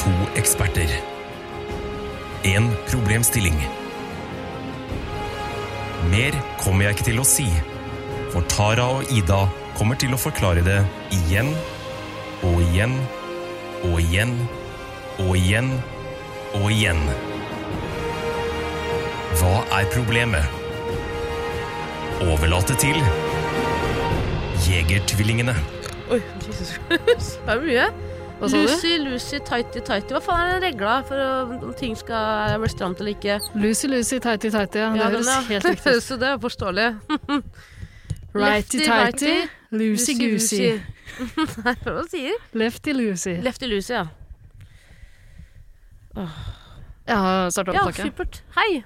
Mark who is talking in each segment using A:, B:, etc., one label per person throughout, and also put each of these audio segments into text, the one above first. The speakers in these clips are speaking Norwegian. A: To eksperter. En problemstilling. Mer kommer jeg ikke til å si, for Tara og Ida kommer til å forklare det igjen og igjen og igjen og igjen og igjen. Hva er problemet? Overlate til Jegertvillingene.
B: Oi, Jesus Christ.
C: Det er mye. Hva sa du?
B: Lucy, Lucy, tighty, tighty. Hva faen er den regla for å- om ting skal være stramt eller ikke?
C: Lucy, Lucy, tighty, tighty. Ja, det
B: Ja, den,
C: høres
B: ja.
C: helt riktig ut.
B: Så det er forståelig. Lefty,
C: Righty, tighty.
B: righty.
C: Lucy, goosey.
B: Lucy. Nei, hva sier
C: Lefty, Lucy.
B: Lefty Lucy, ja.
C: Jeg har starta
B: Ja,
C: opptaket.
B: supert. Hei.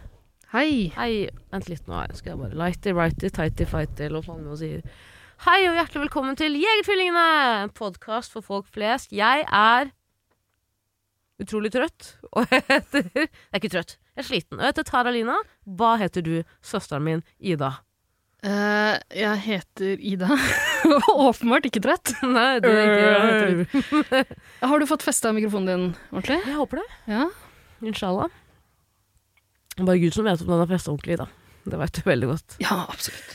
C: Hei.
B: Hei. Vent litt nå, her skal jeg bare lighty, righty, tighty, fighty, eller hva faen man sier. Hei og hjertelig velkommen til Jegertvillingene! En podkast for folk flest. Jeg er utrolig trøtt, og jeg heter Jeg er ikke trøtt, jeg er sliten. Og jeg heter Tara Lina. Hva heter du, søsteren min Ida?
C: Eh, jeg heter Ida. Åpenbart ikke trøtt.
B: Nei,
C: det
B: det
C: er ikke- jeg
B: er
C: heter
B: ikke
C: Har du fått festa mikrofonen din ordentlig?
B: Jeg håper det.
C: Ja.
B: Inshallah. Bare Gud som vet om den er festa ordentlig, Ida. Det veit du veldig godt.
C: Ja, absolutt.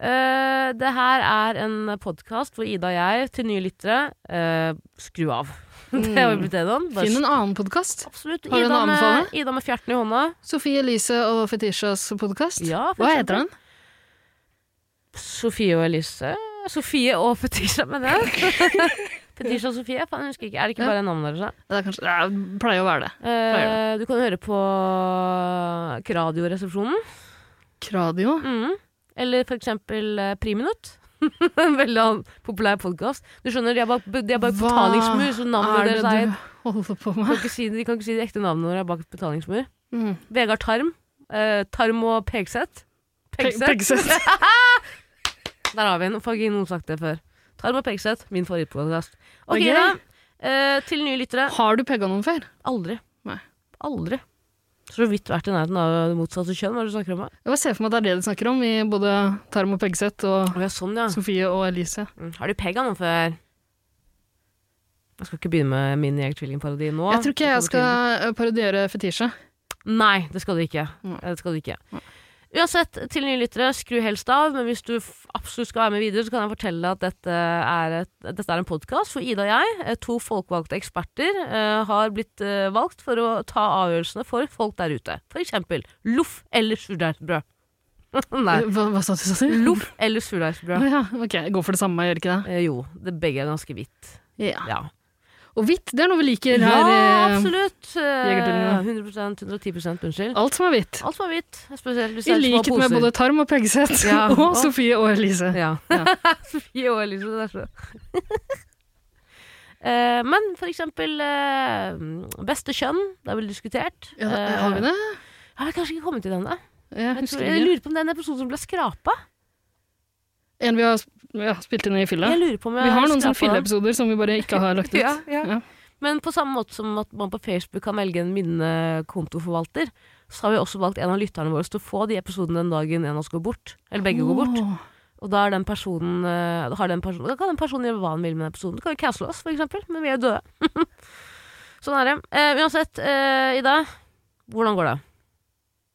B: Eh, det her er en podkast hvor Ida og jeg, til nye lyttere, eh, skru av. det har vi blitt enige om. Bare
C: Mm. Finn en annen podkast.
B: skru- Absolutt.
C: Har du en
B: Ida
C: annen
B: med,
C: anbefaling?
B: Ida med fjerten i hånda.
C: Sofie Elise og Fetishas podkast.
B: Ja, for
C: Hva
B: eksempel.
C: heter den?
B: Sofie og Elise. Sofie og Fetisha, mener jeg. Fetisha og Sofie, faen, jeg husker ikke. Er det ikke
C: Ja.
B: bare navnet deres? da?
C: Det er kanskje, det pleier å være det. Pleier
B: Eh, du kan høre på Radioresepsjonen.
C: Kradio.
B: Mm. Eller for eksempel eh, Priminutt. En veldig an- populær podkast. Du skjønner, de er bak, de er bak
C: Hva
B: betalingsmur, så
C: er
B: navnet
C: det
B: deres er
C: du holder på med?
B: kan ikke si, De kan ikke si de ekte navnene når de er bak betalingsmur.
C: Mm.
B: Vegard Tarm. eh, tarm og Pegseth.
C: Pegseth.
B: Der har vi den. Får ikke noen sagt det før. Tarm og Pegseth, min favorittpodkast. Ok,
C: Ok.
B: da. Eh, til nye lyttere.
C: Har du pegga noen før?
B: Aldri.
C: Nei.
B: Aldri. Så vidt vært i nærheten av det motsatte kjønn, hva er det du snakker om her?
C: Jeg bare ser for meg at det er det de snakker om i både Tarm og Pegseth og
B: Å, ja, sånn, ja.
C: Sofie og Elise.
B: Mm. Har du pegga noen før? Jeg skal ikke begynne med min jegertvillingparodi nå.
C: Jeg tror ikke jeg
B: kommer
C: skal eh, parodiere Fetisha.
B: til- Nei, det skal du ikke.
C: Nei.
B: Eh, Det skal du ikke. Uansett, til nye lyttere, skru helst av, men hvis du f- absolutt skal være med videre, så kan jeg fortelle deg at dette er, et, dette er en podkast hvor Ida og jeg, eh, to folkevalgte eksperter, eh, har blitt eh, valgt for å ta avgjørelsene for folk der ute. For eksempel loff eller surdeigsbrød. Nei.
C: Hva, hva sa du? Sa du?
B: Loff eller surdeigsbrød.
C: Å ja, ok, jeg går for det samme, jeg gjør ikke det?
B: Eh, jo, det begge er ganske hvitt.
C: Ja.
B: Ja.
C: Og hvitt, det er noe vi liker
B: Ja,
C: her. eh,
B: absolutt.
C: Jegertvillingene.
B: Eh, 100 110 unnskyld.
C: Alt som er hvitt.
B: Alt var hvitt, spesielt hvis det
C: I
B: er små
C: likhet
B: poser.
C: med både Tarm og Pegseth
B: Ja,
C: og
B: og-
C: Sofie og Elise.
B: Ja.
C: Ja.
B: Fire år, liksom. Det er så altså. Eh, Men for eksempel eh, beste kjønn, det er vel diskutert.
C: Ja, da- har vi det?
B: Eh, Har vi kanskje ikke kommet til den, da?
C: Jeg
B: Jeg, tror,
C: husker
B: jeg
C: ikke.
B: lurer på om det er en episode som ble skrapa.
C: En vi har sp- ja, spilt inn i fylla.
B: Jeg lurer på om jeg
C: Vi har noen sånne
B: skrapa den.
C: fylleepisoder som vi bare ikke har lagt ut.
B: Ja, ja.
C: Ja.
B: Men på samme måte som at man på Facebook kan velge en minnekontoforvalter, så har vi også valgt en av lytterne våre til å få de episodene den dagen en av oss går bort. Eller begge går bort.
C: Åh.
B: Og da er den personen, eh, da har den personen Da kan den personen gjøre hva han vil med den episoden. Du kan jo cancele oss, for eksempel, men vi er jo døde. sånn er det. Eh, uansett, eh, Ida. Hvordan går det?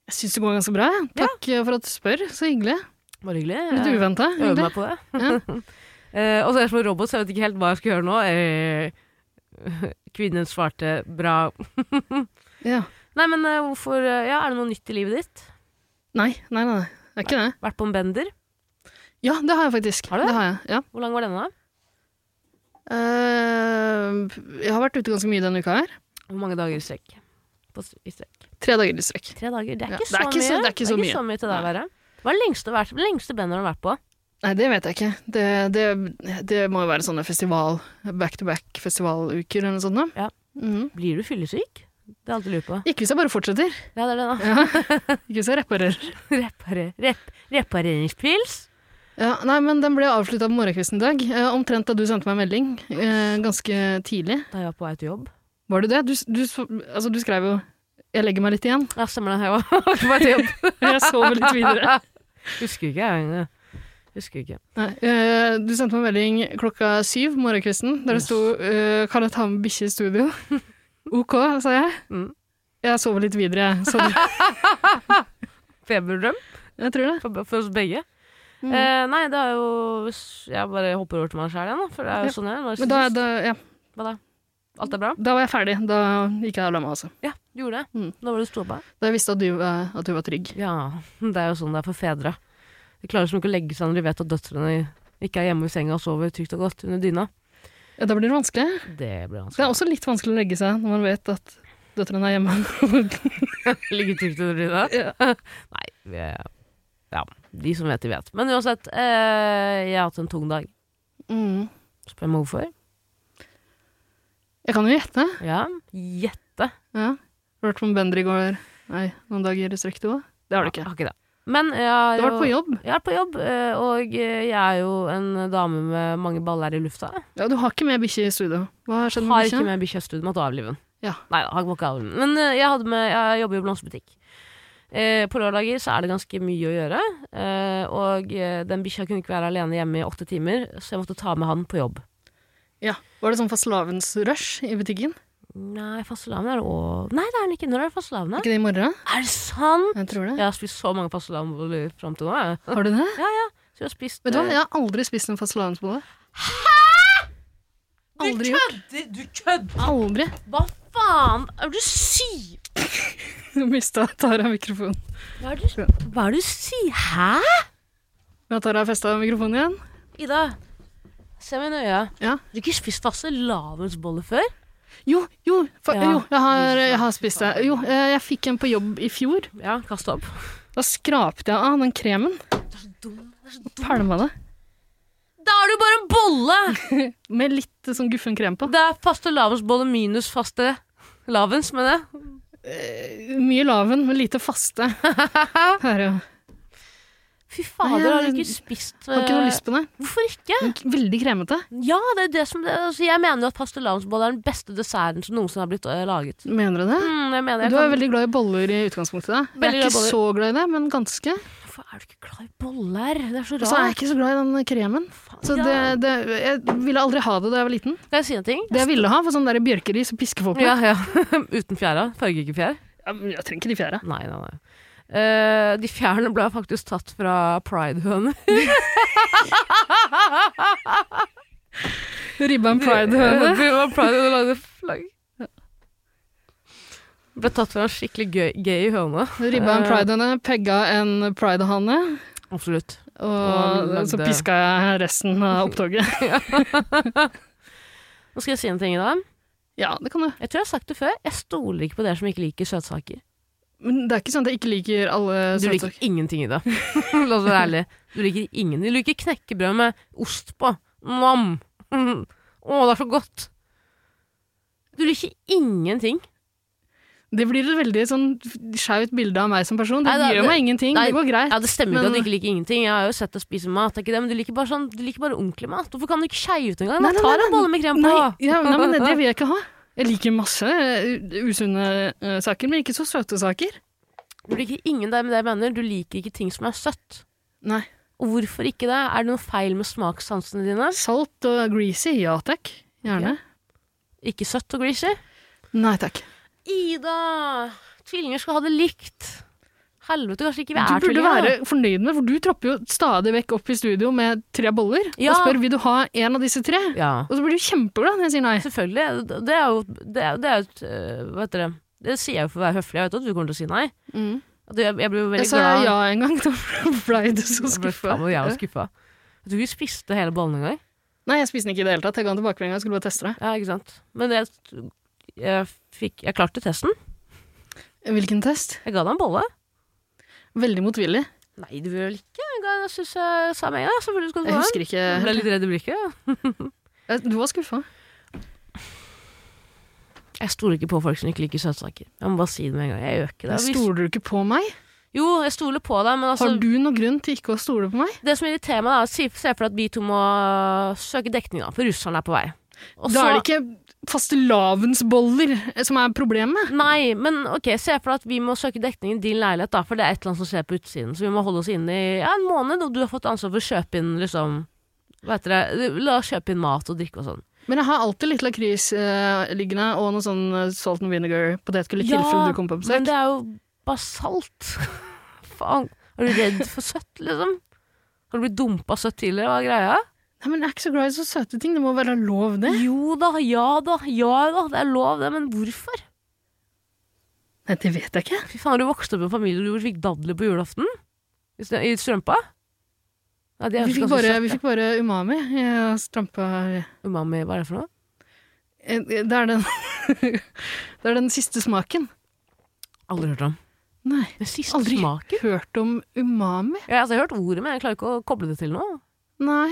C: Jeg syns det går ganske bra. jeg. Takk eh, for at du spør. Så hyggelig.
B: Bare hyggelig.
C: Litt
B: Jeg
C: uventa.
B: øver meg på det. eh, og så er jeg som en robot, så jeg vet ikke helt hva jeg skal gjøre nå. Eh, kvinnen svarte bra.
C: Ja.
B: Nei, men eh, hvorfor eh, Ja, er det noe nytt i livet ditt?
C: Nei, nei, nei. Det er ikke det.
B: Vært på en bender?
C: Ja, det har jeg faktisk.
B: Har du det?
C: Det har jeg, ja.
B: Hvor lang var denne? da?
C: Eh, jeg har vært ute ganske mye denne uka her.
B: Hvor mange dager i strekk? På s- i strekk?
C: Tre dager i strekk.
B: Tre dager? Det er
C: Ja,
B: ikke
C: det er
B: så
C: ikke
B: mye.
C: så- det er ikke så mye.
B: til deg å være. Hva er den lengste, vært- den lengste benderen du har vært på?
C: Nei, det vet jeg ikke. Det, det, det må jo være sånne festival, back-to-back-festivaluker eller noe sånt. da.
B: Ja.
C: Mhm.
B: Blir du fyllesyk? Det er alt jeg lurer på.
C: Ikke hvis jeg bare fortsetter.
B: Ja, det er det, da.
C: Ja. Ikke hvis jeg reparerer.
B: Reparer, rep, repareringspils?
C: Ja, nei, men den ble avslutta på morgenkvisten i dag. Eh, omtrent da du sendte meg en melding. Eh, ganske tidlig.
B: Da jeg var på vei til jobb.
C: Var det det? Du, s- du, s- altså, du skrev jo 'jeg legger meg litt igjen'.
B: Ja, stemmer det. Jeg var på vei til jobb.
C: Jeg sover litt videre.
B: Husker ikke, jeg. Husker ikke.
C: Nei, eh, du sendte meg en melding klokka syv morgenkvisten der det sto eh, 'Kan jeg ta med bikkje i studio?' Ok, sa jeg.
B: Mm.
C: Jeg sover litt videre, jeg. Så det-
B: Feberdrøm
C: jeg tror det.
B: for, for oss begge.
C: Mm.
B: Eh, nei, det er jo Jeg bare hopper over til meg sjæl igjen, da. For det er jo
C: Ja.
B: sånn jeg er.
C: Men da,
B: narsissist.
C: da, ja,
B: Hva da? Alt er bra?
C: da var jeg ferdig. Da gikk jeg og la meg, altså.
B: Ja, du gjorde det.
C: Mm.
B: Da var det du sto på.
C: Da jeg visste at du, var- at du var trygg.
B: Ja, det er jo sånn det er for fedre. De klarer liksom ikke å legge seg når de vet at døtrene ikke er hjemme i senga og sover trygt og godt under dyna.
C: Ja, da blir det vanskelig.
B: Det blir
C: Det er
B: vanskelig.
C: også litt vanskelig å legge seg når man vet at døtrene er hjemme.
B: Ligge trygt under dyna.
C: Ja.
B: Nei, vi er, ja, de som vet, de vet. Men uansett, eh, jeg har hatt en tung dag.
C: mm.
B: Spør meg hvorfor.
C: Jeg kan jo gjette.
B: Ja, gjette.
C: Ja. Har du Hørt om Bender i går Nei, noen dager i strekk du òg? Det har du ikke.
B: Har ikke det. Men jeg har
C: Du har vært på
B: jo
C: jobb.
B: jeg har vært på jobb, eh, og eh, jeg er jo en dame med mange baller i lufta.
C: Ja, du har ikke med bikkje i studio. Hva har skjedd
B: Har
C: med
B: ikke
C: bikkja?
B: med bikkja i studio, måtte avlive den.
C: Ja.
B: Nei, da, har ikke måttet avlive den. Men eh, jeg, hadde med, jeg jobber jo i blomsterbutikk. Eh, på lørdager så er det ganske mye å gjøre, eh, og eh, den bikkja kunne ikke være alene hjemme i åtte timer, så jeg måtte ta med han på jobb.
C: Ja. Var det sånn fastelavns rush i butikken?
B: Nei, fastelavn er det òg Nei, det er den ikke. Når er det fastelavn? da?
C: Ikke det i morgen?
B: Er det sant?
C: Jeg tror det.
B: Jeg har spist så mange fastelavnboller fram til nå, jeg.
C: Har du det?
B: Så jeg har spist
C: Vet du hva,
B: eh,
C: jeg har aldri spist en fastelavnsbolle.
B: Du
C: Aldri gjort.
B: kødder! Du kødder!
C: Aldri.
B: Hva faen er det du sier?
C: Nå mista Tara mikrofonen.
B: Hva er det du, hva er det du sier? Hæ?
C: Ja, Tara festa mikrofonen igjen.
B: Ida, se meg i øya.
C: Ja.
B: Har du ikke spist fastelavnsboller før?
C: Jo, jo, fa
B: Ja.
C: jo jeg, har, jeg har spist det. Jo, eh, jeg fikk en på jobb i fjor.
B: Ja, kast opp.
C: Da skrapte jeg av den kremen.
B: Det er så dum. Det er så dum.
C: Pælma det.
B: Da er det jo bare en bolle!
C: Med litt eh, sånn guffen krem på.
B: Det er fastelavnsbolle minus faste lavens, mener jeg.
C: Eh, Mye laven, men lite faste. Her, ja.
B: Fy fader,
C: Nei,
B: har du
C: jeg-
B: ikke spist
C: Har ikke noe
B: eh,
C: lyst på det.
B: Hvorfor ikke?
C: Men k- Veldig kremete.
B: Ja, det er det som altså, Jeg mener jo at pastelavnsbolle er den beste desserten som noensinne har blitt eh, laget.
C: Mener du det?
B: Mm, jeg mener, jeg
C: Du er
B: kan-
C: veldig glad i boller i utgangspunktet. Da. Jeg
B: Veldig
C: er ikke
B: glad i
C: så glad i det, men ganske.
B: Hvorfor er du ikke glad i boller? Det er så
C: Og så er
B: rart.
C: jeg ikke så glad i den kremen.
B: Faen,
C: Så
B: ja.
C: det, det, jeg ville aldri ha det da jeg var liten.
B: Skal jeg si en ting?
C: Det jeg ville ha, var sånn der bjørkeris og piskefolk.
B: Ja, ja. Uten fjæra. Farger ikke fjær?
C: Jeg trenger ikke de fjæra.
B: Nei, nei, nei. Eh, de fjærene ble faktisk tatt fra pridehøner.
C: Ribba and pride-høne.
B: De var pride og lagde flagg. Ble tatt fra en skikkelig gøy, gay høne.
C: Ribba en
B: Eh.
C: pride-høne, pegga en pride-hane,
B: Absolutt.
C: og
B: Og
C: så
B: lagde-
C: piska jeg resten av opptoget.
B: Nå skal jeg si en ting i dag.
C: Ja, det kan du.
B: Jeg tror jeg har sagt det før. Jeg stoler ikke på dere som ikke liker søtsaker.
C: Men det er ikke sånn at jeg ikke liker alle
B: Du liker
C: søtsaker.
B: ingenting i det. La oss være ærlige. Du liker ingen. Du liker knekkebrød med ost på. Nam. Mm. Å, det er så godt. Du liker ingenting.
C: Det blir et veldig sånn skjevt bilde av meg som person. Det
B: Nei, det-
C: gjør meg ingenting.
B: Nei,
C: Det går greit.
B: Ja, Det stemmer ikke
C: Men-
B: at du ikke liker ingenting. Jeg har jo sett deg spise mat, det er ikke det, men du liker bare, sånn, du liker bare ordentlig mat. Hvorfor kan du ikke skeie ut engang?
C: Nei,
B: Da
C: nei, nei,
B: tar
C: nei.
B: en bolle med krem på.
C: Nei, ja, nei, men det vil jeg ikke ha. Jeg liker masse eh, usunne eh, saker, men ikke så søte saker.
B: Du liker ingen der med det jeg mener. Du liker ikke ting som er søtt.
C: Nei.
B: Og hvorfor ikke det? Er det noe feil med smakssansene dine?
C: Salt og greasy, ja takk. Gjerne.
B: Ikke søtt og greasy?
C: Nei takk.
B: Ida! Tvillinger skal ha det likt. Helvete, kanskje ikke vi er
C: Du burde
B: tvillinger.
C: være
B: da.
C: fornøyd med, for du tropper jo stadig vekk opp i studio med tre boller
B: Ja.
C: og spør vil du ha en av disse tre.
B: Ja,
C: Og så blir du kjempeglad når jeg sier nei.
B: selvfølgelig. Det er jo det er, det er jo et øh, Hva heter det? Det sier jeg jo for å være høflig. Jeg vet at du kommer til å si nei. At Jeg, jeg ble jo
C: Jeg
B: Mm. veldig
C: sa
B: glad.
C: ja en gang, da ble du så
B: Jeg ble
C: skuffa.
B: faen meg jævla skuffa. Jeg tror vi spiste hele bollen en gang.
C: Nei, jeg spiste den ikke i det hele tatt. Jeg ga den tilbake med en gang, jeg skulle bare teste det.
B: Ja, ikke sant? Men jeg, jeg, fikk, jeg klarte testen.
C: Hvilken test?
B: Jeg ga deg en bolle.
C: Veldig motvillig.
B: Nei, du vil vel ikke? Jeg, ga, jeg synes jeg sa med en gang. Selvfølgelig skal du
C: Jeg
B: få den.
C: husker ikke
B: Jeg ble litt redd i blikket. ja.
C: Jeg- Du var skuffa.
B: Jeg stoler ikke på folk som ikke liker søtsaker. Jeg må bare si det med en gang. Jeg gjør ikke det. Hvis-
C: Stoler du ikke på meg?
B: Jo, jeg stoler på deg, men altså
C: Har du noen grunn til ikke å stole på meg?
B: Det som irriterer meg, da, er å si- se for deg at vi to må søke dekning, da, for russerne er på vei. Og
C: Da
B: så-
C: er det ikke fastelavnsboller som er problemet.
B: Nei, men ok, se for deg at vi må søke dekning i din leilighet, da, for det er et eller annet som skjer på utsiden, så vi må holde oss inne i ja, en måned, og du har fått ansvar for å kjøpe inn, liksom, hva heter det, la oss kjøpe inn mat og drikke og sånn.
C: Men jeg har alltid litt lakris eh, liggende, og noe sånn eh, salt and vinegar potetgull i
B: Ja,
C: tilfelle du kommer på
B: Men
C: besøk.
B: det er jo basalt. Faen. Er du redd for søtt, liksom? Har du blitt dumpa søtt tidligere? Hva er greia?
C: Nei, men jeg er ikke så glad i så søte ting. Det må være lov, det.
B: Jo da, ja da, ja da. Det er lov, det. Men hvorfor?
C: Nei, det vet jeg ikke.
B: Fy faen, Har du vokst opp i en familie hvor du fikk dadler på julaften? I strø- I strømpa? Ja, de er
C: Vi
B: jo
C: fikk
B: ganske
C: bare,
B: søte.
C: vi fikk bare umami. Jeg strampa
B: Umami, hva er det for noe?
C: Eh, Det er den Det er den siste smaken.
B: Aldri hørt om.
C: Nei.
B: Den siste
C: Aldri
B: smaken?
C: hørt om umami?
B: Ja, altså, jeg har hørt ordet, men jeg klarer ikke å koble det til noe.
C: Nei.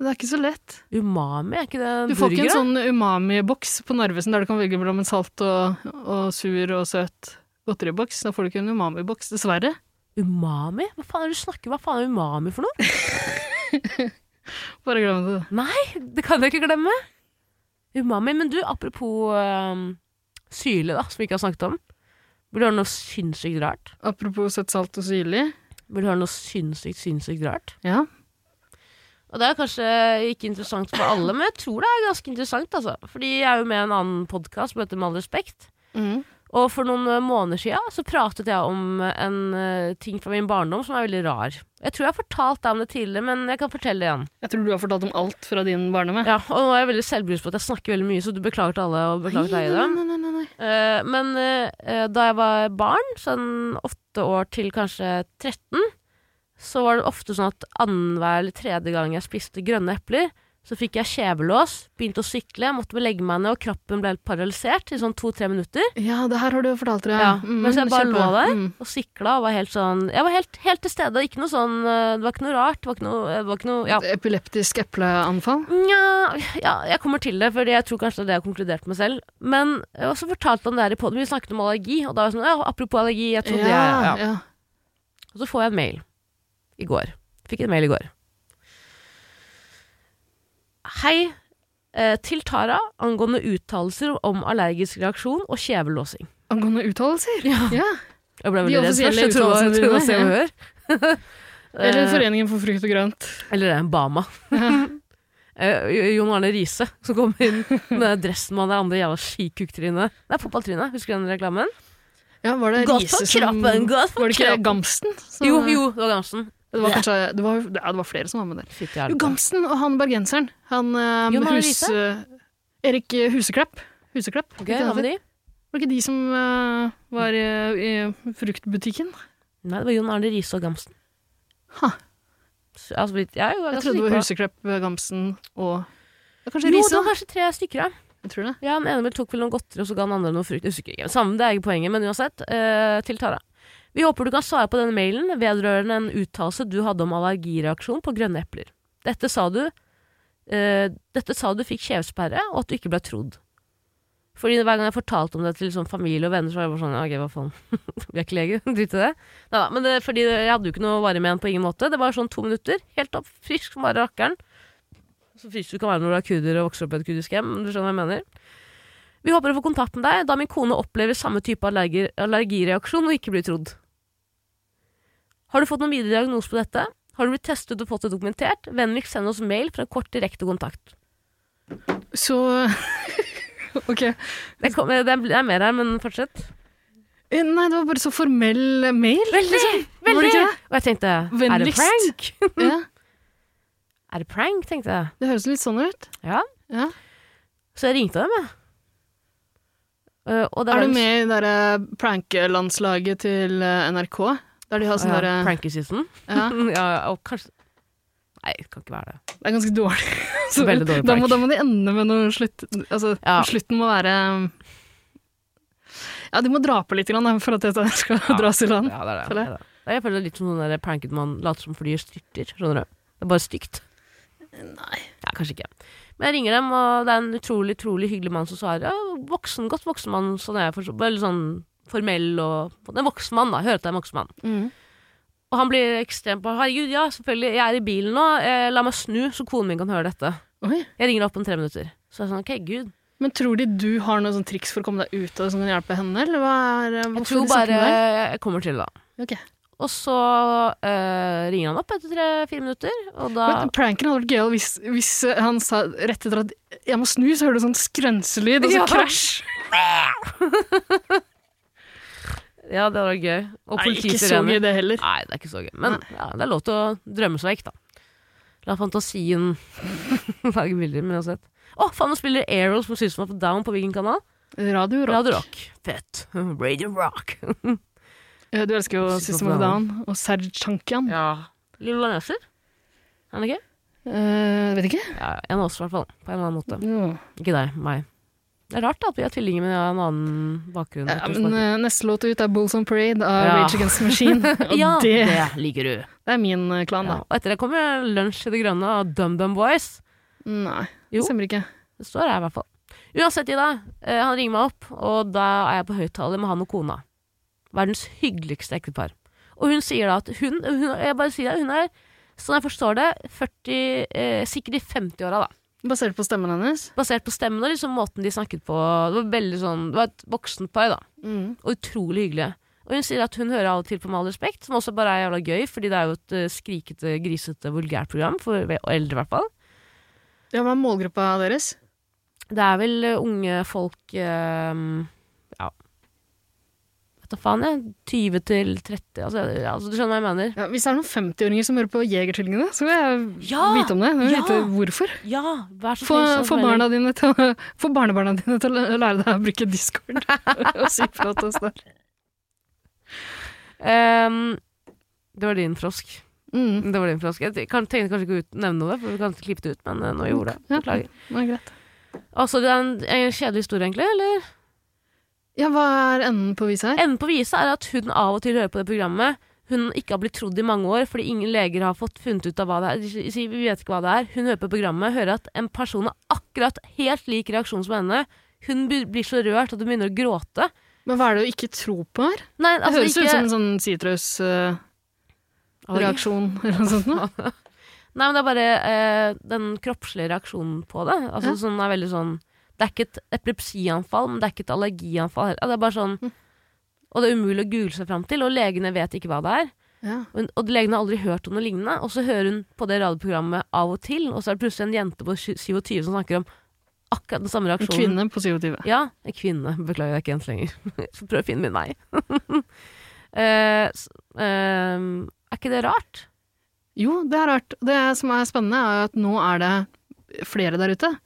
C: Det er ikke så lett.
B: Umami, er ikke det en
C: Du får ikke
B: burger?
C: en
B: da?
C: sånn umami-boks på Narvesen der du kan velge mellom en salt og, og sur og søt godteriboks. Da får du ikke en umami-boks, dessverre.
B: Umami? Hva faen er det du snakker Hva faen er umami for noe?
C: Bare glem det.
B: Nei, det kan jeg ikke glemme. Umami. Men du, apropos øhm, syle, da, som vi ikke har snakket om. Vil du høre noe sinnssykt rart?
C: Apropos søtt, salt og syrlig.
B: Vil du høre noe sinnssykt, sinnssykt rart?
C: Ja.
B: Og det er kanskje ikke interessant for alle, men jeg tror det er ganske interessant, altså. Fordi jeg er jo med i en annen podkast som heter Med all respekt. Og for noen eh, måneder siden så pratet jeg om eh, en eh, ting fra min barndom som er veldig rar. Jeg tror jeg har fortalt deg om det tidligere, men jeg kan fortelle det igjen.
C: Jeg tror du har fortalt om alt fra din barndom. jeg.
B: Ja, og nå er jeg veldig selvbevisst på at jeg snakker veldig mye, så du beklager til alle og beklager til deg i det.
C: Nei, nei, nei, nei, nei.
B: Eh, men eh, eh, da jeg var barn, sånn åtte år til kanskje 13, så var det ofte sånn at annenhver eller tredje gang jeg spiste grønne epler, så fikk jeg kjevelås, begynte å sykle, måtte legge meg ned, og kroppen ble helt paralysert i sånn to-tre minutter.
C: Ja, det her har du fortalt, Mm, ja.
B: Ja, mens jeg bare lå der
C: Mm.
B: og sikla og var helt sånn Jeg var helt, helt til stede. Ikke noe sånn eh, Det var ikke noe rart. Det var ikke noe, eh, det var ikke noe ja.
C: Epileptisk epleanfall.
B: Nja, ja, jeg kommer til det, fordi jeg tror kanskje det er det jeg har konkludert med selv. Men jeg har også fortalt om det her i podden. Vi snakket om allergi, og da var jeg sånn ja, Apropos allergi, jeg trodde jeg ja.
C: ja.
B: Og så får jeg en mail i går. Fikk en mail i går. Hei eh, til Tara angående uttalelser om allergisk reaksjon og kjevelåsing.
C: Angående uttalelser. Ja.
B: Jeg ble
C: De
B: veldig redd først. Jeg
C: offisielle
B: tror jeg tror det var Se og
C: uttalelsene
B: Hør.
C: Eller
B: Eh,
C: Foreningen for frukt og grønt.
B: Eller det er en Bama. Eh, Jon Arne Riise som kom inn med den dressen med han der andre jævla skikukktrynet. Det er fotballtrynet, husker du den reklamen?
C: Ja, var det
B: Godt
C: Riise
B: for
C: som-
B: kroppen, godt for
C: Var det ikke
B: kroppen.
C: Gamsten? som-
B: Jo, jo, det var Gamsen.
C: Det var kanskje det var, ja, det var flere som var med der.
B: Fytti
C: Jo,
B: hjelpe.
C: Gamsten og han bergenseren. Han eh,
B: Jon Arne
C: hus, eh, Erik Huseklepp. Huseklepp.
B: Ok,
C: ikke det
B: hva med
C: det?
B: de?
C: Var ikke de som eh, var i, i fruktbutikken?
B: Nei, det var Jon Arne Riise og Gamsen.
C: Ha.
B: Så, altså, jeg, jeg, er
C: Jeg
B: ganske
C: trodde det
B: sikker
C: var
B: på
C: Huseklepp, Gamsten og ja,
B: Jo,
C: Kanskje
B: det
C: Riise?
B: var kanskje tre stykker, ja.
C: da? Jeg tror det.
B: Ja, den ene vel tok vel noen godteri, og så ga den andre noe frukt. Jeg husker ikke. Samme, det er ikke poenget, men uansett. eh, til Tara. Vi håper du kan svare på denne mailen vedrørende en uttalelse du hadde om allergireaksjon på grønne epler. Dette sa du eh, Dette sa du fikk kjevesperre, og at du ikke ble trodd. Fordi Hver gang jeg fortalte om det til sånn familie og venner, så var jeg bare sånn Ok, hva faen. Vi er ikke leger. Drit i det. Neida, men det, fordi jeg hadde jo ikke noe varig med den på ingen måte. Det var sånn to minutter. Helt opp, frisk som bare rakkeren. Så frisk du kan være når du er kurder og vokser opp i et kurdisk hjem. Du skjønner hva jeg mener. Vi håper å få kontakt med deg, da min kone opplever samme type allergi allergireaksjon og ikke blir trodd. Har du fått noen videre diagnose på dette? Har du blitt testet og fått det dokumentert? Vennligst send oss mail for en kort direkte kontakt.
C: Så Ok.
B: Det, kom, det er- det er mer her, men fortsett.
C: Eh, Nei, det var bare så formell eh, mail.
B: Veldig!
C: Var det
B: veldig.
C: ikke
B: Og jeg tenkte, er det
C: Vennligst.
B: prank?
C: Ja,
B: Er det prank, tenkte jeg.
C: det høres litt sånn ut.
B: Ja.
C: Ja.
B: Så jeg ringte dem, jeg. Eh, og det var
C: Er
B: en-
C: du med i det der eh, prankelandslaget til eh, NRK? Der de har sånn
B: Ja,
C: derre
B: Prankeseason.
C: ja.
B: ja, og kanskje... Nei, det kan ikke være det.
C: Det er ganske dårlig. Så
B: Veldig dårlig
C: da, må,
B: prank.
C: da må de ende med noe slutt... Altså,
B: Ja.
C: slutten må være Ja, de må dra på litt grann, da, for at dette skal dras i land.
B: Ja, det er det.
C: sånn. Føler
B: det,
C: jeg.
B: er det. Nei, Jeg føler det er litt som sånn der pranket man later som flyet styrter. Skjønner du? Det er bare stygt. Nei. Ja, kanskje ikke. Men jeg ringer dem, og det er en utrolig utrolig hyggelig mann som svarer. Ja, voksen, godt voksen mann, sånn er jeg forstår. Veldig sånn formell og En voksen mann, da. Hører at det er en voksen mann.
C: Mm.
B: Og han blir ekstremt på Herregud, ja, selvfølgelig. Jeg er i bilen nå. Eh, la meg snu, så konen min kan høre dette.
C: Oi.
B: Jeg ringer opp om tre minutter. Så jeg er sånn, ok, gud.
C: Men tror de du har noe sånn triks for å komme deg ut av det som kan hjelpe sånn henne, eller hva er
B: Jeg
C: hvorfor
B: tror
C: de snakker
B: bare
C: med deg?
B: jeg kommer til det, da.
C: Ok.
B: Og så eh, ringer han opp etter tre-fire minutter, og da
C: Men Pranken hadde vært gøyal hvis, hvis eh, han sa rett etter at 'jeg må snu', så hører du sånn skrønselyd, og så
B: Ja.
C: krasj.
B: Ja, det var gøy. Og
C: Nei, ikke så gøy
B: politisirener.
C: det heller.
B: Nei, det er ikke så gøy. Men ja, det er lov til å drømme seg vekk, da. La fantasien lage bilder, men uansett. Å, faen, nå spiller Aeros på System of a Down på hvilken kanal?
C: Radio Rock.
B: Radio Rock. Fett. Radio Rock.
C: Eh, Du elsker jo
B: System
C: System
B: of
C: of a Down og Serge Tankian.
B: Ja. Lilla Neser? Er han ikke?
C: Eh, vet ikke.
B: Ja, en av oss, i hvert fall. På en eller annen måte.
C: Ja.
B: Ikke deg, meg. Det er rart da, at vi er tvillinger, men jeg har en annen bakgrunn.
C: Ja, men eh, neste låt ut er 'Bulls on Parade' av
B: Ja.
C: Rage Against the Machine. Og
B: ja, det,
C: det,
B: liker du.
C: det er min eh, klan,
B: Ja.
C: da.
B: Og etter det kommer Lunsj i det grønne og DumDum Boys.
C: Nei,
B: Jo.
C: det stemmer ikke.
B: Det står her i hvert fall. Uansett, Ida. eh, Han ringer meg opp, og da er jeg på høyttaler med han og kona. Verdens hyggeligste ektepar. Og hun sier da at hun, hun Jeg bare sier det, hun er, sånn jeg forstår det, 40, eh, sikkert i 50-åra, da.
C: Basert på stemmen hennes.
B: Basert på stemmen og liksom måten de snakket på. Det var veldig sånn Det var et voksent par, da.
C: Mm.
B: Og utrolig hyggelige. Og hun sier at hun hører av og til på Med all respekt, som også bare er jævla gøy, fordi det er jo et eh, skrikete, grisete, vulgært program, for eldre i hvert fall.
C: Ja, Hva er målgruppa deres?
B: Det er vel eh, unge folk ehm, Ja Vet da faen, jeg. 20 til 30 altså, ja, altså, Du skjønner hva jeg mener?
C: Ja, hvis det er noen 50-åringer som hører på Jegertvillingene, så vil jeg
B: Ja!
C: vite om det. Jeg vil
B: Ah, Ja!
C: vite hvorfor.
B: Ja! Vær så
C: Få,
B: snill. send oss
C: få,
B: melding.
C: barna dine til, å- få barnebarna dine til å lære deg å bruke Discord og si fra til oss der.
B: Ehm, det var din frosk.
C: Mm.
B: Det var din frosk. Jeg kan- tenkte kanskje ikke å ut- nevne noe, for vi kan ikke klippe det ut, men eh, nå gjorde jeg det.
C: Ja,
B: Beklager.
C: det er greit.
B: Altså, det er en, en kjedelig historie, egentlig. Eller?
C: Ja, hva er enden på visa her?
B: Enden på viset er at hun av og til hører på det programmet. Hun ikke har blitt trodd i mange år fordi ingen leger har fått funnet ut av hva det er. De sier, Vi vet ikke hva det er. Hun hører på programmet, hører at en person har akkurat helt lik reaksjon som henne. Hun blir blir så rørt at hun begynner å gråte.
C: Men hva er det å ikke tro på her?
B: Nei,
C: Det
B: altså
C: høres jo ut som
B: ikke
C: en sånn sitrusreaksjon
B: Allergi.
C: eller noe sånt. noe.
B: Nei, men det er bare eh, den kroppslige reaksjonen på det. Altså
C: Ja.
B: sånn er veldig sånn Det er ikke et epilepsianfall, men det er ikke et allergianfall heller. Det er bare sånn
C: Hm.
B: Og det er umulig å google seg fram til, og legene vet ikke hva det er.
C: Ja.
B: Og, hun- og legene har aldri hørt om noe lignende. Og så hører hun på det radioprogrammet av og til, og så er det plutselig en jente på 27 som snakker om akkurat den samme
C: En
B: reaksjonen.
C: kvinne på 27.
B: Ja, en kvinne. Beklager, jeg er ikke jente lenger. Så Prøv å finne min vei. Eh, s- eh, er ikke det rart?
C: Jo, det er rart. Det som er spennende, er jo at nå er det flere der ute.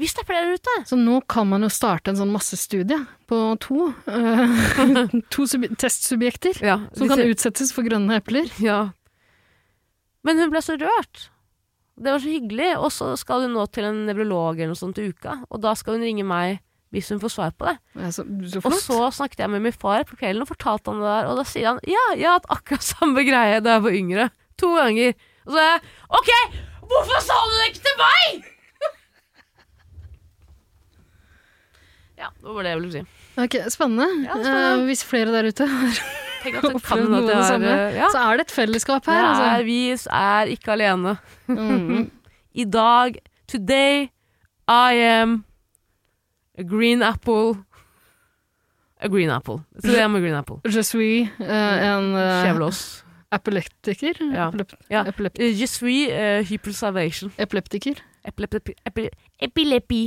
B: Hvis det er flere der ute!
C: Så nå kan man jo starte en sånn massestudie på to, eh, to subi- testsubjekter
B: Ja,
C: som kan utsettes for grønne epler.
B: Ja. Men hun ble så rørt. Det var så hyggelig. Og så skal hun nå til en nevrolog eller noe sånt til uka, og da skal hun ringe meg hvis hun får svar på det.
C: Ja, Så, Altså, så
B: Og
C: flott.
B: så snakket jeg med min far på kvelden og fortalte han det der, og da sier han ja, jeg har hatt akkurat samme greie da jeg var yngre. To ganger. Og så er jeg OK, hvorfor sa du det ikke til meg?! ja, det var det jeg ville si.
C: Ok, spennende.
B: Ja, spennende.
C: Eh, hvis flere der ute har
B: Tenk at jeg
C: opplevd
B: kan at
C: noe av det
B: jeg har
C: samme,
B: eh, ja.
C: så er det et fellesskap her.
B: det
C: Altså.
B: er, vi er ikke alene.
C: Mm.
B: I dag, today, I am a green apple. A green apple. Today I'm a green apple.
C: Je suis eh, en uh,
B: Skjevlås.
C: epileptiker.
B: Mm. Ja.
C: Epilep
B: Ja.
C: epilep
B: Uh, Je suis uh, hypersalvation.
C: epileptiker.
B: Epilepti... epi- Epilepi.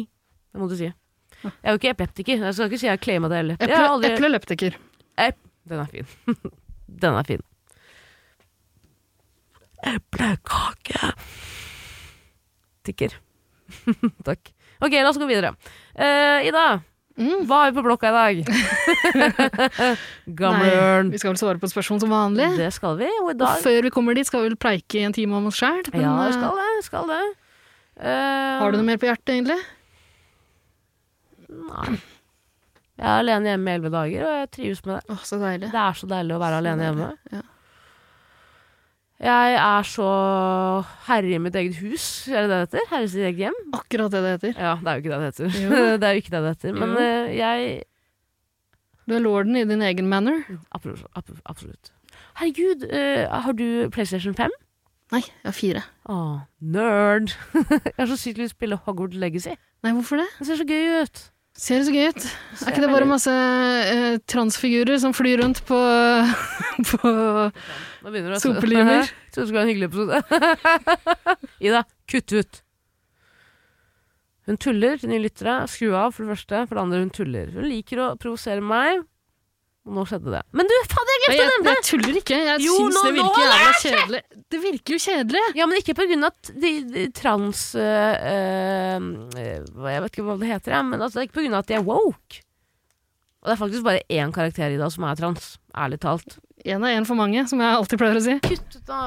B: Det må du si. Jeg er jo ikke epileptiker. Jeg skal ikke si jeg claimer det heller. Jeg
C: Eple
B: har aldri...
C: Epileptiker.
B: Den er fin. Den er fin. Eplekake. Tikker. Takk. Ok, la oss gå videre. Eh, Ida,
C: Mm.
B: hva har vi på blokka i dag? Gammel ørn.
C: Vi skal vel svare på spørsmål som vanlig.
B: Det skal vi, og i
C: Og
B: dag
C: før vi kommer dit, skal vi vel preike i en time om oss sjæl.
B: Ja, vi skal det. Skal det. Eh,
C: Har du noe mer på hjertet, egentlig?
B: Nei. Jeg er alene hjemme i elleve dager, og jeg trives med det.
C: Åh, så deilig.
B: Det er så deilig å være alene hjemme.
C: deilig, ja.
B: Jeg er så herre i mitt eget hus, er det det det heter? Herre i sitt eget hjem?
C: Akkurat det det heter.
B: Ja, det er jo ikke det det heter.
C: Jo.
B: det er jo ikke det det heter. Men
C: Jo.
B: eh, jeg
C: Du er lorden i din egen manner.
B: absolutt, absolutt, absolutt. Herregud, eh, har du PlayStation 5?
C: Nei, jeg har fire.
B: Å, nerd! jeg har så sykt lyst til å spille Hogwarts Legacy.
C: Nei, hvorfor det?
B: Det ser så gøy ut.
C: Ser det så gøy ut?
B: Ser
C: Er ikke det bare
B: veldig-
C: masse eh, transfigurer som flyr rundt på, på
B: Nå begynner du å
C: Sopelimer.
B: Jeg Trodde det skulle være en hyggelig episode. Ida, kutt ut! Hun tuller til nye lyttere. Skru av, for det første. For det andre, hun tuller. Hun liker å provosere meg. Og nå skjedde det. Men du, fader, jeg
C: Nei,
B: glemte å
C: jeg,
B: nevne
C: jeg tuller ikke. Jeg
B: Jo,
C: syns
B: nå-
C: det
B: nå
C: virker jævla kjedelig. Det virker jo kjedelig!
B: Ja, men ikke på grunn av at de, de trans... øh, øh, hva- jeg vet ikke hva det heter, jeg, men altså, det er ikke på grunn av at de er woke. Og det er faktisk bare én karakter i dag som er trans. Ærlig talt.
C: Én er én for mange, som jeg alltid pleier å si.
B: Kutt ut, da!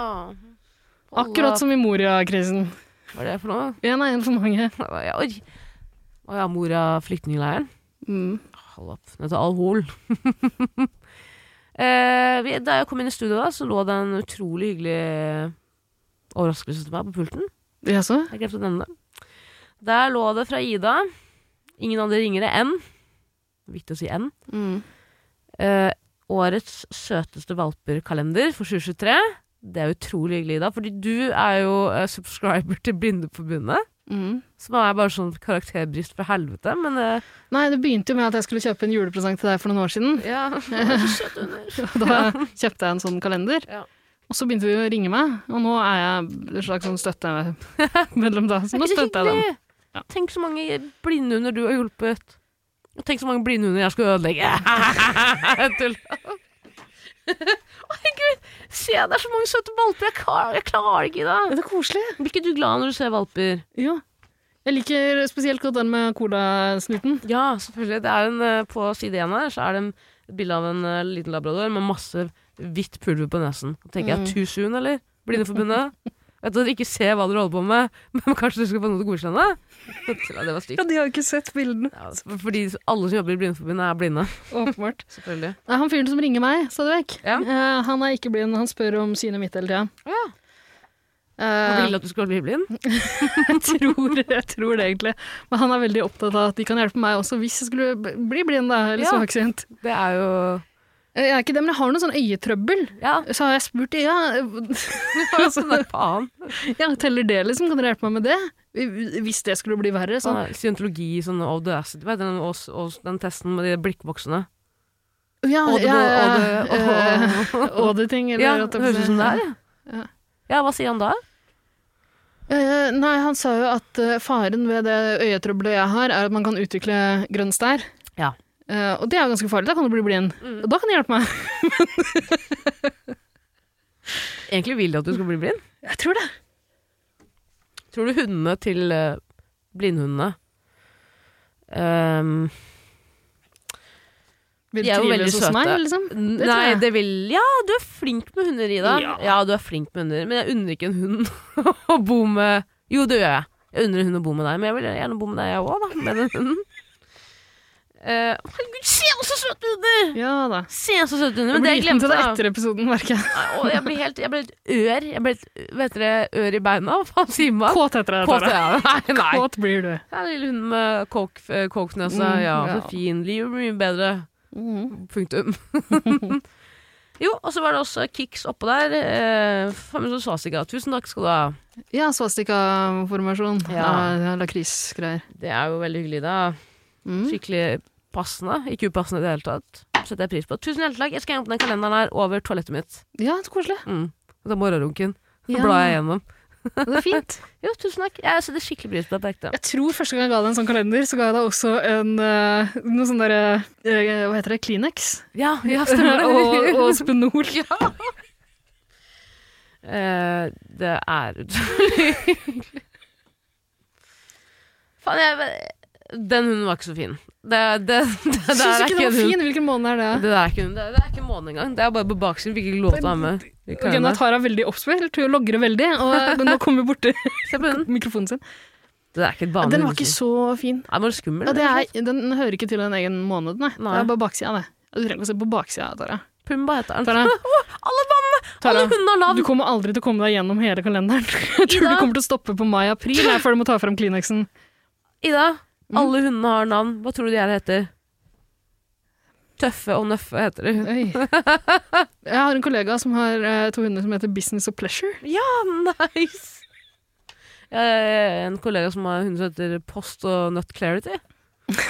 C: Akkurat som i Moria-krisen.
B: Hva er det for noe?
C: Én er én for mange.
B: Jeg ork- Å ja, mora flyktningleiren.
C: Mm.
B: Hold opp. Den heter Alhol. eh, vi, da jeg kom inn i studio, da, så lå det en utrolig hyggelig overraskelse til meg på pulten.
C: Jaså?
B: Jeg glemte å nevne det. Der lå det fra Ida. Ingen andre ringere enn Viktig å si enn.
C: Mm.
B: Eh, årets søteste valperkalender for 2023. Det er utrolig hyggelig, Ida, fordi du er jo eh, subscriber til Blindeforbundet.
C: Mm.
B: Som er bare sånn karakterbrist fra helvete, men eh,
C: Nei, det begynte jo med at jeg skulle kjøpe en julepresang til deg for noen år siden.
B: ja.
C: Og da kjøpte jeg en sånn kalender.
B: Ja.
C: Og så begynte du å ringe meg, og nå er jeg en slags sånn støttemedlem da. Så nå støtter jeg den. Ja.
B: Tenk så mange blindhunder du har hjulpet. Og tenk så mange blindhunder jeg skulle ødelegge. Tull. Å, Herregud, se det er så mange søte valper. Jeg klarer, jeg klarer ikke det.
C: Det er koselig.
B: Blir ikke du glad når du ser valper?
C: Ja. Jeg liker spesielt godt den med colasnuten.
B: Ja, selvfølgelig. Det er en, eh, på side én her så er det en- et bilde av en eh, liten labrador med masse hvitt pulver på nesen. Da tenker jeg too soon, eller? Blindeforbundet? Vet du at dere ikke ser hva dere holder på med, men kanskje dere skal få noe til å godkjenne? Ja, det var stygt.
C: de har jo ikke sett bildene.
B: Ja, altså, for- fordi alle som jobber i Blindeforbundet, er blinde.
C: Åpenbart.
B: Selvfølgelig.
C: Det er han fyren som ringer meg, stadig vekk.
B: Ja.
C: Eh, han er ikke blind, han spør om synet mitt hele tida.
B: Ja.
C: Eh,
B: Han vil at du skal bli blind.
C: jeg, tror, jeg tror det, egentlig. Men han er veldig opptatt av at de kan hjelpe meg også, hvis jeg skulle b- bli blind, da, eller
B: Ja.
C: svaksynt.
B: Det er jo
C: Eh, Jeg er ikke det, men jeg har noe sånn øyetrøbbel.
B: Ja,
C: Så har jeg spurt ja, altså,
B: sånn er faen.
C: ja, teller det liksom, kan dere hjelpe meg med det? Hvis det skulle bli verre,
B: Sånn
C: sånn.
B: er scientologi, sånn audacity, hva heter den, og, og den testen med de blikkboksene?
C: Ja,
B: Audible,
C: ja, ja,
B: audible,
C: eh, auditing, eller
B: Ja,
C: hva
B: det høres ut som det er, ja.
C: Ja.
B: Ja, hva sier han da?
C: Eh, nei, han sa jo at eh, faren ved det øyetrøbbelet jeg har, er at man kan utvikle grønn stær.
B: Ja.
C: Eh, og det er jo ganske farlig, da kan du bli blind.
B: Mm.
C: Og da kan de hjelpe meg.
B: Egentlig vil de at du skal bli blind.
C: Jeg tror det.
B: Tror du hundene til eh, blindhundene ehm,
C: Vil
B: De er jo veldig søte.
C: Meg, liksom. tror
B: Nei,
C: jeg.
B: det vil Ja, du er flink med hunder, Ida. Ja.
C: Ja.
B: du er flink med hunder, men jeg unner ikke en hund å bo med Jo, det gjør jeg. Jeg unner en hund å bo med deg, men jeg vil gjerne bo med deg, jeg òg, da. Med den hunden. Eh, herregud, se så søte hunder!
C: Ja da.
B: Se så søte hunder.
C: Jeg
B: Men det
C: blir
B: jeg
C: liten
B: glemte
C: til det
B: da-
C: etter episoden, merker jeg.
B: Nei, å, Jeg blir helt Jeg ble helt ør. Jeg ble helt Vet dere, ør i beina? Hva faen sier man?
C: Kåt heter det.
B: Kåt,
C: Tara.
B: ja. Nei, nei.
C: Kåt blir du.
B: Ja, Lille hund med coke- cokenese. Ja,
C: Mm, ja.
B: så fin. Livet blir mye bedre. Mm. Punktum. jo, og så var det også Kicks oppå der. Eh, Famous Svastika, tusen takk skal du ha.
C: Ja, svastikaformasjon. Ja.
B: Ja.
C: ja, Lakrisgreier.
B: Det er jo veldig hyggelig, da.
C: Mm.
B: Skikkelig passende. Ikke upassende i det hele tatt. Setter jeg pris på. Tusen hjertelig takk. Jeg skal henge opp den kalenderen her over toalettet mitt.
C: Ja, så koselig.
B: Mm. Og da morgenrunken.
C: Ja.
B: Ja. Blar jeg gjennom.
C: Det er fint.
B: Jo, tusen takk. Jeg setter skikkelig pris på det på ekte.
C: Jeg tror første gang jeg ga deg en sånn kalender, så ga jeg deg også en eh, noe sånn derre eh, Hva heter det? Kleenex?
B: Ja, ja, stemmer
C: og, og
B: det.
C: Spenol.
B: Eh, det er utrolig hyggelig. Faen, jeg Den hunden var ikke så fin. Det, det, det, det,
C: Syns
B: er
C: du
B: ikke
C: ikke den
B: en
C: var
B: hund.
C: fin? Hvilken måned er det?
B: Det der er ikke, det er ikke månen engang. Det er bare på baksiden. Fikk ikke lov til å ha med. i
C: Ok, nå
B: kalenderen.
C: tar jeg veldig oppspilt, hun logrer veldig, og eh, nå kommer hun borti
B: Se på den.
C: mikrofonen sin.
B: Det er ikke et vanlig
C: Den var ikke så fin.
B: Er den skummel?
C: Ja, det
B: eller?
C: er, den hører ikke til en egen måned, nei. Det
B: Nei.
C: er bare baksida, det. Du trenger ikke å se på baksida, Tara.
B: Pumba heter den.
C: Tara,
B: Alle vannene! Alle
C: Tara,
B: hundene har
C: du
B: navn!
C: kommer aldri til å komme deg gjennom hele kalenderen. Jeg tror
B: Ida?
C: du kommer til å stoppe på mai-april jeg, før du må ta frem Kleenexen.
B: Ida,
C: Mm.
B: alle hundene har navn. Hva tror du de her heter? Tøffe og Nøffe heter de.
C: Oi. Jeg har en kollega som har eh, to hunder som heter Business og Pleasure.
B: Ja, nice! Jeg er en kollega som har en hund som heter Post og Nut Clarity.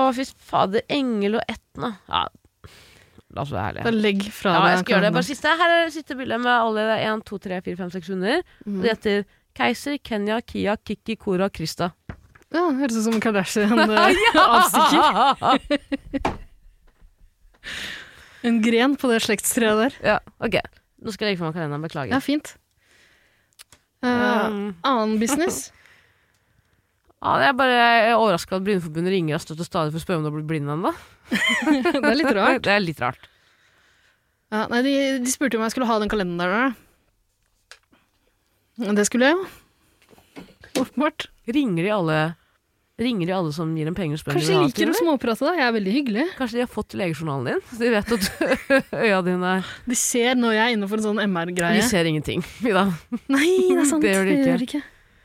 B: Å, fy fader. Engel og Etna. Ja, la oss være
C: Da
B: ærlige.
C: legg fra
B: Ja,
C: deg
B: jeg skal gjøre det.
C: klærne.
B: Bare siste. Her er det siste bildet med alle 1, 2, 3, 4, 5, 6 hunder. Og de
C: Mm.
B: heter Keiser, Kenya, Kia, Kiki, Kora, Krista.
C: Ja, Høres ut som en eh, Kardashian-avstikker. En gren på det slektstreet der.
B: ja, ok. Nå skal jeg legge fra meg kalenderen.
C: Ja,
B: Beklager.
C: fint. Eh,
B: Um,
C: annen business.
B: ja, jeg er bare overraska at Blindeforbundet ringer og støtter stadig for å spørre om du har blitt blind ennå.
C: det er litt rart.
B: Det er litt rart.
C: Ja, nei, de, de spurte om jeg skulle ha den kalenderen der. da. Det skulle jeg jo. Åpenbart.
B: Ringer de alle Ringer de alle som gir dem penger og spør om de
C: Kanskje
B: vil
C: jeg
B: ha
C: liker å
B: timer?
C: småprate, da. Jeg er veldig hyggelig.
B: Kanskje de har fått legejournalen din, så de vet at øya dine er
C: De ser når jeg er inne for en sånn
B: De
C: MR-greie.
B: ser ingenting, Ida.
C: Nei, det er sant.
B: Det gjør de ikke.
C: ikke.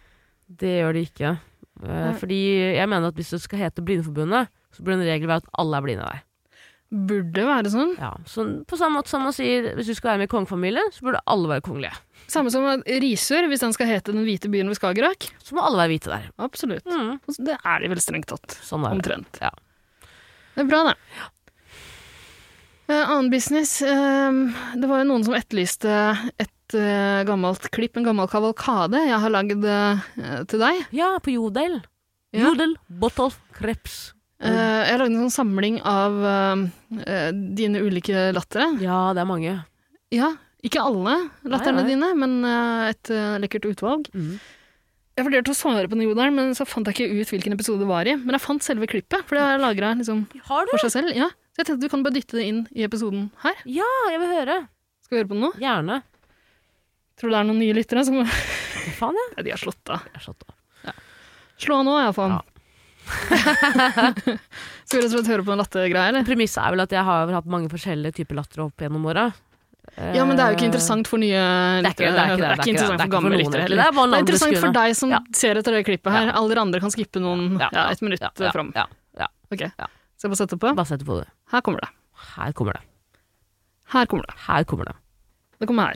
B: Det gjør de ikke. Eh, Fordi jeg mener at hvis det skal hete Blindeforbundet, så burde en regel være at alle er blinde der.
C: Burde være sånn.
B: Ja. Så på samme måte som man sier hvis du skal være med i kongefamilien, så burde alle være kongelige.
C: Samme som at Risør, hvis den skal hete Den hvite byen ved Skagerrak.
B: Så må alle være hvite der.
C: Absolutt.
B: Mm.
C: Og så- Det er de vel strengt tatt.
B: Sånn er det.
C: Omtrent.
B: Ja.
C: Det er bra, det. Eh, annen business. eh, det var jo noen som etterlyste et eh, gammelt klipp, en gammel kavalkade jeg har lagd eh, til deg.
B: Ja, på Jodel.
C: Ja.
B: Jodel, Botolf, Kreps.
C: Eh, jeg lagde en sånn samling av eh, eh, dine ulike lattere.
B: Ja, det er mange.
C: Ja, ikke alle latterne
B: Nei, nei.
C: dine, men eh, et eh, lekkert utvalg.
B: Mm.
C: Jeg vurderte å svare på den jodelen, men så fant jeg ikke ut hvilken episode det var i. Men jeg fant selve klippet, for det har jeg lagra liksom,
B: Har du?
C: for seg selv. Ja. Så jeg tenkte du kan bare dytte det inn i episoden her.
B: Ja, jeg vil høre.
C: Skal vi høre på den nå?
B: Gjerne.
C: Tror du det er noen nye lyttere som
B: Hva faen, jeg?
C: Nei, De har slått av.
B: Jeg satt av.
C: Slå av nå, iallfall. Skal vi rett og slett høre på en lattergreie, eller?
B: Premisset er vel at jeg har vel hatt mange forskjellige typer latter opp gjennom åra.
C: Ja, men det er jo ikke interessant for nye
B: Det er ikke
C: lyttere.
B: det. er ikke det,
C: Det er ikke
B: det, det
C: interessant
B: er
C: for
B: ikke
C: gamle
B: noen,
C: lyttere.
B: egentlig.
C: heller.
B: Det er bare
C: Det
B: noen
C: er interessant
B: andre
C: for deg som
B: Ja.
C: ser etter det klippet her. Alle dere andre kan skippe noen
B: Ja,
C: ja, et minutt
B: ja,
C: eh,
B: ja,
C: fram.
B: Ja, ja.
C: Ok,
B: Ja.
C: skal jeg bare sette på?
B: Bare sett på det.
C: Her kommer det.
B: Her kommer det.
C: Her kommer det.
B: Her kommer det.
C: Det kommer her.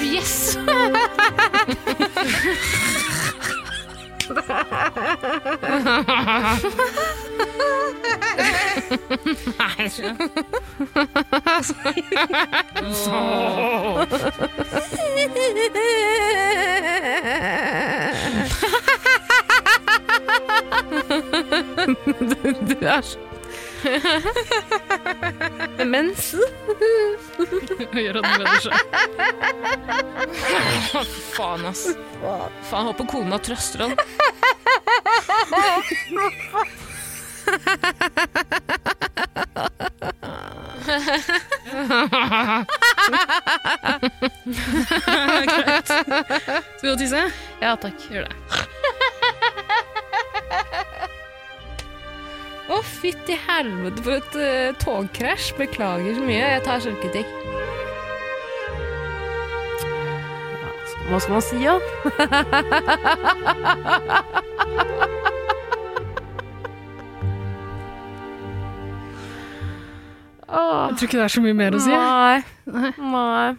B: Yes! du er så Mens
C: Gjør at den bedre seg.
D: Faen, ass. Faen, håper kona trøster han.
C: Skal vi gå og tisse?
D: Ja, takk. Gjør det. Å, fytti helvete for et eh, togkrasj. Beklager så mye. Jeg tar selvkritikk.
B: Hva skal man si, da? Åh,
C: Jeg tror ikke det er så mye mer å si.
B: Nei.
C: Nei. Mm.
B: Nei.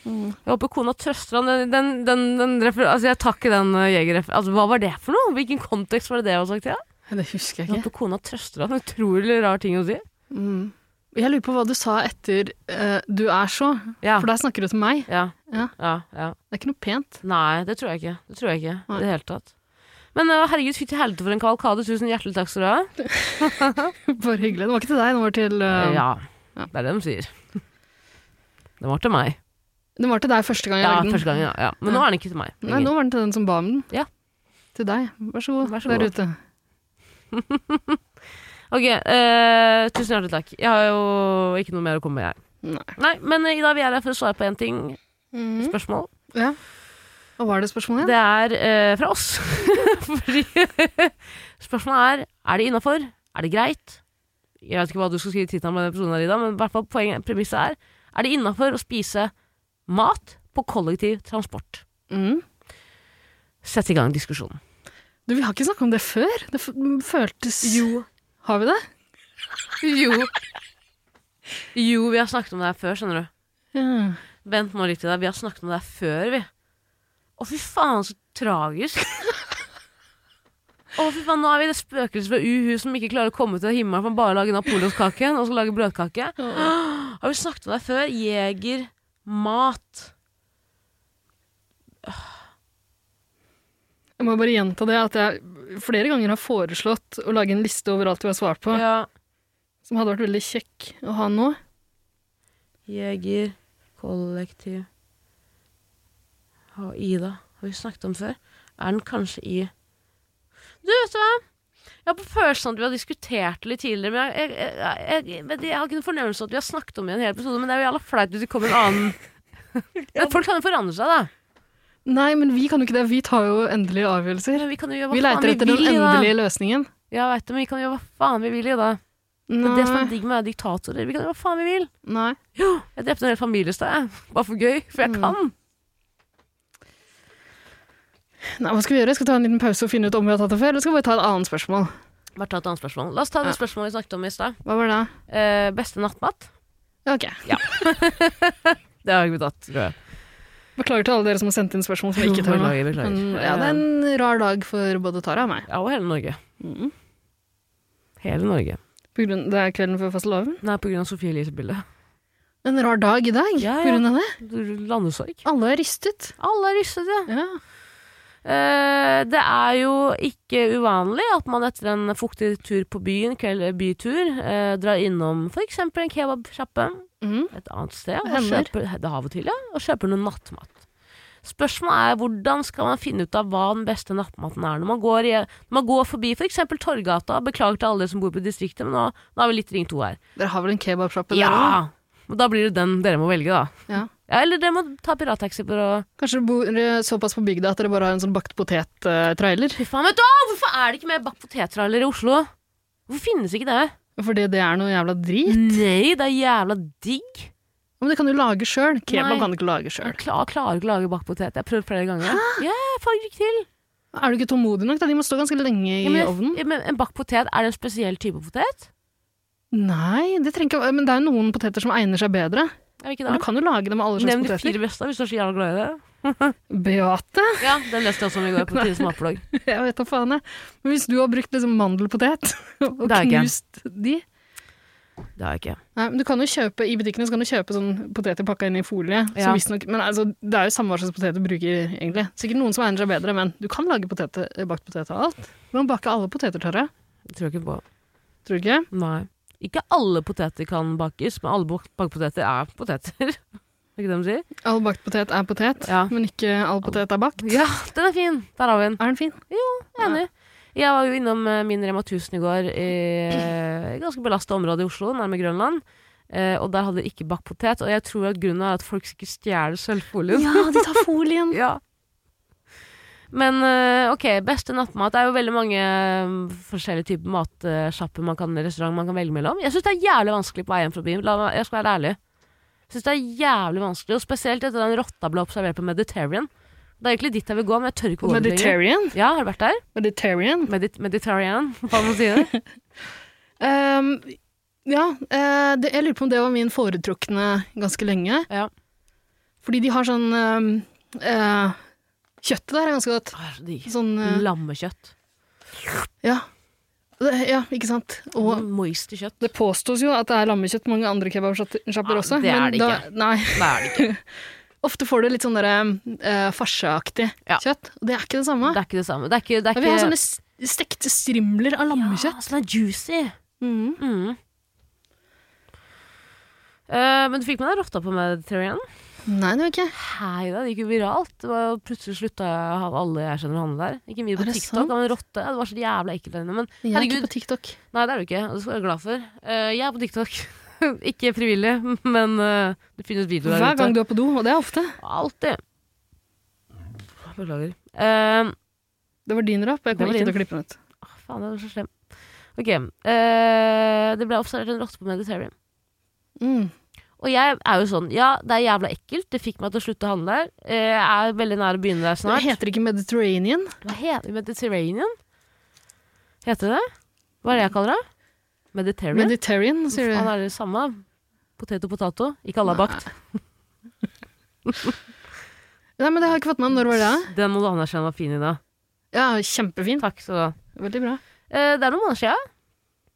B: Jeg håper kona trøster han. Den, den, den, den refer altså, jeg tar ikke den uh, jegerrefer... Altså, hva var det for noe? Hvilken kontekst var det det jeg har sagt? Ja?
C: Det husker
B: Jeg
C: jeg ikke.
B: håper kona trøster han. Utrolig rar ting å si.
C: Mm. Jeg lurer på hva du sa etter eh, 'du er så',
B: Ja.
C: for der snakker du til meg.
B: Ja.
C: Ja.
B: ja, ja.
C: Det er ikke noe pent.
B: Nei, det tror jeg ikke. Det tror jeg ikke
C: Nei.
B: i det hele tatt. Men uh, herregud, fytti helvete for en kavalkade. Tusen hjertelig takk skal du ha.
C: Bare hyggelig. Det var ikke til deg, den var til eh,
B: Ja.
C: Ja.
B: Det er det de sier. Det var til meg.
C: Den var til deg første gang jeg
B: Ja,
C: lagde den.
B: første gangen, ja. ja. Men nå er den ikke til meg.
C: Nei, nå var den til den som ba om den.
B: Ja.
C: Til deg. Vær så god,
B: Vær så
C: der
B: god.
C: ute.
B: Ok, eh, tusen hjertelig takk. Jeg har jo ikke noe mer å komme med, jeg.
C: Nei. Mm.
B: Nei, men eh, Ida, vi er her for å svare på én ting. Spørsmål.
C: Ja. Og hva er det spørsmålet igjen?
B: Det er eh, fra oss. Fordi spørsmålet er er det innafor? Er det greit? Jeg vet ikke hva du skal skrive i tittelen på denne episoden, her, Ida, men i hvert fall poenget, premisset er er det innafor å spise mat på kollektiv transport.
C: Mm.
B: Sett i gang diskusjonen.
C: Du, vi har ikke snakket om det før. Det f mm, føltes Har vi det?
B: Jo. Jo, vi har snakket om det her før, skjønner du.
C: Ja.
B: Vent nå litt til deg, vi har snakket om det her før, vi. Å, fy faen, så tragisk. Å, fy faen, nå er vi det spøkelset fra Uhu som ikke klarer å komme til himmelen for bare å lage napoleonskake og skal lage brødkake. Har vi snakket om det her før? Jeger, mat.
C: Jeg må bare gjenta det at jeg flere ganger har foreslått å lage en liste over alt vi har svart på,
B: Ja.
C: som hadde vært veldig kjekk å ha nå.
B: Jeger, kollektiv Og Ida har vi snakket om før. Er den kanskje i Du, vet du hva? Jeg har på følelsen at vi har diskutert det litt tidligere, men jeg, jeg, jeg, jeg, vet ikke, jeg har ikke en fornemmelse av at vi har snakket om det i en hel episode, men det er jo jævla flaut hvis det kommer en annen Men folk kan jo forandre seg, da.
C: Nei, men vi kan jo ikke det. Vi tar jo endelige avgjørelser.
B: Vi kan jo gjøre
C: Vi
B: hva
C: leiter
B: faen
C: etter
B: vi
C: den
B: vil i, da.
C: endelige løsningen.
B: Ja, jeg vet det, men vi kan gjøre hva faen vi vil i, da. Det er det som er digg med å være diktatorer. Vi kan gjøre hva faen vi vil.
C: Nei.
B: Jeg drepte en hel familie i stad, jeg. Bare for gøy. For jeg
C: Mm.
B: kan.
C: Nei, hva skal vi gjøre? Skal vi ta en liten pause og finne ut om vi har tatt det før, eller skal vi bare ta et annet spørsmål?
B: Bare ta et annet spørsmål. La oss ta det spørsmålet vi snakket om i stad.
C: Hva var det?
B: Eh, beste nattmat?
C: Ja, ok.
B: Det har vi tatt, tror jeg.
C: Beklager til alle dere som har sendt inn spørsmål som vi ikke tar nå.
B: Beklager, beklager.
C: Men, ja, det er en rar dag for både Tara og meg.
B: Ja, og hele Norge.
C: Mm.
B: Hele Norge.
C: På grunn, det er kvelden før fastelavn.
B: Nei, på grunn av Sofie Elise-bildet.
C: En rar dag i dag
B: Ja, ja.
C: på grunn av det.
B: Landesorg.
C: Alle er rystet.
B: Alle er rystet, ja.
C: Ja.
B: Eh, det er jo ikke uvanlig at man etter en fuktig tur på byen, kveld, bytur, eh, drar innom f.eks. en kebabsjappe
C: Mm.
B: et annet sted.
C: Det
B: Og
C: hender.
B: kjøper, det er av og til, ja. Og kjøper noe nattmat. Spørsmålet er hvordan skal man finne ut av hva den beste nattmaten er når man går, i, når man går forbi f.eks. eksempel Torgata. Beklager til alle dere som bor på distriktet, men nå, nå har vi litt Ring 2 her.
C: Dere har vel en kebabsjappe
B: Ja!
C: der òg?
B: Og da blir det den dere må velge, da.
C: Ja.
B: Ja, eller dere må ta pirattaxi for å
C: Kanskje dere bor eh, såpass på bygda at dere bare har en sånn bakt potet-trailer?
B: Fy faen, vet du hva! Hvorfor er det ikke mer bakt potettraller i Oslo? Hvorfor finnes ikke det?
C: Fordi det er noe jævla drit.
B: Nei, det er jævla digg.
C: Men det kan du lage sjøl. Kebab
B: Nei.
C: kan du ikke lage sjøl.
B: Jeg klar, klarer ikke å lage bakt potet. Jeg har prøvd flere ganger. Ja, jeg får det ikke til.
C: Er du ikke tålmodig nok? da? De må stå ganske lenge i
B: Ja, men,
C: ovnen.
B: ja, men en bakt potet, er det en spesiell type potet?
C: Nei, det trenger ikke Men det er jo noen poteter som egner seg bedre.
B: Er det ikke
C: Men
B: det?
C: Du kan jo lage det med alle
B: Nevn
C: slags
B: de
C: poteter.
B: fire beste hvis du er så jævla glad i det.
C: Beate?
B: Ja, den leste jeg også om i går på Tides matblogg.
C: Jeg vet da faen, jeg. Men hvis du har brukt liksom mandelpotet og
B: Det har jeg ikke.
C: knust de
B: Det har jeg ikke.
C: Nei, men du kan jo kjøpe, I butikkene så kan du kjøpe sånn poteter pakka inn i folie.
B: Ja.
C: Som visstnok- men altså, det er jo samme hva slags potet du bruker, egentlig. Sikkert noen som egner seg bedre, men du kan lage poteter, eh, bakt potet av alt. Du kan bake alle poteter tørre.
B: Jeg tror ikke på.
C: Tror du ikke?
B: Nei. Ikke alle poteter kan bakes, men alle bak- bakpoteter er poteter. Er det ikke det de sier?
C: All bakt potet er potet,
B: Ja.
C: men ikke all potet er bakt.
B: Ja, den er fin! Der har vi den.
C: Er den fin?
B: Enig. Jeg var jo innom eh, min Rema 1000 i går i eh, ganske belasta område i Oslo, nærme Grønland. Eh, og der hadde de ikke bakt potet, og jeg tror at grunnen er at folk ikke stjeler sølvfolien.
C: Ja, de tar folien.
B: Ja. Men eh, ok, beste nattmat. Det er jo veldig mange eh, forskjellige typer matsjapper man kan restaurant man kan velge mellom. Jeg syns det er jævlig vanskelig på vei hjem fra byen. La meg, jeg skal være ærlig. Jeg synes det er jævlig vanskelig, og Spesielt etter den rotta ble observert på Mediterranean. Det er egentlig dit jeg vil gå, men jeg tør ikke gå dit lenger.
C: Mediterranean.
B: Ja, har du vært der?
C: Mediterranean.
B: Medit Mediterranean, hva må man si det?
C: Ehm, ja, eh, det, jeg lurer på om det var min foretrukne ganske lenge.
B: Ja.
C: Fordi de har sånn ehm, eh, Kjøttet der er ganske godt.
B: Åh, så digg.
C: Sånn eh,
B: Lammekjøtt.
C: Ja. Det, ja, ikke sant.
B: Mm.
C: Og
B: Moist kjøtt.
C: det påstås jo at det er lammekjøtt mange andre kebabsjapper
B: Ja,
C: også.
B: det er
C: men
B: det
C: da,
B: ikke.
C: Nei.
B: Det er det ikke.
C: Ofte får du litt sånn derre eh, farseaktig
B: Ja.
C: kjøtt. Og det er ikke det samme.
B: Det er ikke det samme. Det er ikke, det er
C: Men vi har
B: ikke
C: sånne s- stekte strimler av
B: Ja,
C: lammekjøtt.
B: sånn er juicy.
C: Mm.
B: Mm. Eh, men du fikk med deg rotta på Mediterranean?
C: Nei, det var ikke
B: Hei da, det gikk jo viralt. Det var jo plutselig slutta jeg av alle jeg kjenner å handle der. Ikke mye
C: Er
B: på
C: det
B: TikTok
C: sant?
B: av en rotte. Ja, Det var så jævla ekkelt der inne. Men
C: Jeg er ikke
B: herregud,
C: på TikTok.
B: nei det er du ikke. Og det skal du være glad for. Eh, jeg er på TikTok. ikke frivillig, men eh, det finnes videoer der
C: Hver gang du er på do, og det er ofte.
B: Alltid. Beklager. Eh,
C: Det var din rap, og jeg
B: Det
C: kommer
B: var
C: ikke
B: din.
C: til å klippe den ut.
B: Åh, faen, det var så slem. Ok. eh, det ble observert en rotte på Mediterranean.
C: Mm.
B: Og jeg er jo sånn, ja, det er jævla ekkelt. Det fikk meg til å slutte å handle der. Eh, Jeg er veldig nær å begynne der
C: Det
B: snart.
C: heter ikke Mediterranean.
B: Hva heter det? Mediterranean? Heter det? Hva er det jeg kaller det? Mediterranean?
C: Mediterranean, sier
B: Han
C: du.
B: er det samme. Potet og potato. Ikke alle er bakt.
C: Nei, men det har jeg ikke fått med meg. Når var det? da?
B: Den må du anerkjenne var fin, Ida.
C: Ja, kjempefint.
B: Takk skal du ha.
C: Veldig bra.
B: Eh, det er noen måneder siden.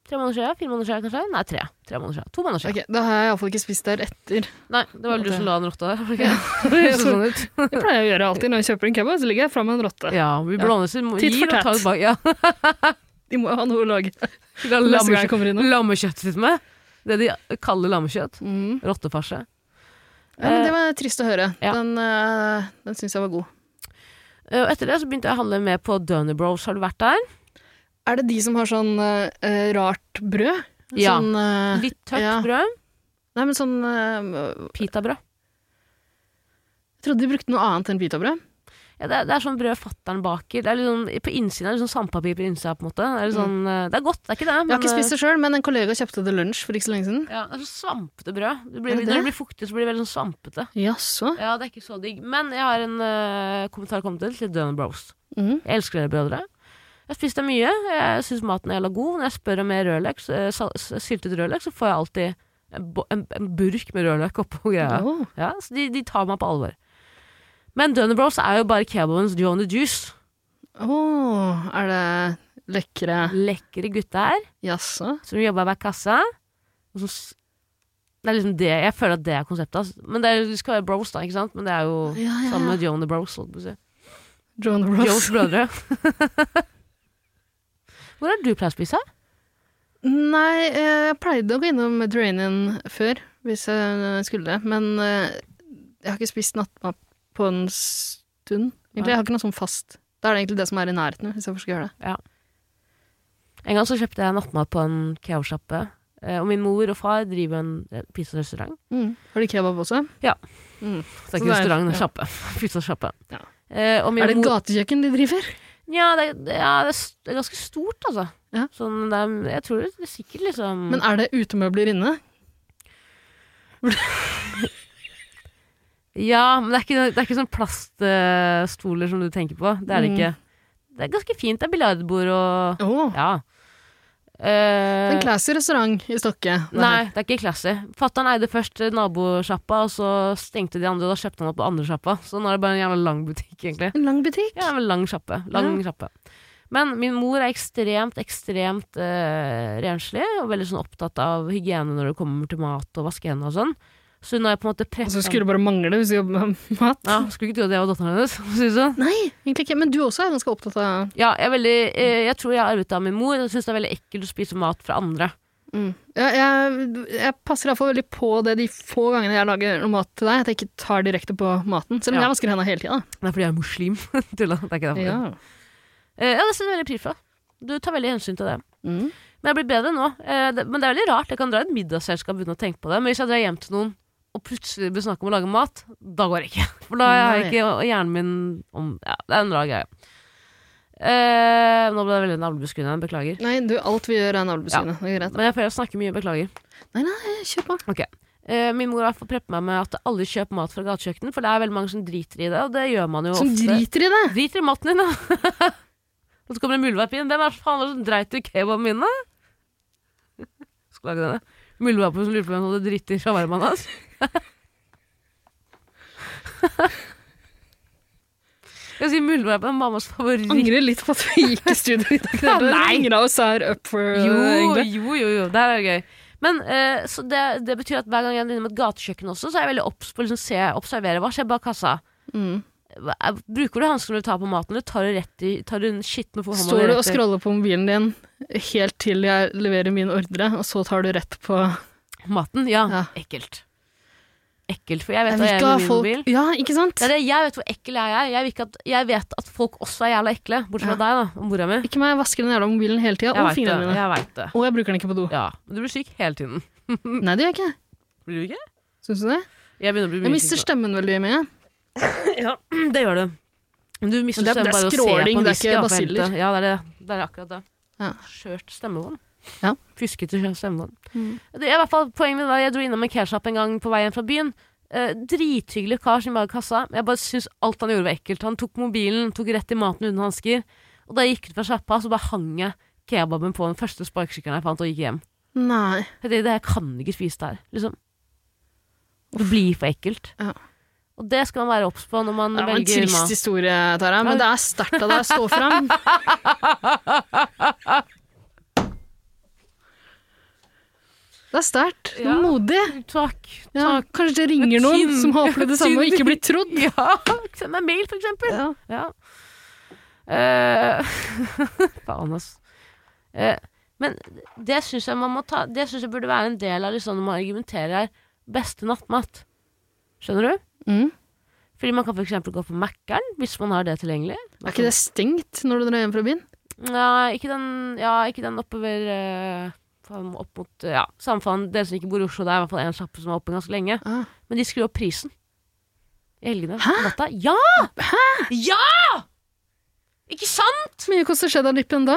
B: Tre måneder siden? Fire måneder siden, kanskje? Nei, tre. tre måneder siden. To måneder siden.
C: Ok, Da har jeg iallfall ikke spist der etter.
B: Nei, det var vel du som la den rotta der. var det ikke?
C: Det høres sånn ut. Det pleier jeg å gjøre alltid når jeg kjøper en kebab, så ligger jeg fra meg en rotte.
B: Ja, vi blander oss i
C: Titt for
B: gir og tar
C: tatt.
B: et bak. Ja.
C: De må jo ha noe å lage. Neste gang jeg
B: Lammekjøtt,
C: kommer innom.
B: lammekjøtt sitt med. Det de kaller lammekjøtt.
C: Mm.
B: Rottefarse.
C: Ja, men det var trist å høre.
B: Ja.
C: Den, uh, den syns jeg var god.
B: Eh, Og etter det så begynte jeg å handle mer på Døner Bros. Har du vært der?
C: Er det de som har sånn eh, rart brød?
B: Ja.
C: Sånn, eh,
B: Litt tørt
C: ja.
B: brød.
C: Nei, men sånn eh,
B: Pitabrød.
C: Jeg trodde de brukte noe annet enn pitabrød.
B: Ja, det, er, det er sånn brød fatter'n baker. Det er litt sånn, på innsiden er det sånn sandpapir på innsida, på en måte. Det er, litt sånn, eh, det er godt, det er ikke det.
C: Jeg har ikke spist det sjøl, men eh, en kollega kjøpte det lunsj for ikke så lenge siden.
B: ja, det er så svampete brød. Det
C: Er
B: blir,
C: det
B: Når
C: det?
B: det blir fuktig, så blir det veldig sånn svampete.
C: Jaså?
B: Ja, det er ikke så digg. Men jeg har en eh, kommentar å komme til til Døner Bros.
C: Mhm.
B: Jeg elsker dere brødre. Jeg spiste mye. Jeg syns maten er jævla god. Når jeg spør om mer rødløk, s- eh, sal- s- syltet rødløk, så får jeg alltid en, bo- en, en burk med rødløk oppå greia.
C: Åh.
B: Ja, så de, de tar meg på alvor. Men Dønner Bros er jo bare kebabens Joe and the Juice.
C: Åh, er det lekre
B: Lekre gutta her
C: Jaså?
B: som jobber hver kasse. Og så, s- det er liksom det, jeg føler at det er konseptet. Altså. Men det, er, det skal være bros, da, ikke sant? Men det er jo
C: Ja, ja,
B: sammen
C: ja.
B: med Joe and the Bros. holdt på å si.
C: John Ross.
B: Joes brødre. Hvor har du pleid å spise?
C: Nei, eh, jeg pleide å gå innom Mediterranean før, hvis jeg skulle det. Men eh, jeg har ikke spist nattmat på en stund. Egentlig,
B: Nei.
C: Jeg har ikke noe sånn fast. Da er det egentlig det som er i nærheten, hvis jeg først skal gjøre det.
B: En gang så kjøpte jeg nattmat på en kebabsjappe. eh, Og min mor og far driver en eh, pizzarestaurant.
C: Har de kebab også? Mm.
B: Det er ikke
C: Så det er-
B: restaurant, det er
C: ja.
B: sjappe. Pizzasjappe.
C: Ja.
B: Eh, og min
C: Er det
B: mor-
C: gatekjøkken de driver?
B: Ja, det, det, ja, det er s- det er ganske stort, altså.
C: Ja.
B: Sånn, det er, jeg tror det, det er sikkert liksom
C: Men er det utemøbler inne?
B: Ja, men det er ikke, det er ikke sånn plaststoler som du tenker på. Det er det
C: Mm.
B: ikke. Det er ganske fint. Det er biljardbord og
C: Åh,
B: Ja. Eh,
C: En classy restaurant i Stokke. det her.
B: Nei, det er ikke classy. Fattern eide først eh, nabosjappa, og så stengte de andre, og da kjøpte han opp på andre sjappa. Så nå er det bare en jævla lang butikk, egentlig.
C: En lang butikk.
B: Ja, en lang sjappe. Lang sjappe. Men min mor er ekstremt, ekstremt eh, renslig, og veldig sånn opptatt av hygiene når det kommer til mat og vaske hendene og sånn. Så hun har på en måte
C: Og
B: pressa
C: så skulle det bare mangle hvis du jobber med mat.
B: ja, Skulle ikke tro at jeg var datteren hennes, for å si det sånn.
C: Nei, egentlig ikke. Men du også er ganske opptatt av
B: Ja, jeg, er veldig, eh, jeg tror jeg har arvet det av min mor. Jeg syns det er veldig ekkelt å spise mat fra andre. Mm.
C: Ja, jeg, jeg passer iallfall veldig på det de få gangene jeg lager noe mat til deg, at jeg ikke tar direkte på maten. Selv om
B: Ja.
C: jeg vasker hendene hele tida.
B: Det er fordi jeg er muslim. Tulla. Det er ikke derfor. Ja. Eh, ja, det setter jeg veldig pris på. Du tar veldig hensyn til det.
C: Mm.
B: Men jeg blir bedre nå. Eh, det, men det er veldig rart. Jeg kan dra i et middagsselskap uten å tenke på det. Men hvis jeg drar hjem til noen og plutselig blir snakk om å lage mat, da går det ikke. For da har jeg
C: Nei.
B: ikke og hjernen min om Ja, det er en rar greie. Eh, nå ble det veldig navlebeskuende. Beklager.
C: Nei, du, alt vi gjør er navlebeskuende. Det er greit.
B: Men jeg føler jeg snakker mye. Beklager.
C: Nei, nei, kjør på.
B: Eh, min mor har preppet meg med at alle kjøper mat fra gatekjøkken, for det er veldig mange som driter i det, og det gjør man jo
C: Som
B: ofte.
C: driter i det!
B: Drit i maten din, da. Og så kommer det muldvarp inn. Hvem er det faen var det som dreit i kebaben min, da? Skal lage denne. Muldvarpen som lurer på hvem som hadde dritt i shawarmaen hans. Jeg sier muldvarpen er mammas favoritt.
C: Angrer litt på at vi gikk i studio i dag.
B: Nei.
C: Ingen av oss er up for det,
B: Jo,
C: egentlig.
B: jo, jo, jo. Det her er gøy. Men eh, så det, det betyr at hver gang jeg er innom et gatekjøkken også, så er jeg veldig obs på å liksom, se, observere hva skjer bak kassa.
C: Mm.
B: Hva- er- Bruker du hansken når du tar på maten, eller tar du rett i Tar du den skitne for
C: Står du og
B: rett i-
C: scroller på mobilen din helt til jeg leverer min ordre, og så tar du rett på
B: Maten, ja.
C: Ja.
B: Ekkelt. Ekkelt, for jeg vet
C: Jeg
B: at
C: vil
B: jeg
C: ikke
B: er
C: ha
B: med min
C: folk
B: mobil.
C: Ja, ikke sant?
B: Det er det, jeg vet hvor ekkel jeg er. Jeg, vil ikke at, jeg vet at folk også er jævla ekle, bortsett fra deg da, og mora mi.
C: Ikke meg, jeg vasker den jævla mobilen hele tida,
B: Jeg
C: og
B: vet
C: fingrene
B: det,
C: mine.
B: Jeg vet det.
C: Og jeg bruker den ikke på do.
B: Ja, men du blir syk hele tiden.
C: Mm. Nei, det gjør jeg ikke.
B: Blir du ikke?
C: Syns du det?
B: Jeg begynner å bli
C: Jeg
B: mye
C: mister
B: syk.
C: stemmen veldig mye.
B: nå. Ja, det gjør du. Men Du mister stemmen
C: Men det er- det er
B: bare å se
C: skråling,
B: på en
C: det er
B: whisky,
C: ikke
B: da, for
C: basiller.
B: helvete. Ja, det er, det. det er akkurat det.
C: Ja.
B: Skjørt stemmebånd.
C: Ja.
B: Fiskete stemmebånd.
C: Mm.
B: Det er i hvert fall poenget mitt. var, Jeg dro innom en kebab en gang på vei hjem fra byen. Eh, drithyggelig kar som var i kassa. Jeg bare syns alt han gjorde var ekkelt. Han tok mobilen, tok rett i maten uten hansker. Og da jeg gikk ut fra sjappa, så bare hang jeg kebaben på den første sparkesykkelen jeg fant, og gikk hjem.
C: Nei.
B: Jeg tenkte, det her kan du ikke spise det her, liksom. Det blir for ekkelt.
C: Ja.
B: Og det skal man være obs på når man
C: Det var en
B: velger
C: trist
B: mat.
C: historie, Tara, men det er sterkt av deg å stå fram. Det er sterkt. Det er
B: Ja.
C: Modig.
B: Takk.
C: Ja,
B: takk.
C: kanskje det ringer noen
B: Tynn.
C: som har opplevd det samme og ikke blitt trodd.
B: Ja, send meg mail, for eksempel.
C: Ja.
B: Ja. Eh, Faen, ass. Eh, men det syns jeg man må ta Det synes jeg burde være en del av liksom, når man argumenterer her. Beste nattmat. Skjønner du?
C: Mm.
B: Fordi man kan for eksempel gå på Mækkern, hvis man har det tilgjengelig.
C: Er ikke det stengt når du drar hjem fra byen?
B: Ja, ikke den, ja, ikke den oppover eh, faen, Opp mot Ja, samme faen. Dere som ikke bor i Oslo, det er i hvert fall en sjappe som er oppe ganske lenge.
C: Ah.
B: Men de skrur opp prisen. I helgene. Hæ? Natta. Ja! Ja! Ikke sant?
C: Så mye koster cheddar-dippen da?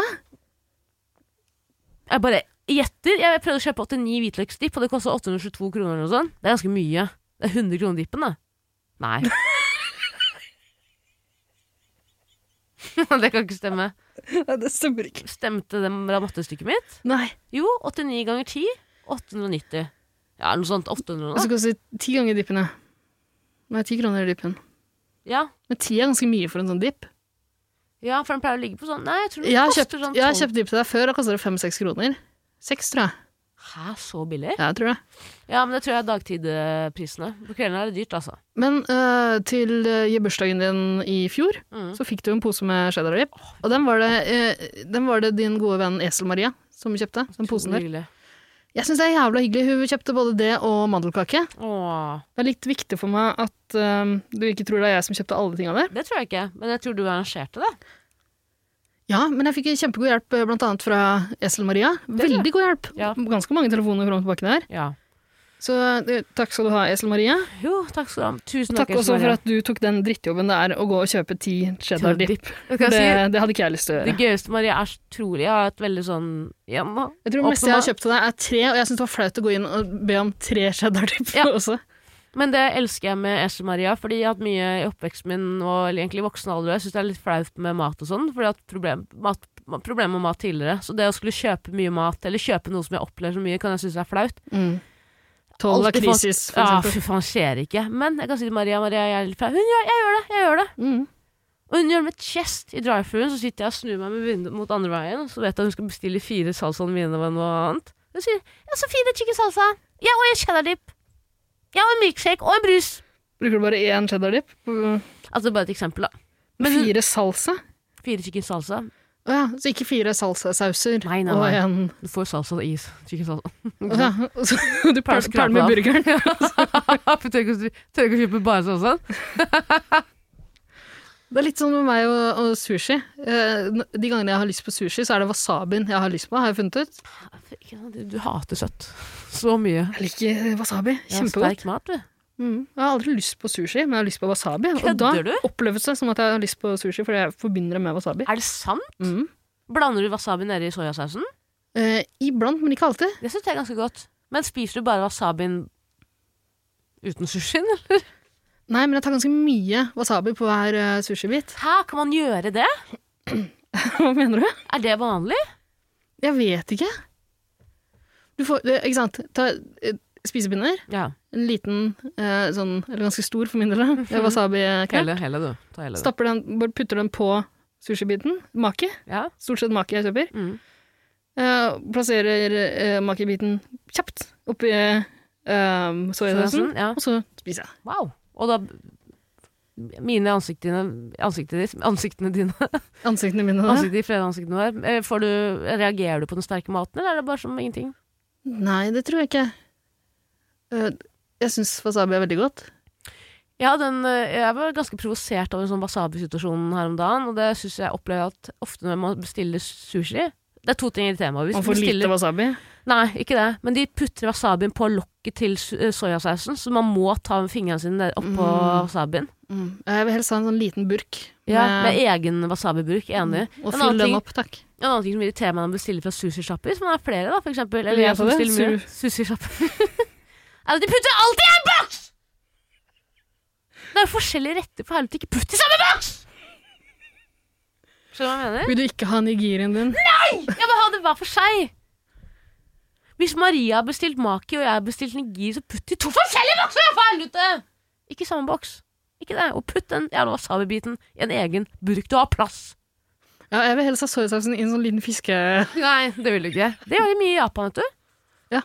B: Jeg bare gjetter. Jeg prøvde å kjøpe 89 hvitløksdipp, og det kosta 822 kroner eller noe sånt. Det er ganske mye. Det er 100 kroner dippen, da. Nei. det kan ikke stemme.
C: Nei, det stemmer ikke.
B: Stemte det ramattestykket mitt?
C: Nei.
B: Jo, 89 ganger 10 890 Ja, noe sånt 800
C: Og
B: nå
C: så koster det ti ganger dippen, ja. Nei, ti kroner i dippen.
B: ja.
C: Men ti er ganske mye for en sånn dipp.
B: ja, for den pleier å ligge på sånn Nei, jeg tror den
C: Jeg har kjøpt,
B: koster sånn
C: jeg har
B: 12.
C: kjøpt dipp til deg før, da koster det fem-seks kroner. Seks, tror jeg.
B: Hæ, så billig?
C: Ja, jeg tror det.
B: Ja, men det tror jeg er dagtidprisene På kvelden er det dyrt, altså
C: Men øh, til øh, i bursdagen din i fjor,
B: Mm.
C: så fikk du en pose med cheddar dip. Og den var, det, øh, den var det din gode venn Esel Maria som kjøpte. Den posen der.
B: Utrolig hyggelig.
C: Jeg syns det er jævla hyggelig. Hun kjøpte både det og mandelkake.
B: Åh,
C: Det er litt viktig for meg at øh, du ikke tror det er jeg som kjøpte alle tinga der.
B: det tror jeg ikke Men jeg tror du arrangerte det
C: Ja, men jeg fikk kjempegod hjelp øh, blant annet fra Esel Maria.
B: tror jeg.
C: Veldig god hjelp.
B: Ja.
C: Ganske mange telefoner fram og tilbake der.
B: Ja
C: Så øh, takk skal du ha, Esel Maria.
B: Jo, takk skal du ha Tusen
C: Takk også for at du tok den drittjobben det er å gå og kjøpe ti cheddar dip. Det, det hadde ikke jeg lyst til å
B: Det
C: gjøre.
B: gøyeste, Maria, er så trolig Jeg har et veldig sånn Igjen da
C: Jeg tror det meste jeg har kjøpt til deg, er tre, og jeg syns det var flaut å gå inn og be om tre cheddar dip
B: Ja.
C: også.
B: Men det elsker jeg med Esel Maria, fordi jeg har hatt mye i oppveksten min og eller egentlig i voksen alder. og Jeg syns det er litt flaut med mat og sånn, fordi jeg har hatt problem, mat, ma- problemer med mat tidligere. Så det å skulle kjøpe mye mat, eller kjøpe noe som jeg opplever så mye, kan jeg synes er flaut.
C: Mm. Tolv
B: Alltid
C: lakrisis, for
B: Ja,
C: eksempel.
B: fy faen, skjer ikke. Men jeg kan si til Maria, Maria, jeg er litt flau. Hun gjør, jeg gjør det, jeg gjør det.
C: Mm.
B: Og hun gjør det med et kjest i drive-throughen, så sitter jeg og snur meg med vinduet mot andre veien, og så vet jeg at hun skal bestille fire salsaen mine og noe annet. Hun sier, ja, så fire chicken salsa. Ja, og en cheddar dip. Ja, og en milkshake, og en brus.
C: Bruker du bare én cheddar dip? på-
B: Altså, bare et eksempel, da.
C: Fire salsa?
B: Fire chicken salsa.
C: Å ja, så ikke fire salsasauser
B: Nei, nei,
C: og
B: nei.
C: en
B: Du får salsa og is. Chicken salsa.
C: Å ja, og så- Du
B: Bare
C: pæl-
B: skrape
C: pæler med
B: av.
C: burgeren.
B: For tør ikke å- tør ikke å kjøpe bare salsaen.
C: Det er litt sånn med meg og, og sushi. Eh, n- De gangene jeg har lyst på sushi, så er det wasabien jeg har lyst på, har jeg funnet ut.
B: Ikke sant, Du, du hater søtt. Så mye.
C: Jeg liker wasabi.
B: Ja,
C: Kjempegodt.
B: Sterk mat, du.
C: Mm. Jeg har aldri lyst på sushi, men jeg har lyst på wasabi. og da
B: Kødder du?
C: oppleves det som at jeg har lyst på sushi, fordi jeg forbinder det med wasabi.
B: Er det sant?
C: Mm.
B: Blander du wasabi nedi soyasausen?
C: Eh, iblant, men ikke alltid.
B: Det syns jeg er ganske godt. Men spiser du bare wasabien uten sushien? eller?
C: Nei, men jeg tar ganske mye wasabi på hver eh, sushibit.
B: Hæ, kan man gjøre det?
C: Hva mener du?
B: Er det vanlig?
C: Jeg vet ikke. Du får, det- ikke sant, ta eh, spisepinner,
B: Ja.
C: en liten, eh, sånn, eller ganske stor for min del, eh, wasabi-kveld.
B: Mhm. Hele, hele du. Ta hele, du.
C: Stapper den, bare putter den på sushibiten, maki,
B: Ja.
C: stort sett maki jeg kjøper.
B: Mm.
C: Eh, plasserer eh, makibiten kjapt oppi eh, soyasausen,
B: Soyasausen, ja.
C: og så spiser jeg.
B: Wow. Og da Mine ansiktene Ansiktene dine, ansiktene dine
C: Ansiktene mine da.
B: Ansiktet, de flere ansiktene der. Eh, Får du, reagerer du på den sterke maten, eller er det bare som ingenting?
C: Nei, det tror jeg ikke. Eh, jeg syns wasabi er veldig godt.
B: Ja, den, eh, jeg var ganske provosert av en sånn wasabi-situasjon her om dagen, og det syns jeg opplever at ofte når man bestiller sushi Det er to ting i temaet.
C: Man får lite wasabi.
B: Nei, ikke det. Men de putter wasabien på lokket til su- eh, soyasausen, så man må ta fingrene sine ned- oppå
C: Mm.
B: wasabien.
C: Jeg vil helst ha en sånn liten burk.
B: Ja, Mm.
C: med-
B: med egen wasabibruk. Enig.
C: og
B: En
C: fyll
B: annen ting-
C: den opp, takk.
B: En annen ting som irriterer meg når man bestiller fra sushisjapper, som er flere, da, for eksempel. Eller
C: Vil jeg
B: jeg som
C: få det?
B: bestiller mye. Sushisjapper. er at de putter alt i en boks! Det er jo forskjellige retter for helvete ikke putt i samme boks! Skjønner du hva jeg mener?
C: Vil du ikke ha nigirien din?
B: Jeg vil ha det hver for seg. Hvis Maria har bestilt maki og jeg har bestilt nigiri, så putt de to forskjellige bokser! For helvete! Ikke i samme boks. ikke det. Og putt den jævla wasabi-biten i en egen burk. Du har plass!
C: Ja, jeg vil helst ha soyasausen i en sånn liten fiske...
B: Nei, det vil du ikke. Det gjør de mye i Japan, vet du.
C: Ja.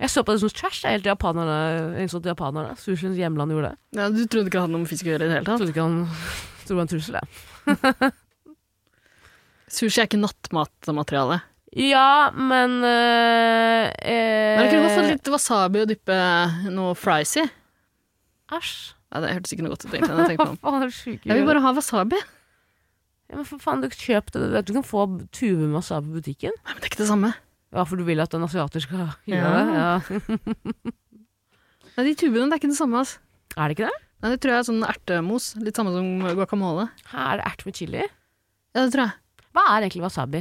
B: Jeg så på det som trash. Det er helt japanerne, innså at japanerne. Sushiens hjemland gjorde det.
C: Ja, du trodde ikke det hadde noe med fisk å gjøre i det hele
B: Jeg
C: tatt?
B: trodde ikke han trodde det var en trussel, jeg.
C: Sushi er ikke nattmatmateriale.
B: Ja, men øh, eh,
C: Men jeg kunne godt fått litt wasabi og dyppe noe fries i.
B: Æsj.
C: Ja, det hørtes ikke noe godt ut, egentlig. når Jeg,
B: Hva
C: tenker meg om.
B: faen er det sjuke
C: jeg vil bare ha wasabi.
B: ja, Men for faen, du kjøp det. Du vet du kan få tuber med wasabi på butikken.
C: Nei, men det er ikke det samme.
B: Ja, for du vil at en asiater skal gjøre
C: Ja.
B: det? Ja.
C: Nei, de tubene, det er ikke det samme, altså.
B: Er det ikke det?
C: Nei, det tror jeg er sånn ertemos. Litt samme som guacamole.
B: Her er det ert med chili.
C: Ja, det tror jeg.
B: Hva er egentlig wasabi?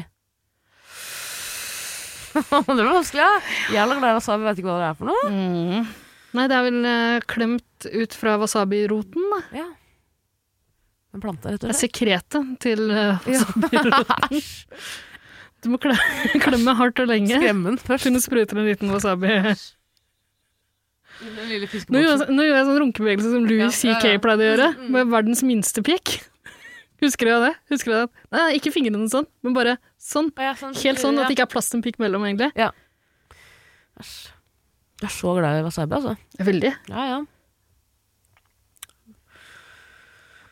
B: det var vanskelig, ja. Jævla glad i wasabi, vet ikke hva det er for noe.
C: Mm. Nei, det er vel eh, klemt ut fra wasabi-roten, da.
B: Ja. En plante, rett
C: Det
B: og
C: er
B: slett.
C: sekretet til eh, wasabi-roten.
B: Æsj.
C: Du må kle klemme hardt og lenge.
B: Skremmen først.
C: Kunne sprute en liten wasabi.
B: Den lille
C: Nå gjorde,
B: fiskeboksen.
C: jeg, nå gjorde jeg sånn runkebevegelse som Louis
B: Ja, ja, ja.
C: C.K. pleide å gjøre, med verdens minste pikk. Husker du det? Husker du det? Nei, ikke fingrene sånn, men bare sånn.
B: Å, ja, sånn-
C: Helt sånn at
B: ja.
C: det ikke er plass til en pikk mellom, egentlig.
B: Æsj. Du er så glad i wasabi, altså.
C: Veldig.
B: Ja, ja.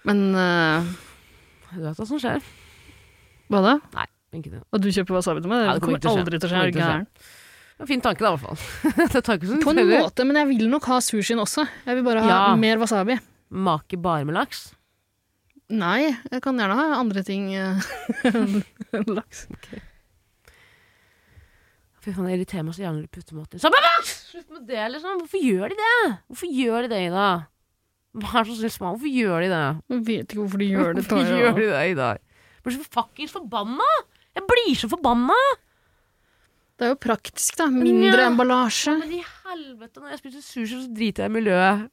C: Men eh,
B: Du vet hva som skjer.
C: hva da?
B: Nei, ikke det.
C: Og du kjøper wasabi til meg?
B: Ja,
C: Det, kommer aldri til å skje.
B: Det
C: er du
B: kommer
C: gæren?
B: ikke Ja, Fin tanke, da, i hvert fall. det er tanken som
C: På en
B: teller.
C: måte, men jeg vil nok ha sushien også. Jeg vil bare ha
B: Ja.
C: mer wasabi.
B: Make bare med laks.
C: Nei, jeg kan gjerne ha andre ting eh, enn laks.
B: Fy faen, det irriterer meg så gjerne når de putter mat i Sånn, «Mamma, Slutt med det, liksom! Hvorfor gjør de det? Hvorfor gjør de det, Ida? Hva er det som synes meg? Hvorfor gjør de det?
C: Jeg vet ikke hvorfor de gjør det.
B: Hvorfor
C: Tara.
B: gjør de det, Ida? Jeg blir så fuckings forbanna! Jeg blir så forbanna!
C: Det er jo praktisk, da. Mindre
B: Ja.
C: emballasje.
B: Men i helvete, når jeg spiser sushi, så driter jeg i miljøet.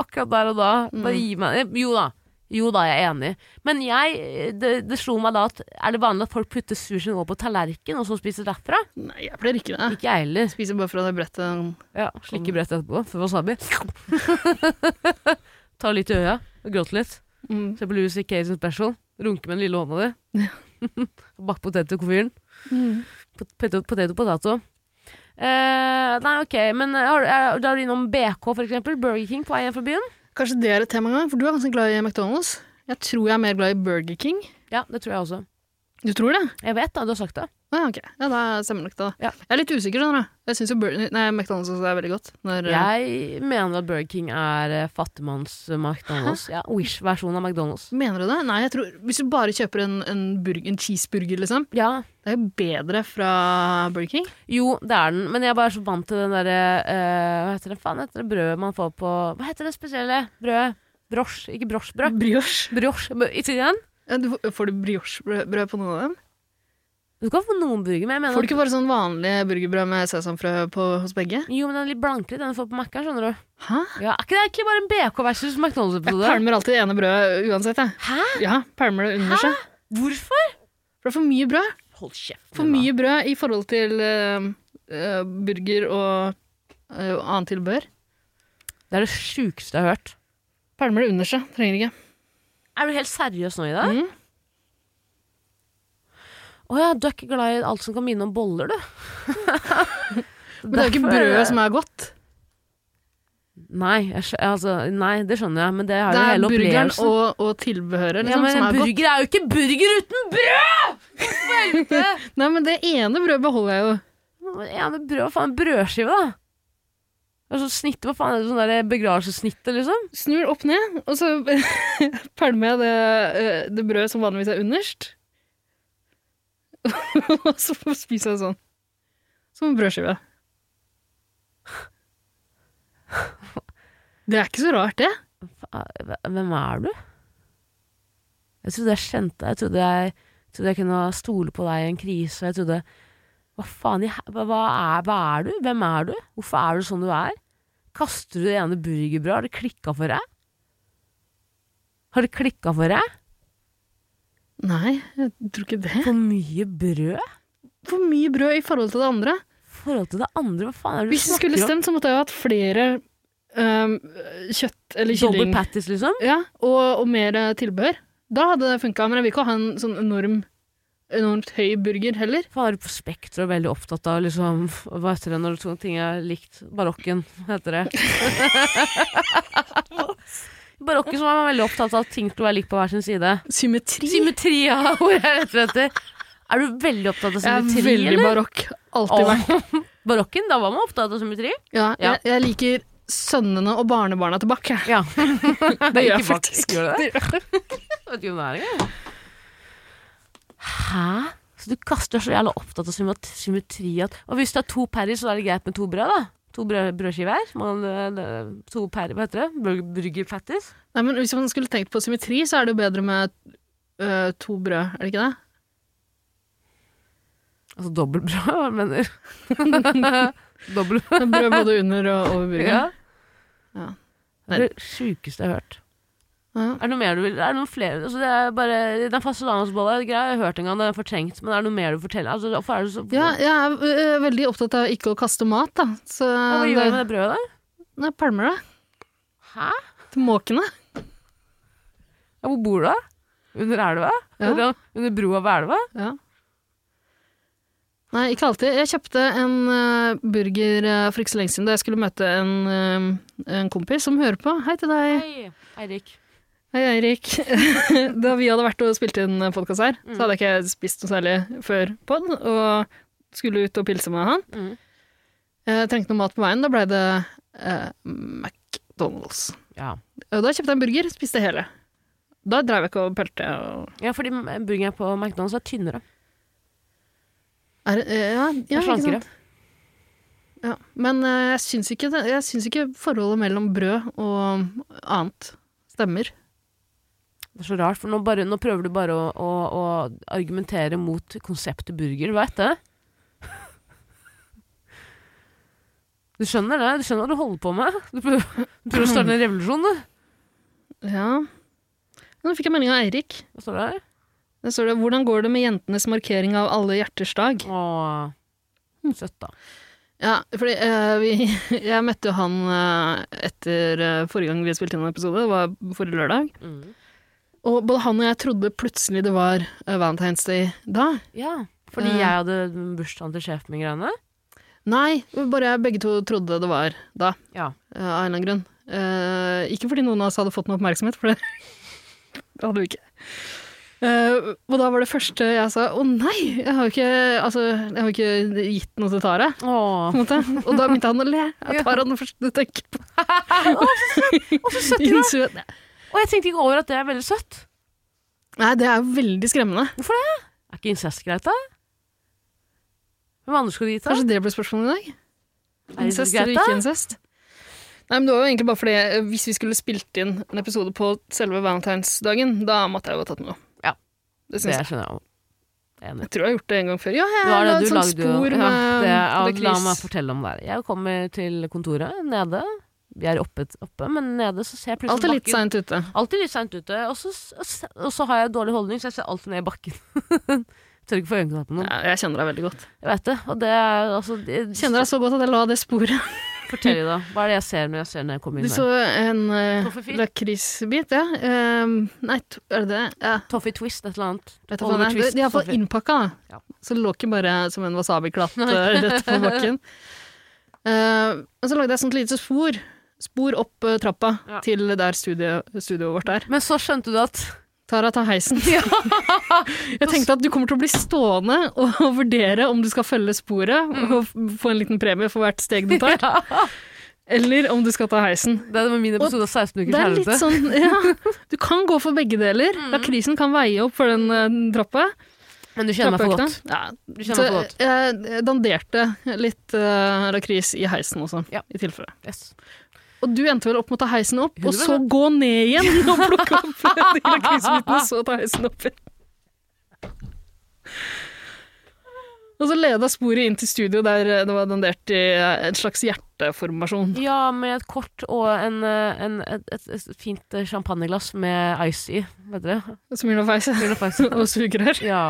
B: Akkurat der og da. Bare gi meg Jo da. Jo da, jeg er enig. Men jeg, det, det slo meg da at er det vanlig at folk putter sushien over på tallerken og så spiser derfra?
C: Nei, jeg pleier ikke det.
B: Ikke jeg heller. Mm.
C: Spiser bare fra det brettet.
B: Ah. Ja, Slikker brettet etterpå, for wasabi. Ta litt i øya og gråt litt.
C: Mm.
B: Se på Louis C.K. sin special. Runke med den lille hånda di. Bakke potet til komfyren.
C: Mm.
B: Pot- Potato, potato, potato. Eh, nei, ok, men har, er, da er du innom BK, for eksempel. Burger King på vei hjem fra byen.
C: Kanskje det er et tema en gang, for du er ganske glad i McDonald's. Jeg tror jeg er mer glad i Burger King.
B: Ja, det tror jeg også.
C: Du tror det?
B: Jeg vet da, du har sagt det.
C: Å Ja, ok. Ja, da stemmer nok det. da.
B: Ja.
C: Jeg er litt usikker, skjønner du. Jeg syns jo Bur nei, McDonald's også er veldig godt. Når, eh,
B: Jeg mener at Burger King er eh, fattigmanns-McDonald's. Ja, Wish-versjonen av McDonald's.
C: Mener du det? Nei, jeg tror, Hvis du bare kjøper en, en, burg, en cheeseburger, liksom,
B: Ja,
C: det er jo bedre fra Burger King.
B: Jo, det er den, men jeg er bare så vant til den derre eh, Hva heter det faen heter det brødet man får på Hva heter det spesielle brødet? Brosj, ikke brosjbrød.
C: Brioche.
B: Brosj b- i tiden.
C: Ja, Du, får- får du briochebrød på noen av dem?
B: Du kan få noen burger, men jeg mener
C: Får du ikke bare sånn vanlig burgerbrød med sesamfrø på, hos begge?
B: Jo, men den er litt blankere, den du får på Mac-en, skjønner du.
C: Hæ?
B: Ja, Er ikke det egentlig bare en BK versus
C: Jeg
B: McDonald's-episode?
C: pælmer alltid det ene brødet uansett, jeg.
B: Hæ?
C: Ja, pælmer det under seg.
B: Hvorfor?
C: For det er for mye brød.
B: Hold kjeft.
C: For mye brød i forhold til eh, eh, burger og eh, annet tilbehør.
B: Det er det sjukeste jeg har hørt.
C: Pælmer det under seg, trenger ikke.
B: Er du helt seriøs nå i dag?
C: Mm.
B: Å ja, du er ikke glad i alt som kan minne om boller, du.
C: Men det er jo ikke brødet som er godt.
B: Nei, jeg, skjø- altså, nei, det skjønner jeg, men det har
C: Det
B: jo
C: er
B: hele
C: burgeren
B: opplevelsen.
C: og, og
B: ja,
C: tilbehøret liksom,
B: men
C: som
B: en
C: er
B: burger er jo ikke burger uten brød!
C: godt. Nei, men det ene brødet beholder jeg jo.
B: Ja, men brød, hva faen, brødskive, da? Altså, snittet, hva faen er det sånn der begravelsessnittet, liksom?
C: Snur opp ned, og så pælmer jeg det, eh, det brødet som vanligvis er underst. og så spiser jeg sånn. Som en brødskive. Det er ikke så rart, det.
B: Ah, Hva- Hvem er du? Jeg trodde jeg kjente deg, jeg trodde jeg, trodde jeg kunne stole på deg i en krise, jeg trodde Hva faen, i he- hva hva er, hva er du? Hvem er du? Hvorfor er du sånn du er? Kaster du det ene burgerbrødet? Har det klikka for deg? Har det klikka for deg?
C: Nei, jeg tror ikke det.
B: For mye brød?
C: for mye brød i forhold til det andre.
B: forhold til det andre? Hva faen er det du
C: Hvis det skulle
B: snakker om?
C: stemt, så måtte jeg jo hatt flere um, kjøtt eller
B: Double
C: kylling
B: patties, liksom.
C: ja, og, og mer eh, tilbehør, da hadde det funka. Men jeg vil ikke ha en sånn enorm, enormt høy burger heller.
B: Fare på Spektrum er veldig opptatt av liksom, hva heter det når to ting er likt? Barokken, heter det. Barokken som er veldig opptatt av at ting til å være likt på hver sin side.
C: Symmetri.
B: Symmetri ja, hvor jeg er rett etter. Er du veldig opptatt av
C: jeg er
B: symmetri,
C: veldig
B: eller?
C: barokk. Alltid vært.
B: Åh, barokken, da var man opptatt av symmetri.
C: Ja,
B: Ja.
C: Jeg, jeg liker sønnene og barnebarna tilbake. jeg.
B: Ja.
C: Det gjør jeg
B: Ikke bak-
C: faktisk.
B: gjør du det? Jeg vet ikke om det er engang. Hæ? Så du kaster så jævla opptatt av symmet- symmetri at Og hvis du har to perrer, så er det greit med to brød, da? To brød, brødskiver her. Man, eh, to perrer, hva heter det? Burger, burger patties.
C: Nei, men Hvis man skulle tenkt på symmetri, så er det jo bedre med øh, to brød, er det ikke det?
B: Altså dobbeltbrød, hva mener du? Dobbel
C: Med Brød både under og over burgeren.
B: ja.
C: Ja.
B: Det er det sjukeste jeg har hørt.
C: Ja.
B: Er det noe mer du vil Er det noen flere altså, det er bare, Den fastelavnsbolla er greia, jeg har hørt en gang, den er fortrengt, men er det noe mer du forteller? Altså, hvorfor er det så
C: Ja, jeg er øh, veldig opptatt av ikke å kaste mat, da. Så
B: Hva gjør du med
C: det,
B: det brødet der?
C: Nei, pælmer det.
B: Hæ?
C: Til måkene.
B: Ja, hvor bor du da? Under elva?
C: Ja.
B: Under, under broa ved elva?
C: Ja. Nei, ikke alltid. Jeg kjøpte en øh, burger øh, for ikke så lenge siden da jeg skulle møte en, øh, en kompis som hører på. Hei til deg.
B: Hei, Eirik.
C: Hei, Eirik. da vi hadde vært og spilt inn podkast her,
B: Mm.
C: så hadde jeg ikke spist noe særlig før pod, og skulle ut og pilse med han.
B: Mm.
C: Jeg trengte noe mat på veien, da blei det eh, McDonald's.
B: Ja.
C: Og da kjøpte jeg en burger, spiste hele. Da dreiv jeg ikke og pølte og
B: ja, fordi burgeren på McDonald's er tynnere.
C: er, eh, Ja, ja
B: og
C: ikke
B: slankere.
C: sant. Ja. Men eh, jeg syns ikke, det- jeg syns ikke forholdet mellom brød og annet stemmer.
B: Det er så rart, for nå, bare, nå prøver du bare å, å, å argumentere mot konseptet burger, du veit det? Du skjønner det? Du skjønner hva du holder på med? Du prøver, du prøver å starte en revolusjon, du.
C: Ja. Nå fikk jeg melding av Eirik.
B: Hva står det her?
C: Der står det 'Hvordan går det med jentenes markering av alle hjerters dag'?
B: Åh,
C: Hm.
B: søtt da.
C: Ja, fordi eh, vi, jeg møtte jo han eh, etter eh, forrige gang vi spilte inn en episode, det var forrige lørdag.
B: Mm.
C: Og både han og jeg trodde plutselig det var eh, Valentine's Day da.
B: Ja, fordi
C: Eh.
B: jeg hadde bursdagen til sjefen min greiene.
C: Nei, bare begge to trodde det var da,
B: Ja.
C: eh, av en eller annen grunn. Eh, ikke fordi noen av oss hadde fått noe oppmerksomhet, for det det hadde vi ikke. Eh, og da var det første jeg sa 'Å nei, jeg har jo ikke, altså, jeg har jo ikke gitt noe til Tara'.
B: Åh,
C: på en måte. Og da begynte han å le. Jeg tar han det første du tenker på.
B: og så søtt du da.
C: Innså jeg-
B: Og jeg tenkte ikke over at det er veldig søtt.
C: Nei, det er jo veldig skremmende.
B: Er ikke incest greit, da? Hvem andre skulle du gi til?
C: Kanskje det ble spørsmålet i dag?
B: Er
C: Incest
B: incest
C: eller
B: greit, da?
C: ikke incest? Nei, men det var jo egentlig bare fordi eh, Hvis vi skulle spilt inn en episode på selve valentinsdagen, da måtte jeg jo ha tatt med noe.
B: Ja. Det
C: Det syns jeg.
B: skjønner jeg. også. Enig.
C: Jeg tror jeg har gjort det en gang før. Ja, jeg
B: Det var
C: la
B: det
C: et
B: du
C: sånt
B: lagde. jo.
C: spor med
B: ja, det, ja,
C: med
B: la
C: klis.
B: meg fortelle om det her. Jeg kommer til kontoret nede. Vi er oppe, oppe men nede så ser jeg
C: Alt er
B: plutselig
C: litt seint ute.
B: Alltid litt seint ute. Og så, og så- og så har jeg dårlig holdning, så jeg ser alltid ned i bakken. Tør ikke få øyekontakt med noen.
C: Ja, jeg kjenner deg veldig godt.
B: Jeg vet det. Og det er altså det-
C: Kjenner deg så godt at jeg la det sporet.
B: Fortell i da. Hva er det jeg ser når jeg ser når jeg kommer inn her?
C: Du så en uh,
B: Toffifee.
C: lakrisbit, ja. Eh, nei, to- er det det? Ja.
B: Toffee Twist, et eller annet.
C: Vet du hva
B: Oliver
C: det er?
B: Twist,
C: De er iallfall
B: Toffee-
C: innpakka, da.
B: Ja.
C: Så det lå ikke bare som en wasabi-klatt eh, rett på bakken. Eh, Men så lagde jeg et sånt lite spor. Spor opp eh, trappa
B: Ja.
C: til der studio, studioet vårt er.
B: Men så skjønte du at
C: Tara, ta heisen. jeg tenkte at du kommer til å bli stående og vurdere om du skal følge sporet
B: Mm.
C: og f- få en liten premie for hvert steg du tar, eller om du skal ta heisen.
B: Det er min episode av 16
C: Det
B: ukers
C: er litt
B: helvete.
C: sånn, ja, Du kan gå for begge deler.
B: Mm.
C: Lakrisen kan veie opp for den eh, trappa.
B: Men du kjenner meg for godt.
C: Ja,
B: Du kjenner meg for godt.
C: Så jeg danderte litt eh, lakris i heisen også,
B: Ja.
C: i tilfelle.
B: Yes.
C: Og du endte vel opp med å ta heisen opp, og så
B: 100%.
C: gå ned igjen og plukke opp de lakrisbitene, og så ta heisen opp igjen. Og så leda sporet inn til studio der eh, det var dandert i eh, en slags hjerteformasjon.
B: Ja, med et kort og en, eh, en, et, et, et fint eh, champagneglass med ice i. Vet dere?
C: Smirnoff-heis
B: Vil du faktisk-
C: og sugerør.
B: Ja.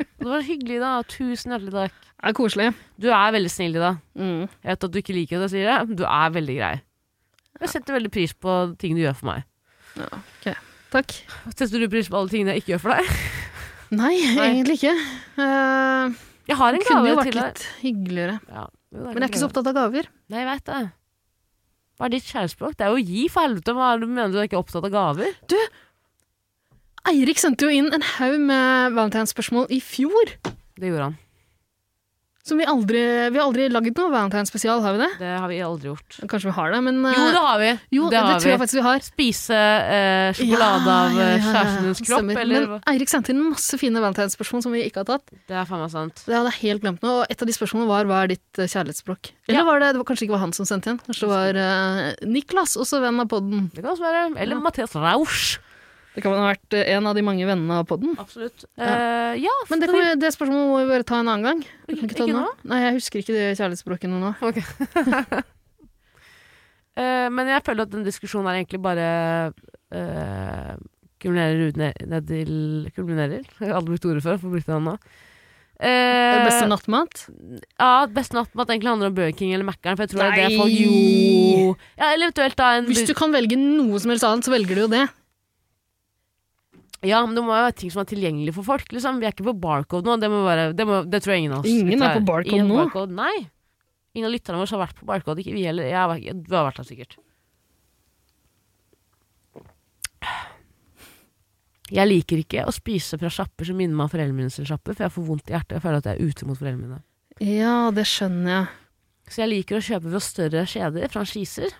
B: Det var hyggelig, da. Tusen hjertelig takk.
C: Det er koselig.
B: Du er veldig snill i dag.
C: Mm.
B: Jeg vet at du ikke liker det, sier jeg. Du er veldig grei. Jeg setter veldig pris på ting du gjør for meg.
C: Takk.
B: Setter du pris på alle tingene jeg ikke gjør for deg?
C: Nei,
B: Nei.
C: egentlig ikke. Eh,
B: Jeg har en
C: det kunne jo
B: gave
C: vært
B: til deg.
C: litt hyggeligere.
B: Ja, jo, det
C: Men jeg er ikke
B: en gave.
C: så opptatt av gaver.
B: Nei, jeg vet det. Hva er ditt kjærespråk? Det er jo å gi, for helvete. Hva er det du mener du er ikke opptatt av gaver?
C: Eirik sendte jo inn en haug med valentinsspørsmål i fjor.
B: Det gjorde han.
C: Som vi aldri Vi har aldri laget noe valentinsspesial, har vi det?
B: Det har vi aldri gjort.
C: Kanskje vi har det, men eh,
B: Jo, det har vi.
C: jo,
B: det
C: det,
B: har
C: tror jeg
B: vi.
C: faktisk vi har.
B: Spise eh, sjokolade
C: Ja,
B: av
C: ja, ja,
B: eh,
C: ja, ja,
B: kjæresten
C: det
B: dins kropp,
C: stemmer.
B: eller hva?
C: Men Eirik sendte inn masse fine valentinsspørsmål som vi ikke har tatt.
B: Det er faen meg sant.
C: Det hadde jeg helt glemt nå. Og et av de spørsmålene var hva er ditt eh, kjærlighetsspråk? Eller
B: Ja.
C: var det, det var kanskje ikke var han som sendte inn, kanskje det var eh, Niklas, også venn av podden.
B: Det kan også være. Eller Mathias Rausch.
C: Det kan ha vært eh, en av de mange vennene av podden.
B: Absolutt. Eh, ja,
C: Men det, kan vi, det spørsmålet må vi bare ta en annen gang. Vi kan ikke ta det
B: Ikke
C: nå? Nei, jeg husker ikke det kjærlighetsspråket nå.
B: Eh, men jeg føler at den diskusjonen er egentlig bare eh, kulminerer ut ned, ned til Kulminerer? Jeg har aldri brukt ordet før, får bruke det nå.
C: Det
B: Eh,
C: er beste nattmat.
B: ja, beste nattmat egentlig handler om Burger King eller Mækkern, for jeg tror det er det folk
C: Nei.
B: Jo! Ja, eller eventuelt da en
C: Hvis du kan velge noe som helst annet, så velger du jo det.
B: Ja, men det må jo være ting som er tilgjengelig for folk, liksom. Vi er ikke på barcode nå, det, må være, det, må, det tror jeg ingen av oss
C: Ingen er på
B: Ingen
C: barcode
B: er på
C: nå.
B: barcode, Nei. Ingen av lytterne våre har vært på barcode, ikke vi heller. Jeg har, vært- du har vært der sikkert. Jeg liker ikke å spise fra sjapper som minner meg om foreldrene mine sine sjapper, for jeg får vondt i hjertet. Jeg føler at jeg er ute mot foreldrene mine.
C: Ja, det skjønner jeg.
B: Så jeg liker å kjøpe fra større kjeder, franchiser.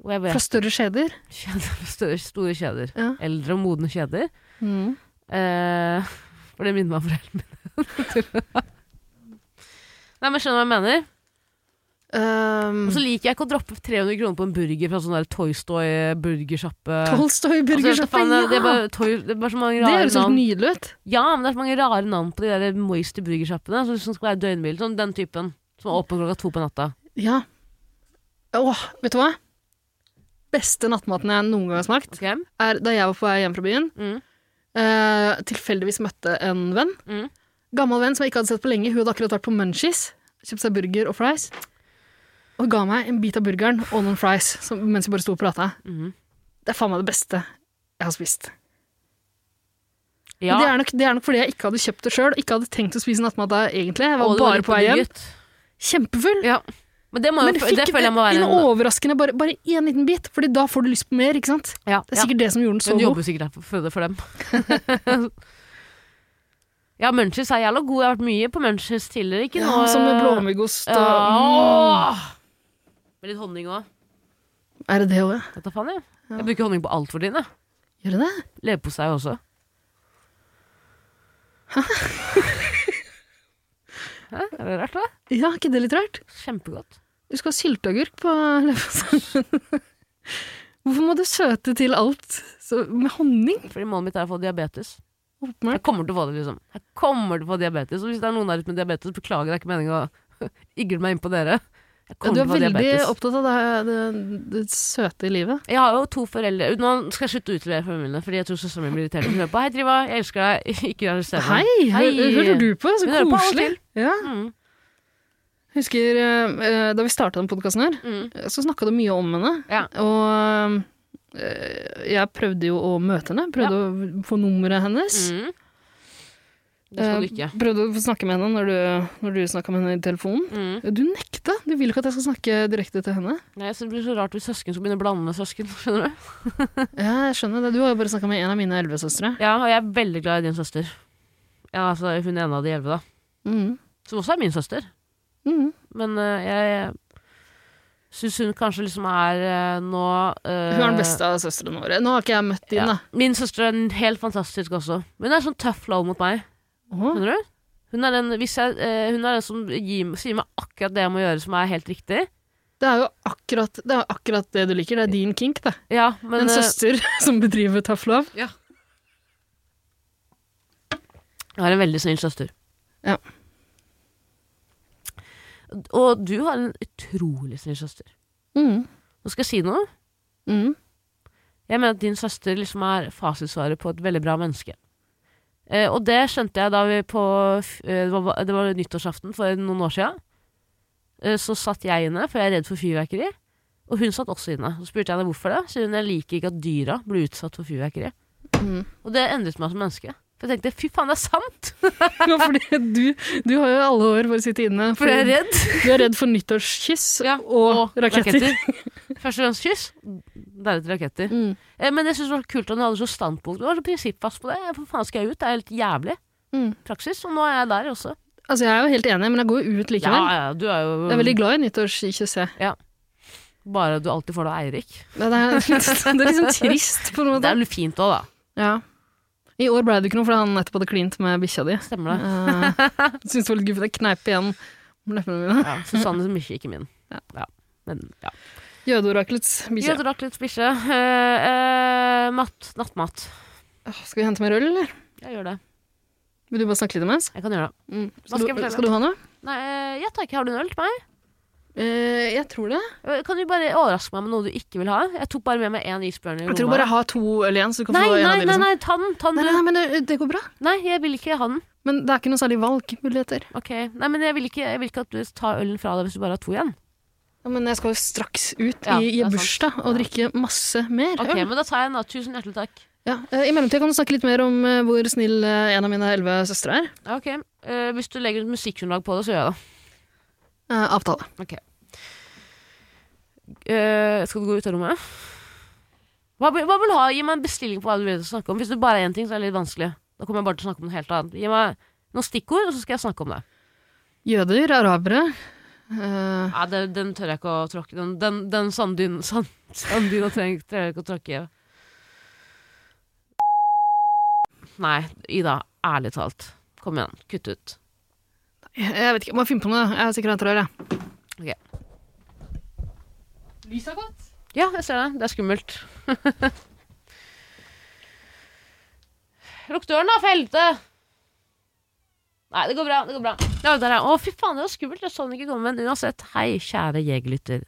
B: Og jeg
C: Fra
B: vet
C: større skjeder.
B: kjeder, fra større, store kjeder.
C: Ja.
B: Eldre og modne kjeder.
C: Mm.
B: Eh, for det minner meg om foreldrene mine. Nei, men skjønner du hva jeg mener?
C: Um,
B: Og så liker jeg ikke å droppe 300 kroner på en burger fra sånn der Toy Stoy burgersjappe.
C: eh, Tolstoy burgersjappe,
B: det, det, er
C: ja!
B: bare Toy, det er bare så mange
C: Det liksom
B: rare
C: høres helt
B: navn.
C: nydelig ut.
B: Ja, men det er så mange rare navn på de der moisty burgersjappene som som skal være døgnhvile. Sånn den typen. Som er åpen klokka to på natta.
C: Ja. Åh, vet du hva? Beste nattmaten jeg noen gang har smakt,
B: Ok?
C: er da jeg var på vei hjem fra byen.
B: Mm.
C: eh, tilfeldigvis møtte en venn.
B: Mm.
C: Gammel venn som jeg ikke hadde sett på lenge. Hun hadde akkurat vært på Munchies. Kjøpt seg burger og fries. Og ga meg en bit av burgeren og noen fries som, mens vi bare sto og prata.
B: Mhm.
C: Det er faen meg det beste jeg har spist.
B: Ja,
C: Men Det, er nok, det er nok fordi jeg ikke hadde kjøpt det sjøl, ikke hadde tenkt å spise nattmat da, egentlig. Jeg var
B: og det
C: bare
B: litt
C: på vei hjem.
B: bedugget.
C: Kjempefull.
B: Ja. Men det, må jo,
C: Men fikk
B: det føler jeg må være
C: en overraskende bare, bare en liten bit, Fordi da får du lyst på mer, ikke sant?
B: ja,
C: Det er
B: ja.
C: sikkert det som gjorde den så
B: Hun
C: god.
B: jobber sikkert her for, for, for dem. ja, Munchies er jævla god. Jeg har vært mye på Munchies tidligere. Ikke
C: Ja,
B: nå eh,
C: som med blåmuggost og
B: Ja. Med litt honning òg.
C: Mm. Er det det òg, ja?
B: Vet da faen, jeg. Jeg bruker honning på alt for tiden, jeg.
C: Gjør det det?
B: Leverpostei også. Hæ? Er det rart, da?
C: Ja, ikke det litt rart?
B: Kjempegodt.
C: Du skal ha sylteagurk på leverposteien. Hvorfor må du søte til alt så, med honning?
B: Fordi målet mitt er å få diabetes. Jeg
C: Åpenbart.
B: kommer til å få det, liksom. Jeg kommer til å få diabetes. Og hvis det er noen der ute med diabetes, beklager, det er ikke meningen å igle meg inn på dere. Jeg
C: Du
B: kommer til
C: er
B: å få
C: veldig
B: diabetes.
C: opptatt av det, det, det søte i livet.
B: Jeg har jo to foreldre Nå skal jeg slutte å utlevere foreldrene mine, fordi jeg tror søsteren min blir irritert. Hun hører på 'Hei, Triva, jeg elsker deg'. Ikke arrester
C: Hei,
B: meg.
C: hø- hører du på? Så
B: Vi hører på av og
C: koselig. Ja.
B: Mm,
C: Jeg husker eh, da vi starta den podkasten her, eh,
B: mm.
C: så snakka du mye om henne.
B: Ja.
C: Og eh, jeg prøvde jo å møte henne. Prøvde å få nummeret hennes.
B: Mm. Det skal du
C: Eh,
B: ikke.
C: Prøvde å få snakke med henne når du, når du snakka med henne i telefonen.
B: Mm.
C: Du nekta. Du vil ikke at jeg skal snakke direkte til henne.
B: Nei, så Det blir så rart hvis søsken skal begynne å blande med søsken. skjønner Du
C: Ja, jeg skjønner det. Du har jo bare snakka med en av mine elleve søstre.
B: Ja, Og jeg er veldig glad i din søster. Ja, altså Hun er en av de elleve, da.
C: Mm.
B: Som også er min søster.
C: Mm.
B: Men eh, jeg syns hun kanskje liksom er eh, nå eh,
C: Hun er den beste av søstrene våre. Nå har ikke jeg møtt din,
B: Ja.
C: da.
B: Min søster er helt fantastisk også. Hun er sånn tough love mot meg.
C: Åh.
B: Skjønner du? Hun er den, hvis jeg, eh, hun er den som gir, sier meg akkurat det jeg må gjøre, som er helt riktig.
C: Det er jo akkurat det, er akkurat det du liker. Det er din kink, det.
B: Ja, men,
C: En
B: eh,
C: søster som bedriver tough love.
B: jeg har en veldig snill søster.
C: Ja.
B: Og du har en utrolig snill søster.
C: Mm.
B: Nå skal jeg si noe.
C: Mm.
B: Jeg mener at din søster liksom er fasitsvaret på et veldig bra menneske. Eh, og det skjønte jeg da vi på f- eh, det, var, det var nyttårsaften for noen år siden. Eh, så satt jeg inne, for jeg er redd for fyrverkeri. Og hun satt også inne. Så spurte jeg henne hvorfor det. Så hun jeg liker ikke at dyra blir utsatt for fyrverkeri.
C: Mm.
B: Og det endret meg som menneske. For jeg tenkte fy faen, det er sant!
C: Ja, fordi du, du har jo i alle år for å sitte inne.
B: For jeg er redd.
C: Du er redd for nyttårskyss
B: Ja,
C: og, raketter.
B: Først og fremst kyss, deretter raketter.
C: Mm.
B: Eh, Men jeg synes det var kult at hun hadde så standpunkt. Du var så prinsippfast på det. Hvor faen skal jeg ut? Det er helt jævlig.
C: Mm.
B: Praksis. Og nå er jeg der også.
C: Altså, jeg er jo helt enig, men jeg går jo ut
B: Ja,
C: likevel.
B: ja, du er jo
C: Jeg er veldig glad i nyttårskyss. jeg.
B: Bare du alltid får det av Eirik.
C: Det er, det er liksom trist, på en
B: Det
C: måte.
B: er jo fint òg, da.
C: Ja. I år ble det ikke noe fordi han nettopp hadde klint med bikkja di.
B: Stemmer det.
C: Uh, Syns det var litt guffent. Jeg kneip igjen om leppene mine.
B: Ja, Susanne som ikke, ikke min.
C: Ja.
B: Ja. Men ja.
C: Jødeorakelets bikkje.
B: Gjør drakk litt bikkje. Eh, eh, matt. Nattmat.
C: Åh, Skal vi hente mer øl, eller?
B: Jeg gjør det.
C: Vil du bare snakke litt imens?
B: Jeg kan gjøre det.
C: Mm.
B: Hva
C: Skal,
B: skal jeg
C: du,
B: fortelle?
C: skal du ha noe?
B: Nei, eh, ja takk. Har du en øl til meg?
C: Eh, jeg tror det.
B: Eh, Kan du bare overraske meg med noe du ikke vil ha? Jeg tok bare med meg én isbjørn i
C: Jeg
B: rommet.
C: tror bare jeg har to øl igjen, så du kan
B: nei,
C: få en
B: nei,
C: av de.
B: nei,
C: Liksom.
B: nei, ta den. Ta den.
C: Nei,
B: du.
C: nei, nei, men det, det går bra.
B: Nei, jeg vil ikke ha den.
C: Men det er ikke noe særlig valgmuligheter.
B: Ok, Nei, men jeg vil ikke, jeg vil ikke at du tar ølen fra deg hvis du bare har to igjen.
C: Ja, men jeg skal jo straks ut
B: Ja, det
C: i, i
B: er sant.
C: bursdag og drikke masse mer
B: Ok,
C: øl.
B: men Da tar jeg en, da. Tusen hjertelig takk.
C: Ja. eh, I mellomtida kan du snakke litt mer om eh, hvor snill eh, en av mine elleve søstre er.
B: Ja, Ok, Eh, Hvis du legger et musikkunderlag på det, så gjør jeg det.
C: Eh, avtale.
B: Eh, skal du gå ut av rommet? Hva, vil- hva vil du ha? Gi meg en bestilling på hva du vil snakke om. Hvis det bare er én ting, så er det litt vanskelig. Da kommer jeg bare til å snakke om noe helt annet. Gi meg noen stikkord, og så skal jeg snakke om det.
C: Jøder, arabere eh,
B: Nei, det den tør jeg ikke å tråkke. Den, den, den sanddyna sand, sanddyna treng- tør jeg ikke å tråkke i. Nei, Ida. Ærlig talt. Kom igjen. Kutt ut.
C: Jeg vet ikke, må finne på noe. Jeg er sikkert etter øl, jeg.
B: Ok.
C: Lyset er godt.
B: Ja, jeg ser det. Det er skummelt. Lukk døren, da, for helvete! Nei, det går bra. det går bra. Ja, der er. Å, fy faen, det var skummelt. Jeg så den ikke komme. Men uansett, hei, kjære jegerlytter.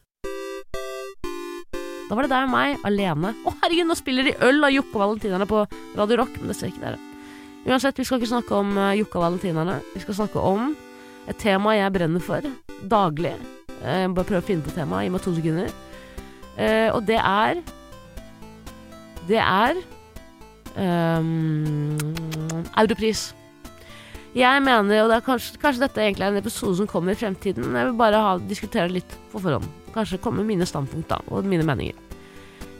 B: Da var det deg og meg, alene. Å, herregud, nå spiller de øl av Jokke og Valentinerne på Radio Rock, men det ser ikke dere. Uansett, vi skal ikke snakke om eh, Jokke og Valentinerne. Vi skal snakke om et tema jeg brenner for daglig. Eh, Jeg må bare prøve å finne på temaet. Gi meg to sekunder. Eh, og det er Det er ehm, Europris. Jeg mener, og det er kanskje, kanskje dette egentlig er en episode som kommer i fremtiden, men jeg vil bare ha, diskutere det litt på forhånd. Kanskje komme med mine standpunkt da, og mine meninger.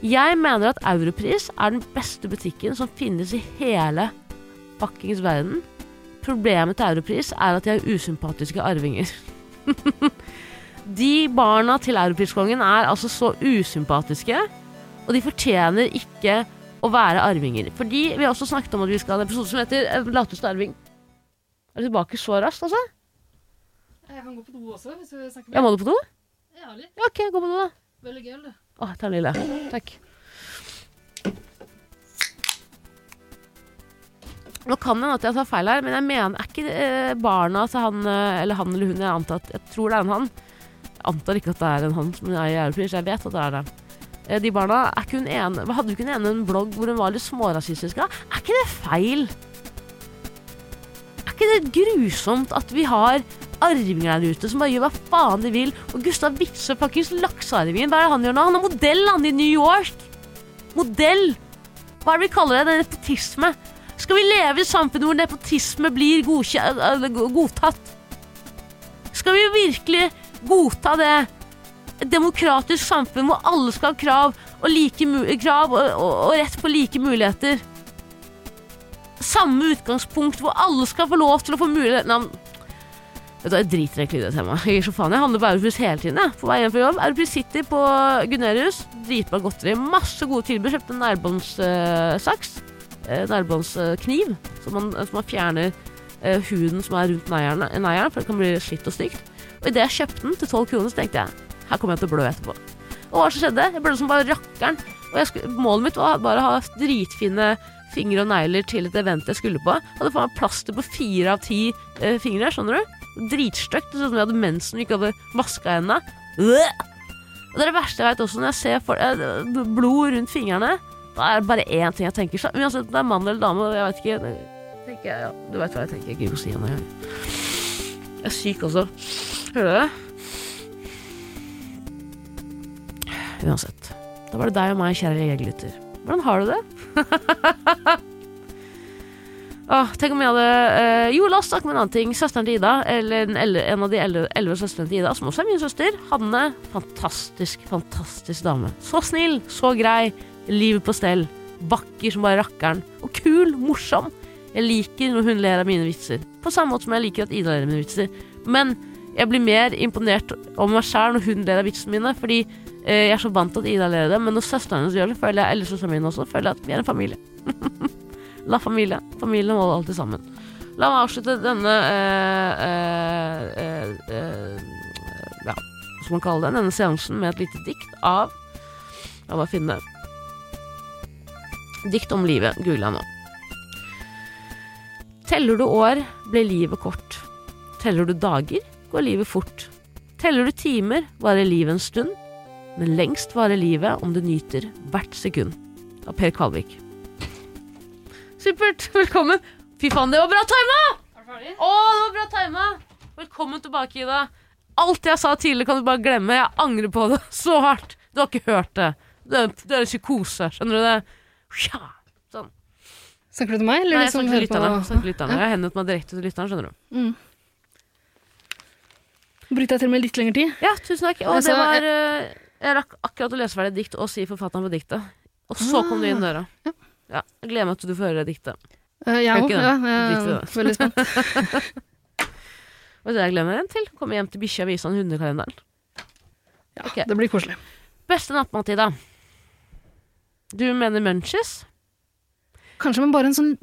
B: Jeg mener at Europris er den beste butikken som finnes i hele fuckings verden. Problemet til Europris er at de har usympatiske arvinger. De barna til europriskongen er altså så usympatiske, og de fortjener ikke å være arvinger. Fordi vi har også snakket om at vi skal ha en episode som heter eh, 'Lateste arving'. Er du tilbake så raskt, altså?
C: Jeg kan gå på do også, hvis du snakker
B: Ja, må du på do?
C: Ja, litt.
B: Ja, OK, gå på do, da.
C: Veldig gøy, det.
B: Å, ta en lille. Takk. Nå kan det hende at jeg tar feil her, men jeg mener er ikke eh, barna til han eh, eller han eller hun jeg antar at Jeg tror det er en han. Jeg antar ikke at det er en han, men jeg er europris. Jeg vet at det er det. Eh, De barna er ikke hun ene, Hadde hun ikke hun ene en blogg hvor hun var litt smårasistisk? da? Er ikke det feil? Er ikke det grusomt at vi har arvinger der ute som bare gjør hva faen de vil. Og Gustav Witzøe, fuckings laksearvingen, hva er det han gjør nå? Han er modell, han, i New York. Modell. Hva er det vi kaller det? Nepotisme. Skal vi leve i et samfunn hvor nepotisme blir godkje- øh, øh, godtatt? Skal vi virkelig godta det? Et demokratisk samfunn hvor alle skal ha krav og, like mu krav og, og, og rett på like muligheter. Samme utgangspunkt hvor alle skal få lov til å få mulighet Nei, Vet du, hva, Jeg driter egentlig i det temaet. Jeg gir så faen. Jeg handler på Europris hele tiden. Jeg. På vei hjem fra jobb. Europris City på Gunerius. Dritbra godteri. Masse gode tilbud. Kjøpte en nærbåndssaks. Eh, Nærbåndskniv. Som man, som man fjerner eh, huden som er rundt neieren, neieren, for det kan bli slitt og stygt. Og idet jeg kjøpte den til tolv kroner, så tenkte jeg her kommer jeg til å blø etterpå. Og hva som skjedde? Jeg blødde som bare rakkeren. Og jeg skulle, målet mitt var bare å ha dritfine fingre og negler til et event jeg skulle på. Hadde faen meg plaster på fire av ti eh, fingre, skjønner du? dritstygt. Det så ut som jeg hadde mensen og ikke hadde vaska hendene. Øh! Og det er det verste jeg veit også, når jeg ser for, eh, b- blod rundt fingrene. Da er det bare én ting jeg tenker. Så, uansett om det er mann eller dame, jeg vet ikke. det- Tenker jeg, ja. Du veit hva jeg tenker. Jeg gidder ikke å si det når jeg- Jeg er syk også. Hører du det? Uansett. Da var det deg og meg, kjære jegerlytter. Hvordan har du det? Åh, tenk om jeg hadde eh, Jo, la oss snakke om en annen ting. Søsteren til Ida, eller en, elle- en av de elleve elleve søstrene til Ida, som også er min søster, Hanne. Fantastisk, fantastisk dame. Så snill, så grei. Livet på stell. Vakker som bare rakkeren. Og kul, morsom. Jeg liker når hun ler av mine vitser. På samme måte som jeg liker at Ida ler av mine vitser. Men jeg blir mer imponert over meg sjæl når hun ler av vitsene mine, fordi eh, jeg er så vant til at Ida ler av det. Men når søsteren hennes gjør det, føler jeg, eller søsteren min også, føler jeg at vi er en familie. La familie. Familien holder alltid sammen. La meg avslutte denne eh, eh, eh, eh, Ja, hva skal man kalle det? Denne seansen med et lite dikt av La meg finne det. Dikt om livet. Googler jeg nå. Teller du år, blir livet kort. Teller du dager, går livet fort. Teller du timer, varer livet en stund. Men lengst varer livet om du nyter hvert sekund. Av Per Kvalvik. Supert. Velkommen. Fy faen, det var bra tima! Å, det var bra tima! Velkommen tilbake, Ida. Alt jeg sa tidligere, kan du bare glemme. Jeg angrer på det så hardt. Du har ikke hørt det. Du er, du er en psykose. Skjønner du det? Sja.
C: Snakker du til meg, eller
B: Nei,
C: de
B: jeg
C: som
B: snakker til lytterne.
C: hører sånn på?
B: Jeg snakker til lytterne. Jeg har henvendt meg direkte til lytterne, skjønner du.
C: Brukte jeg til og med litt lengre tid?
B: Ja, tusen takk. Og
C: Altså,
B: det var eh, Jeg rakk akkurat å lese ferdig et dikt og si forfatteren på diktet. Og så kom du inn døra.
C: Ah, Ja.
B: Ja, jeg gleder meg til du får høre det diktet.
C: Eh, jeg
B: Gjør
C: òg.
B: ikke det.
C: Ja,
B: Drit i
C: jeg
B: det.
C: er veldig spent.
B: Og det jeg gleder meg igjen til, komme hjem til bikkja og vise han hundekalenderen.
C: Ja,
B: Ok.
C: Det blir koselig.
B: Beste nattmat, Ida. Du mener munchies?
C: Kanskje med bare en sånn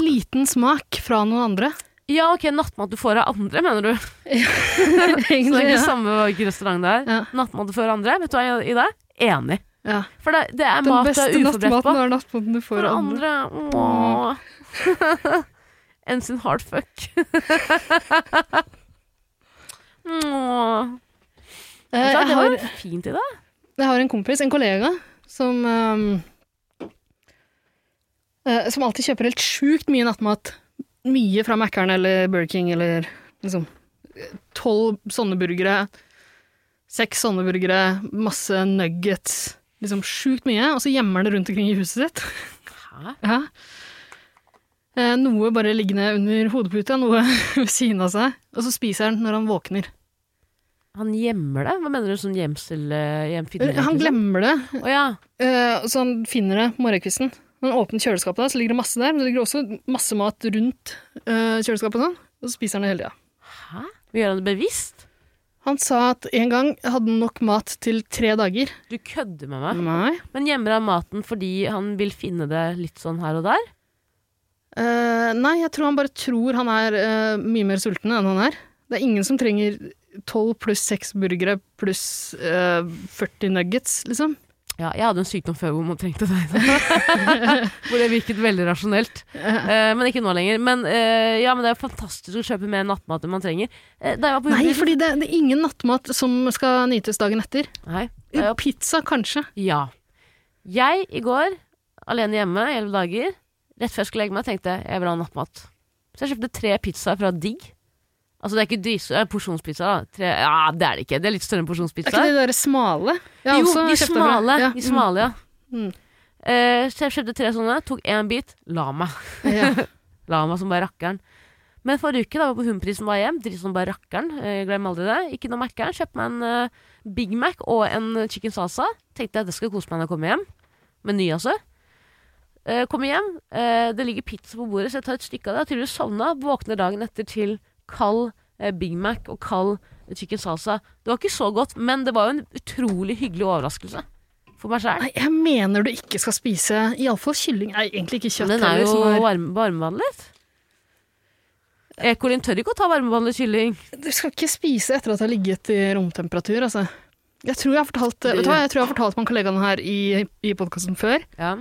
C: liten smak fra noen andre.
B: Ja, ok, nattmat du får av andre, mener du. Så det er
C: Egentlig,
B: ikke
C: ja.
B: samme hvilken restaurant det er.
C: Ja.
B: Nattmat du får av andre. Vet du hva, Ida? Enig.
C: Ja.
B: For det, det er
C: Den
B: mat du er
C: beste
B: uforberedt på.
C: nattmaten er nattmaten du får
B: For
C: av andre.
B: andre. Åh. Ends in hard fuck. Åh.
C: Eh,
B: Vet du hva,
C: Jeg
B: det
C: har,
B: var fint i det.
C: jeg har en kompis, en kollega, som ehm, eh, Som alltid kjøper helt sjukt mye nattmat. Mye fra Mækkern eller Burger King eller liksom Tolv sånne burgere. Seks sånne burgere, masse nuggets. Liksom sjukt mye. Og så gjemmer han det rundt omkring i huset sitt.
B: Hæ?
C: Ja. Eh, Noe bare liggende under hodeputa, noe ved siden av seg. Og så spiser han når han våkner.
B: Han gjemmer det? Hva mener du sånn gjemsel eh, hjemfinner?
C: Han glemmer det,
B: Å ja.
C: eh, så han finner det morgenkvisten. Når han åpner kjøleskapet, da, så ligger det masse der, men det ligger også masse mat rundt eh, kjøleskapet. og Sånn. Og så spiser han det hele tida.
B: Hæ? Gjør han det bevisst?
C: Han sa at en gang hadde han nok mat til tre dager.
B: Du kødder med meg.
C: Nei.
B: Men gjemmer han maten fordi han vil finne det litt sånn her og der?
C: Eh, nei, jeg tror han bare tror han er eh, mye mer sulten enn han er. Det er ingen som trenger 12 pluss 6 burgere pluss eh, 40 nuggets, liksom.
B: Ja, jeg hadde en sykdom før hvor man trengte det. hvor det virket veldig rasjonelt. Eh, men ikke nå lenger. Men, eh, ja, men det er fantastisk å kjøpe mer nattmat enn man trenger. Eh, da jeg var på
C: Nei,
B: julebord-
C: fordi det, det er ingen nattmat som skal nytes dagen etter.
B: Nei. Da jeg var
C: Pizza, kanskje.
B: Ja. Jeg i går, alene hjemme i elleve dager, rett før jeg skulle legge meg, tenkte jeg jeg vil ha nattmat. Så jeg kjøpte tre pizzaer fra Digg. Altså det er ikke dris, det er porsjonspizza, da. Tre, ja, det er det ikke. Det er litt større enn
C: Er ikke
B: porsjonspizza.
C: de der smale? Jeg har
B: Jo,
C: også
B: de
C: kjøpt det fra-
B: smale.
C: Ja,
B: De smale, ja.
C: Mm.
B: Eh, så jeg kjøpte tre sånne, tok én bit, la meg.
C: mm, ja.
B: La meg som bare rakkeren. Men forrige uke da var jeg på Humprisen var hjem, dritt som bare rakkeren. eh, Glem aldri det. Ikke noe Mac-eren. Kjøpte meg en eh, Big Mac og en eh, chicken salsa. Tenkte jeg det skal kose meg når jeg kommer hjem. Meny, altså. Eh, kommer hjem, eh, det ligger pizza på bordet, så jeg tar et stykke av det. Jeg har tydeligvis sovna. Våkner dagen etter til kald eh, Big Mac og kald eh, chicken salsa. Det var ikke så godt, men det var jo en utrolig hyggelig overraskelse for meg sjæl.
C: Nei, jeg mener du ikke skal spise iallfall kylling. Nei, egentlig ikke kjøtt.
B: Den er
C: heller,
B: jo
C: som
B: varme, varmebehandlet. Ekolin tør ikke å ta varmebehandlet kylling.
C: Du skal ikke spise etter at det har ligget i romtemperatur, altså. Jeg tror jeg har fortalt,
B: Det-
C: vet du hva, jeg tror jeg har fortalt om kollegaen her i, i podkasten før.
B: Ja.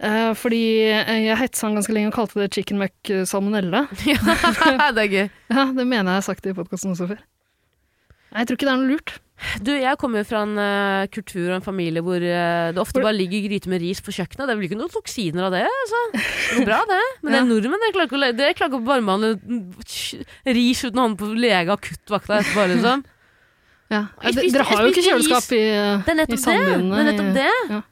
C: Eh, fordi jeg hetsa han ganske lenge og kalte det chicken muck salmonella.
B: det er gøy.
C: Ja, det mener jeg har sagt i podkasten også før. Nei, jeg tror ikke det er noe lurt.
B: Du, jeg kommer jo fra en eh, kultur og en familie hvor eh, det ofte
C: Hvor-
B: bare ligger gryte med ris på kjøkkenet. Det er vel ikke noen toksiner av det, altså. Det går bra, det. Men det
C: Ja.
B: er nordmenn. Dere klarer ikke å le- dere klarer ikke å varmebehandle ris uten å havne på lege- og akuttvakta etterpå, liksom.
C: Ja.
B: Jeg
C: d-
B: spiste-
C: Dere har jo
B: jeg
C: ikke
B: spiste is.
C: kjøleskap i, eh,
B: Det er
C: i
B: nettopp det.
C: sandbynene.
B: det, er nettopp det.
C: ja.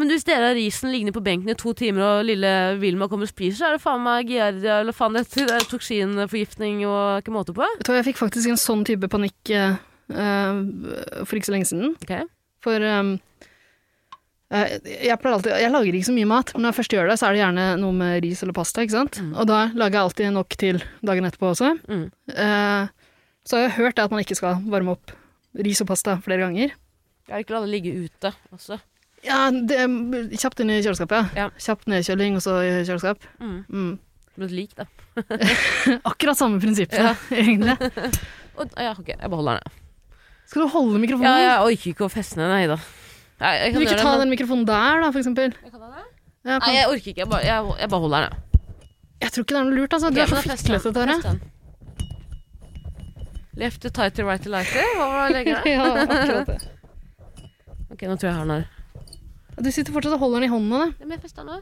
B: Men du, hvis dere har risen liggende på benken i to timer, og lille Vilma kommer og spiser, så er det faen meg giardia eller faen det heter, det er toksinforgiftning og ikke måte på.
C: Vet du hva, jeg fikk faktisk en sånn type panikk eh, eh, for ikke så lenge siden.
B: Ok.
C: For um, eh, jeg, pleier alltid, jeg lager ikke så mye mat, men når jeg først gjør det, så er det gjerne noe med ris eller pasta. ikke sant? Og da lager jeg alltid nok til dagen etterpå også.
B: Mm.
C: Eh, så har jeg hørt at man ikke skal varme opp ris og pasta flere ganger.
B: Jeg liker å la det ligge ute også.
C: Ja, det, ehm, Kjapt inn i kjøleskapet, ja.
B: Ja.
C: Kjapt nedkjøling, og så i kjøleskap.
B: Mm.
C: Mm.
B: Som et lik, da.
C: Akkurat samme prinsipp,
B: Ja.
C: egentlig.
B: Og, ja, ok, jeg beholder den.
C: Skal du holde mikrofonen?
B: Ja, jeg orker ikke å feste den, nei da. Nei, jeg kan
C: Kan du ikke
B: gjøre
C: ta
B: det,
C: den mikrofonen der, da, for eksempel?
B: men- Jeg kan ha den.
C: Ja,
B: Nei,
C: kan.
B: jeg orker ikke. Jeg bare, jeg, jeg bare holder den. jeg.
C: Jeg tror ikke det er noe lurt, altså. Du
B: Ok,
C: er så
B: men da fester jeg
C: fiklete,
B: den.
C: Tare.
B: Fester jeg den. Left to tighter, right to lighter. Hva var legger jeg?
C: Ja, akkurat det.
B: Ok, nå tror jeg jeg har den her.
C: Du sitter fortsatt og holder den i hånda, da.
B: Ja, men jeg fester den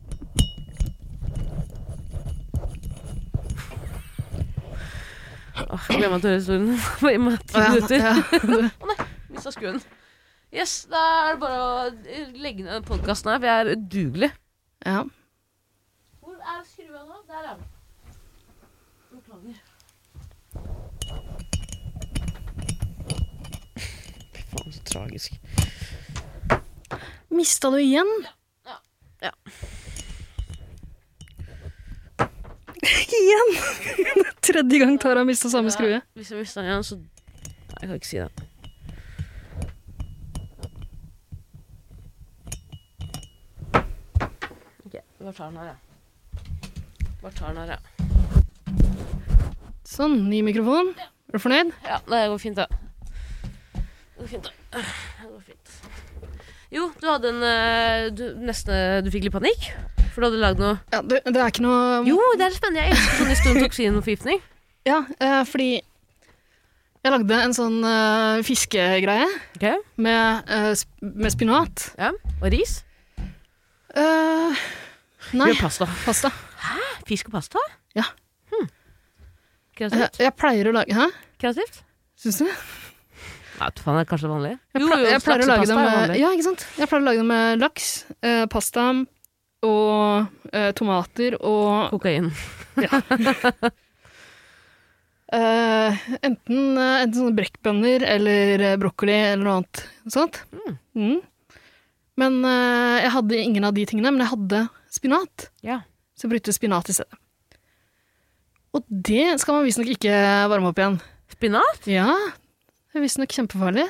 B: nå. Åh, jeg glemmer at du hører historien på i meg ti minutter.
C: ja.
B: Mista skruen. Yes, da er det bare å legge ned podkasten her, for jeg er udugelig.
C: Ja.
B: Hvor er skrua nå? Der er den. Beklager. Fy faen, så tragisk.
C: Mista du igjen?
B: Ja. Ja.
C: Ikke igjen! Tredje gang Tara mista samme skrue.
B: Hvis jeg mister den igjen, så Nei, jeg kan ikke si det. Ok, bare tar den her, jeg. Bare tar den her, jeg.
C: Sånn, ny mikrofon. Er du fornøyd?
B: Ja, det går fint, det. Det går fint, det. Det går fint. Jo, du hadde en eh, du, Nesten du fikk litt panikk? For du hadde lagd noe
C: Ja, det, det er ikke noe
B: Jo, det er spennende. Jeg elsker sånn historie om toksinforgiftning.
C: Ja, eh, fordi jeg lagde en sånn eh, fiskegreie
B: Okay.
C: med, eh, sp- med spinat.
B: Ja. Og ris.
C: Eh, nei,
B: Gjør pasta.
C: pasta.
B: Fisk og pasta?
C: Ja.
B: Hmm.
C: Eh,
B: Kreativt.
C: jeg pleier å lage Hæ,
B: Kreativt?
C: syns du?
B: Nei, vet du faen, det er kanskje vanlig.
C: Jeg, ple- jeg pleier å lage det
B: slaksepasta er
C: med
B: vanlig.
C: Ja, ikke sant? Jeg pleier å lage det med laks, eh, pasta og eh, tomater og
B: Kokain.
C: eh, enten, eh, enten sånne brekkbønner eller eh, brokkoli eller noe annet sånt. Mm. Men eh, jeg hadde ingen av de tingene, men jeg hadde spinat.
B: Ja.
C: Så jeg brukte spinat i stedet. Og det skal man visstnok ikke varme opp igjen.
B: Spinat?
C: Ja, det er visstnok kjempefarlig.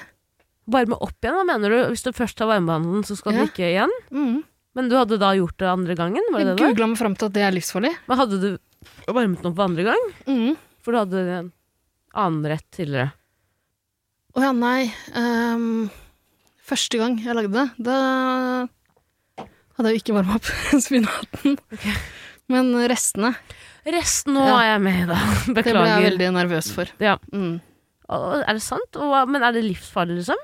B: Varme opp igjen, hva mener du? Hvis du først har varmebehandlet, så skal
C: Ja.
B: du ikke igjen?
C: Mm.
B: Men du hadde da gjort det andre gangen? Var det det
C: Jeg
B: det?
C: googla meg fram til at det er livsfarlig.
B: Men hadde du varmet den opp andre gang?
C: Mm.
B: For du hadde en annen rett tidligere.
C: Å ja, nei. Ehm, første gang jeg lagde det, da hadde jeg jo ikke varma opp spinaten. Men restene,
B: Resten nå
C: Ja.
B: er jeg med, da.
C: det ble jeg
B: Beklager.
C: veldig nervøs for.
B: Ja.
C: Mm.
B: Å, Er det sant? Og- Men er det livsfarlig, liksom?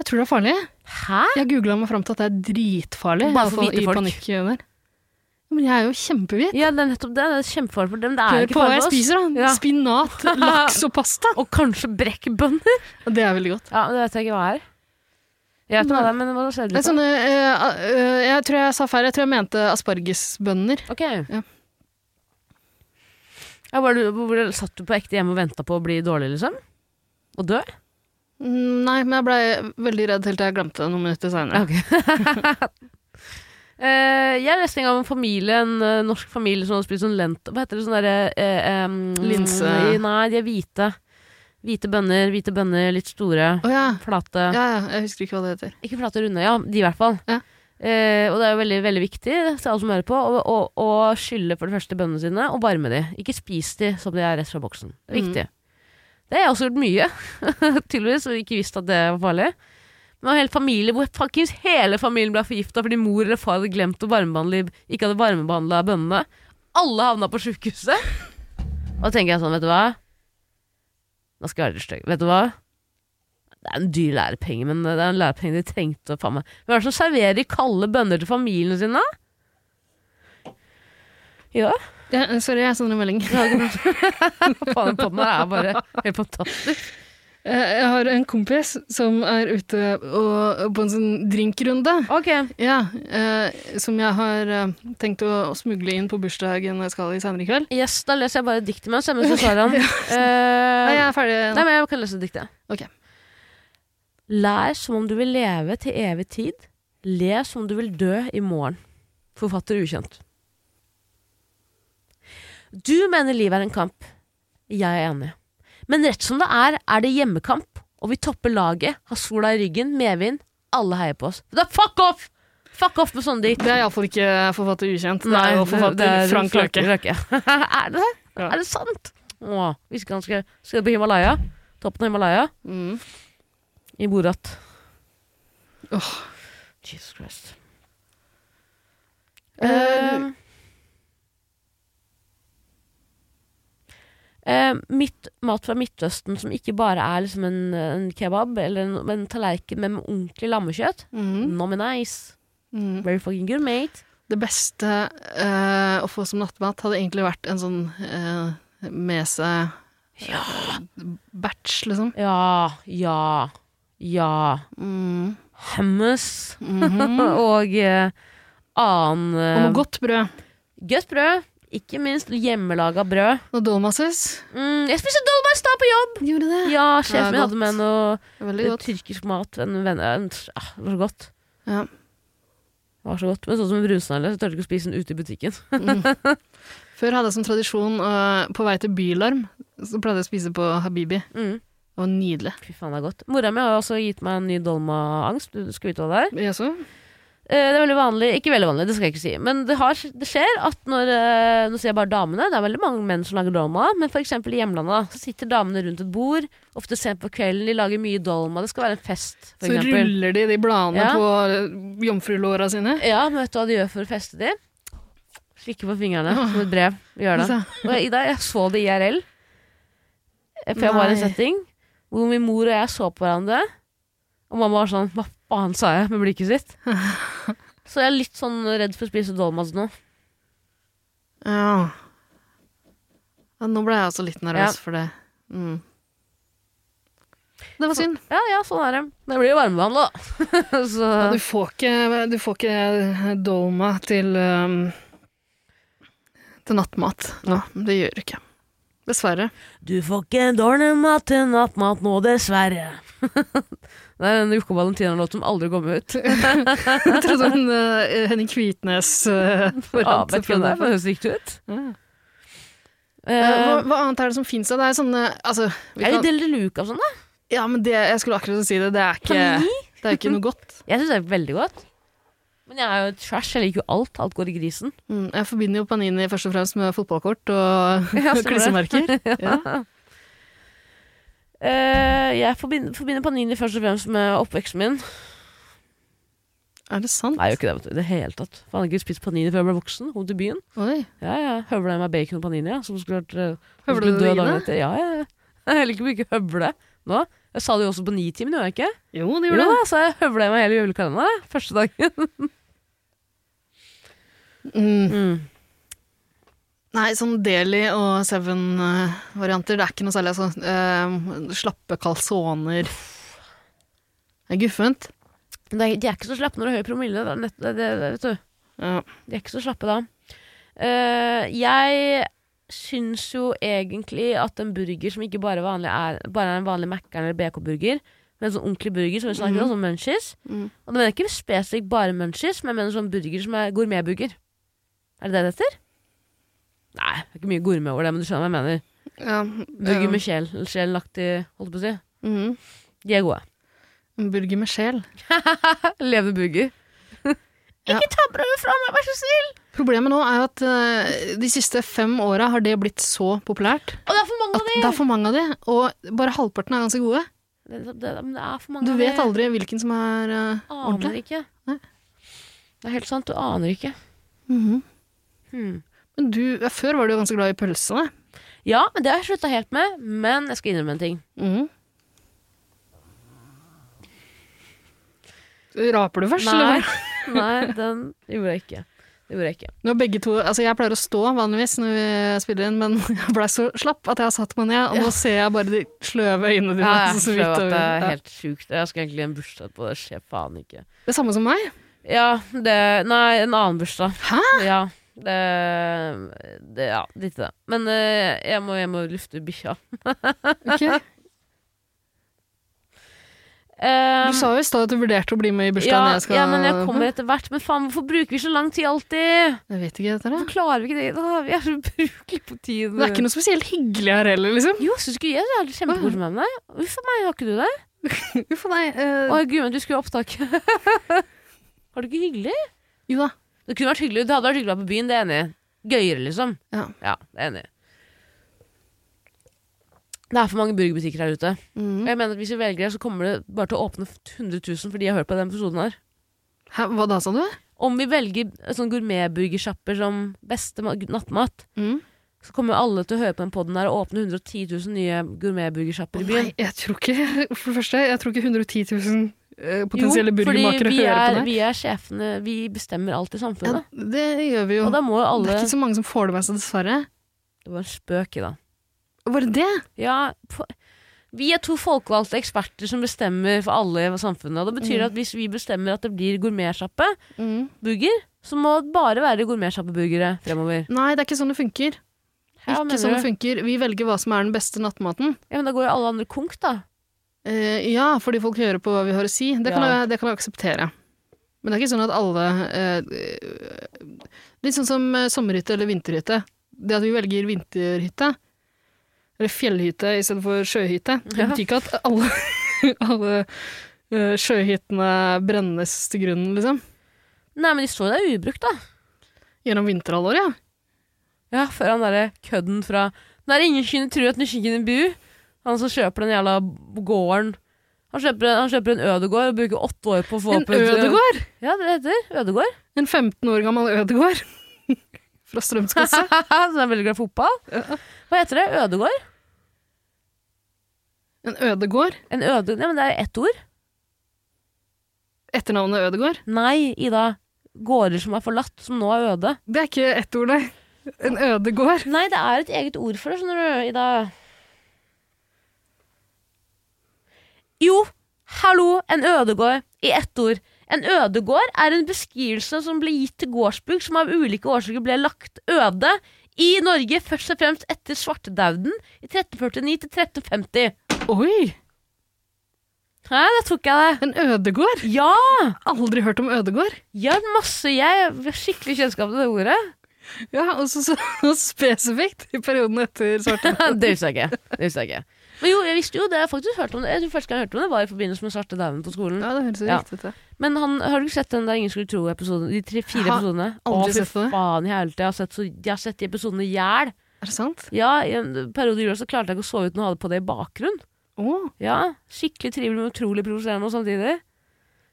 C: Jeg tror det er farlig.
B: Hæ?
C: Jeg googla meg fram til at det er dritfarlig.
B: Bare
C: jeg
B: for
C: var
B: hvite
C: i
B: folk.
C: panikk der. Men jeg er jo kjempehvit.
B: Ja, det er nettopp det. Det er kjempefarlig for dem. Det er
C: Hør
B: ikke
C: på hva
B: farlig
C: jeg
B: for oss.
C: spiser, da.
B: Ja.
C: Spinat, laks og pasta.
B: Og kanskje brekkbønner.
C: Og Det er veldig godt.
B: Ja, det vet jeg ikke hva er. Jeg vet hva det er, men hva ser
C: Det
B: det
C: er
B: ut som?
C: sånne, eh, eh, jeg tror jeg sa feil. Jeg tror jeg mente aspargesbønner.
B: Ok. Ja, var du, hvor, satt du på ekte hjemme og venta på å bli dårlig, liksom? Og dø?
C: Mm, Nei, men jeg blei veldig redd helt til jeg glemte det noen minutter seinere.
B: Ok. Eh, jeg leste en gang om en familie, en eh, norsk familie som hadde spist sånn lent... Hva heter det sånn derre eh, em,
C: Linse.
B: Nei, de er hvite. Hvite bønner, hvite bønner, litt store.
C: Å ja.
B: Flate.
C: Ja, ja, jeg husker ikke hva det heter.
B: Ikke flate runde, ja. De i hvert fall.
C: Ja.
B: Eh, og det er jo veldig veldig viktig til alle som hører på, å, å, å skylle for det første bønnene sine, og varme de. Ikke spis de som de er rett fra boksen. Det er
C: Mm.
B: viktig. Det har jeg også gjort mye, tydeligvis, og ikke visst at det var farlig. Men det var en hel familie hvor fuckings hele familien ble forgifta fordi mor eller far hadde glemt å varmebehandle Ikke hadde varmebehandla bønnene. Alle havna på sjukehuset. Og da tenker jeg sånn, vet du hva? Da skal jeg være litt stygg. Vet du hva? Det er en dyr lærepenge, men det er en lærepenge de trengte. Faen meg. Hvem er det som serverer kalde bønner til familien sin, da? Ja,
C: Ja, sorry, jeg sender en melding.
B: faen, den podden her er bare helt fantastisk.
C: Eh, Jeg har en kompis som er ute og, på en sånn drinkrunde.
B: Ok.
C: Ja, eh, som jeg har eh, tenkt å, å smugle inn på bursdagen jeg skal i senere i kveld.
B: Yes, da leser jeg bare diktet mens jeg mens jeg svarer han.
C: Nei,
B: Eh,
C: jeg er ferdig
B: nei,
C: nå.
B: men jeg kan lese diktet.
C: Ok.
B: Lær som om du vil leve til evig tid. Le som om du vil dø i morgen. Forfatter ukjent. Du mener livet er en kamp. Jeg er enig. Men rett som det er, er det hjemmekamp. Og vi topper laget, har sola i ryggen, medvind. Alle heier på oss. Da fuck off! Fuck off med sånne dikt.
C: Det er iallfall ikke forfatter ukjent. Det er jo forfatter Frank Løke.
B: er det det?
C: Ja.
B: Er det sant? Åh, visste ikke han skal, skal på Himalaya. Toppen av Himalaya.
C: Mm.
B: I Borat.
C: Åh.
B: Jesus Christ.
C: Eh,
B: Ehm. Ehm, mitt, mat fra Midtøsten som ikke bare er liksom en, en kebab eller en, men en tallerken med med ordentlig lammekjøtt.
C: Mm.
B: Nom and ice.
C: Mm.
B: Very fucking gourmet.
C: Det beste eh, å få som nattmat hadde egentlig vært en sånn uh, med seg eh, batch, liksom.
B: Ja, ja, ja.
C: Mm.
B: Hummus. Mm.
C: Mhm.
B: og eh, annen
C: Og
B: eh,
C: noe godt brød.
B: Godt brød. Ikke minst hjemmelaga brød.
C: Noe dolmases.
B: Mm, jeg spiste dolmais da på jobb!
C: Gjorde det.
B: Ja, sjefen
C: Ja,
B: min
C: godt.
B: hadde med noe
C: Veldig godt.
B: tyrkisk mat. En venn, en, ah, det var så godt.
C: Ja.
B: Det var så godt. Men sånn som brunsnegler, så tør du ikke å spise den ute i butikken.
C: Mm. Før hadde jeg som tradisjon eh, på vei til bylarm, så pleide jeg å spise på Habibi.
B: Mm.
C: Det var nydelig.
B: Fy faen, det er godt. Mora mi har jo også gitt meg en ny dolmaangst. Du skal vite hva det er.
C: Jaså?
B: Eh, Det er veldig vanlig, ikke veldig vanlig, det skal jeg ikke si. Men det, har, det skjer at når eh, Nå sier jeg bare damene, det er veldig mange menn som lager dolma. Men f.eks. i hjemlandet da, så sitter damene rundt et bord, ofte sent på kvelden. De lager mye dolma, det skal være en fest,
C: Så
B: f.eks.
C: ruller de de bladene
B: Ja.
C: på eh, jomfrulåra sine.
B: Ja, men vet du hva de gjør for å feste de? Slikker på fingrene som et brev. Gjør det.
C: Så,
B: Og Ida, jeg så det IRL. eh, For jeg var i en
C: Nei.
B: setting hvor min mor og jeg så på hverandre. Og mamma var sånn Hva faen sa jeg? med blikket sitt. Så jeg er litt sånn redd for å spise dolmas nå.
C: ja. ja. Nå ble jeg altså litt nervøs for det. Mm. Det var synd.
B: Ja, ja, sånn er det. Det blir jo varmebehandla, da. så
C: Ja, du, får ikke, du får ikke dolma til, ehm, til nattmat nå. Det gjør du ikke. Dessverre.
B: Du får ikke dårlig mat til nattmat nå, dessverre. det er en Jokke Valentina-låt som aldri kommer ut.
C: Jeg trodde hun, eh, Henning Kvitnes eh,
B: Ja,
C: foran
B: vet ikke hva det er, men det høres riktig ut.
C: Ja. Eh, Hva,
B: Eh,
C: hva annet er det som fins av det? Er sånne, altså, vi
B: er det
C: kan,
B: Del de Luca og sånn, da?
C: ja, men det, jeg skulle akkurat si det. Det er ikke, det er ikke noe godt.
B: Jeg syns det er veldig godt. Men jeg er jo trash, jeg liker jo alt. Alt går i grisen.
C: Mm, jeg forbinder jo Panini først og fremst med fotballkort og
B: Ja, stemmer det.
C: klissemerker. Ja.
B: Eh, jeg forbinder, forbinder Panini først og fremst med oppveksten min.
C: Er det sant?
B: Nei, jeg gjør ikke det, vet du. I det hele tatt. Faen, jeg har ikke spist Panini før jeg ble voksen. Kom til byen.
C: Oi.
B: Ja, ja. Høvla i meg bacon og panini, ja. Som skulle vært eh, som
C: Høvla
B: skulle
C: du
B: dø
C: det i
B: dagen
C: deg?
B: etter. Ja, ja. ja. Jeg liker mye høvle nå. Jeg sa det jo også på Nitimen, gjorde jeg ikke?
C: Jo, det
B: Jo
C: gjorde
B: da,
C: det.
B: så jeg høvla i meg hele julekalenderen jeg, første dagen.
C: Mm. Nei, sånn Deli og Seven-varianter, det er ikke noe særlig. Altså. Eh, slappe calzoner. Det er guffent.
B: Men det er- De er ikke så slappe når det er høy promille, da. Nett, det, det, det, vet du.
C: Ja.
B: De er ikke så slappe da. Eh, jeg syns jo egentlig at en burger som ikke bare, vanlig er, bare er en vanlig Mækkern eller BK-burger, men en sånn ordentlig burger som vi snakker om, som munchies
C: Mhm.
B: Og da mener jeg ikke spesifikt bare munchies, men jeg mener sånn burger som er gourmetburger. Er det det det heter? Nei, det er ikke mye gourmet over det, men du skjønner hva jeg mener.
C: Ja,
B: Burger
C: eh,
B: med sjel, eller sjelaktig, holdt jeg på å si.
C: mhm.
B: De er gode.
C: En burger med sjel.
B: Levende burger.
C: Ja.
B: Ikke ta brødet fra meg, vær så snill!
C: Problemet nå er jo at eh, de siste fem åra har det blitt så populært
B: Og det er for mange
C: at
B: av de!
C: det er for mange av de, og bare halvparten er ganske gode.
B: Det, det, det, men det er for mange
C: Du
B: av de.
C: vet aldri hvilken som er eh,
B: aner
C: ordentlig.
B: ikke.
C: Nei.
B: Det er helt sant, du aner ikke. Mm-hmm.
C: Mhm.
B: Hmm.
C: Men du, ja, før var du jo ganske glad i pølsene.
B: Ja, men det har jeg slutta helt med. Men jeg skal innrømme en ting.
C: Mhm. Raper du først, eller?
B: Nei, den gjorde jeg ikke. Det gjorde jeg ikke.
C: Nå er begge to, altså jeg pleier å stå vanligvis når vi spiller inn, men jeg blei så slapp at jeg har satt meg ned, og nå ser jeg bare de sløve øynene dine.
B: Ja, jeg
C: så
B: skjønner
C: vidt
B: at
C: over-
B: det er
C: Ja.
B: helt sjukt. Jeg skal egentlig i en bursdag på det, skjer faen ikke.
C: det samme som meg.
B: Ja, det Nei, en annen bursdag.
C: Hæ?
B: Ja. Det, det Ja, litt det. Men eh, jeg må, jeg må lufte bikkja.
C: Ok.
B: Um,
C: Du sa jo i stad at du vurderte å bli med i bursdagen
B: Ehm, ja,
C: jeg skal
B: ja, men jeg kommer etter hvert. Men faen, hvorfor bruker vi så lang tid alltid?
C: Jeg vet ikke dette, da.
B: Hvorfor klarer vi ikke det? Da, vi er så ubrukelige på tid.
C: Det er ikke noe spesielt hyggelig her heller, liksom.
B: Jo, jeg syns ikke jeg er kjempekoselig med deg. Uff a meg, har ikke du det?
C: Uff a meg.
B: Å, jeg gruer meg til du skulle ha opptak. Har du ikke hyggelig?
C: jo da.
B: Det kunne vært hyggelig. Det hadde vært hyggelig å være på byen, det er jeg enig i. Gøyere, liksom.
C: Ja.
B: det er jeg enig i. Det er for mange burgerbutikker her ute. Og
C: Mm.
B: jeg mener at Hvis vi velger det, så kommer det bare til å åpne 100 000 fordi jeg har hørt på den episoden her.
C: Hæ, hva da, sa du?
B: Om vi velger sånn gourmetburgersjapper som beste ma- nattmat, så kommer alle til å høre på den podden her og åpne 110 000 nye gourmetburgersjapper i byen.
C: Nei, jeg tror ikke For det første, jeg tror ikke 110 000 eh, potensielle burgermakere
B: vi
C: hører
B: er,
C: på det.
B: Vi er sjefene, vi bestemmer alt i
C: Ja,
B: samfunnet.
C: det gjør vi jo.
B: Og da må jo
C: Det
B: alle
C: er ikke så mange som får det med seg, dessverre.
B: Det var en spøk i dag.
C: Var det det?
B: Ja, på... Vi er to folkevalgte eksperter som bestemmer for alle i samfunnet. Og det betyr at hvis vi bestemmer at det blir gourmetsjappe Mm. burger, så må det bare være gourmetsjappeburgere fremover.
C: Nei, det er ikke sånn det funker.
B: Ja,
C: ikke
B: mener
C: sånn
B: du?
C: det funker. Vi velger hva som er den beste nattmaten.
B: Ja, men da går jo alle andre konk, da.
C: Eh, ja, fordi folk hører på hva vi har å si. Det kan,
B: Ja.
C: jeg, det kan jeg akseptere. Men det er ikke sånn at alle eh, Litt sånn som eh, sommerhytte eller vinterhytte. Det at vi velger vinterhytte, eller fjellhytte istedenfor sjøhytte, det
B: Ja.
C: betyr ikke at alle, alle eh, sjøhyttene brennes til grunnen, liksom.
B: Nei, men de står jo der ubrukt, da.
C: Gjennom vinterhalvåret, ja.
B: Ja, Før han derre kødden fra Når ingen kunne tro at Nyskinken bu Han som kjøper den jævla gården han kjøper, han kjøper en ødegård og bruker åtte år på å få
C: En
B: opp et-
C: ødegård!
B: Ja, det heter ødegård.
C: En 15 år gammel ødegård fra Strømsgodset.
B: Som er veldig glad i fotball. Hva heter det? Ødegård?
C: En ødegård.
B: En øde... Nei, men det er ett ord.
C: Etternavnet Ødegård.
B: Nei, Ida. Gårder som er forlatt, som nå er øde.
C: Det er ikke ett ord, nei. En ødegård.
B: Nei, det er et eget ord for det, skjønner du, Ida. Jo, hallo, en ødegård i ett ord. En ødegård er en beskrivelse som ble gitt til gårdsbruk som av ulike årsaker ble lagt øde i Norge først og fremst etter svartedauden i 1349 til 1350.
C: Oi!
B: Hæ, da tok jeg det.
C: En ødegård?
B: Ja!
C: Aldri hørt om ødegård.
B: Jeg har masse, jeg har skikkelig kjennskap til det ordet.
C: Ja, og så, så, og spesifikt i perioden etter svartedauden.
B: det visste jeg ikke. Det visste jeg ikke. Men jo, jeg visste jo det. Jeg har faktisk hørt om det. Jeg tror Første gang jeg hørte om det, var i forbindelse med svartedauden på skolen.
C: Ja, det høres jo
B: Ja.
C: riktig ut, det.
B: Men han, har du ikke sett den der Ingen skulle tro episoden? De tre, fire
C: Har
B: episodene?
C: aldri
B: Å, fy
C: sett det.
B: faen i helvete. Jeg har sett, så, jeg har sett de episodene i hjel.
C: Er det sant?
B: Ja, i en periode i jula så klarte jeg ikke å sove uten å ha det på det i bakgrunn.
C: Å,
B: Ja, Skikkelig trivelig, men utrolig provoserende og samtidig.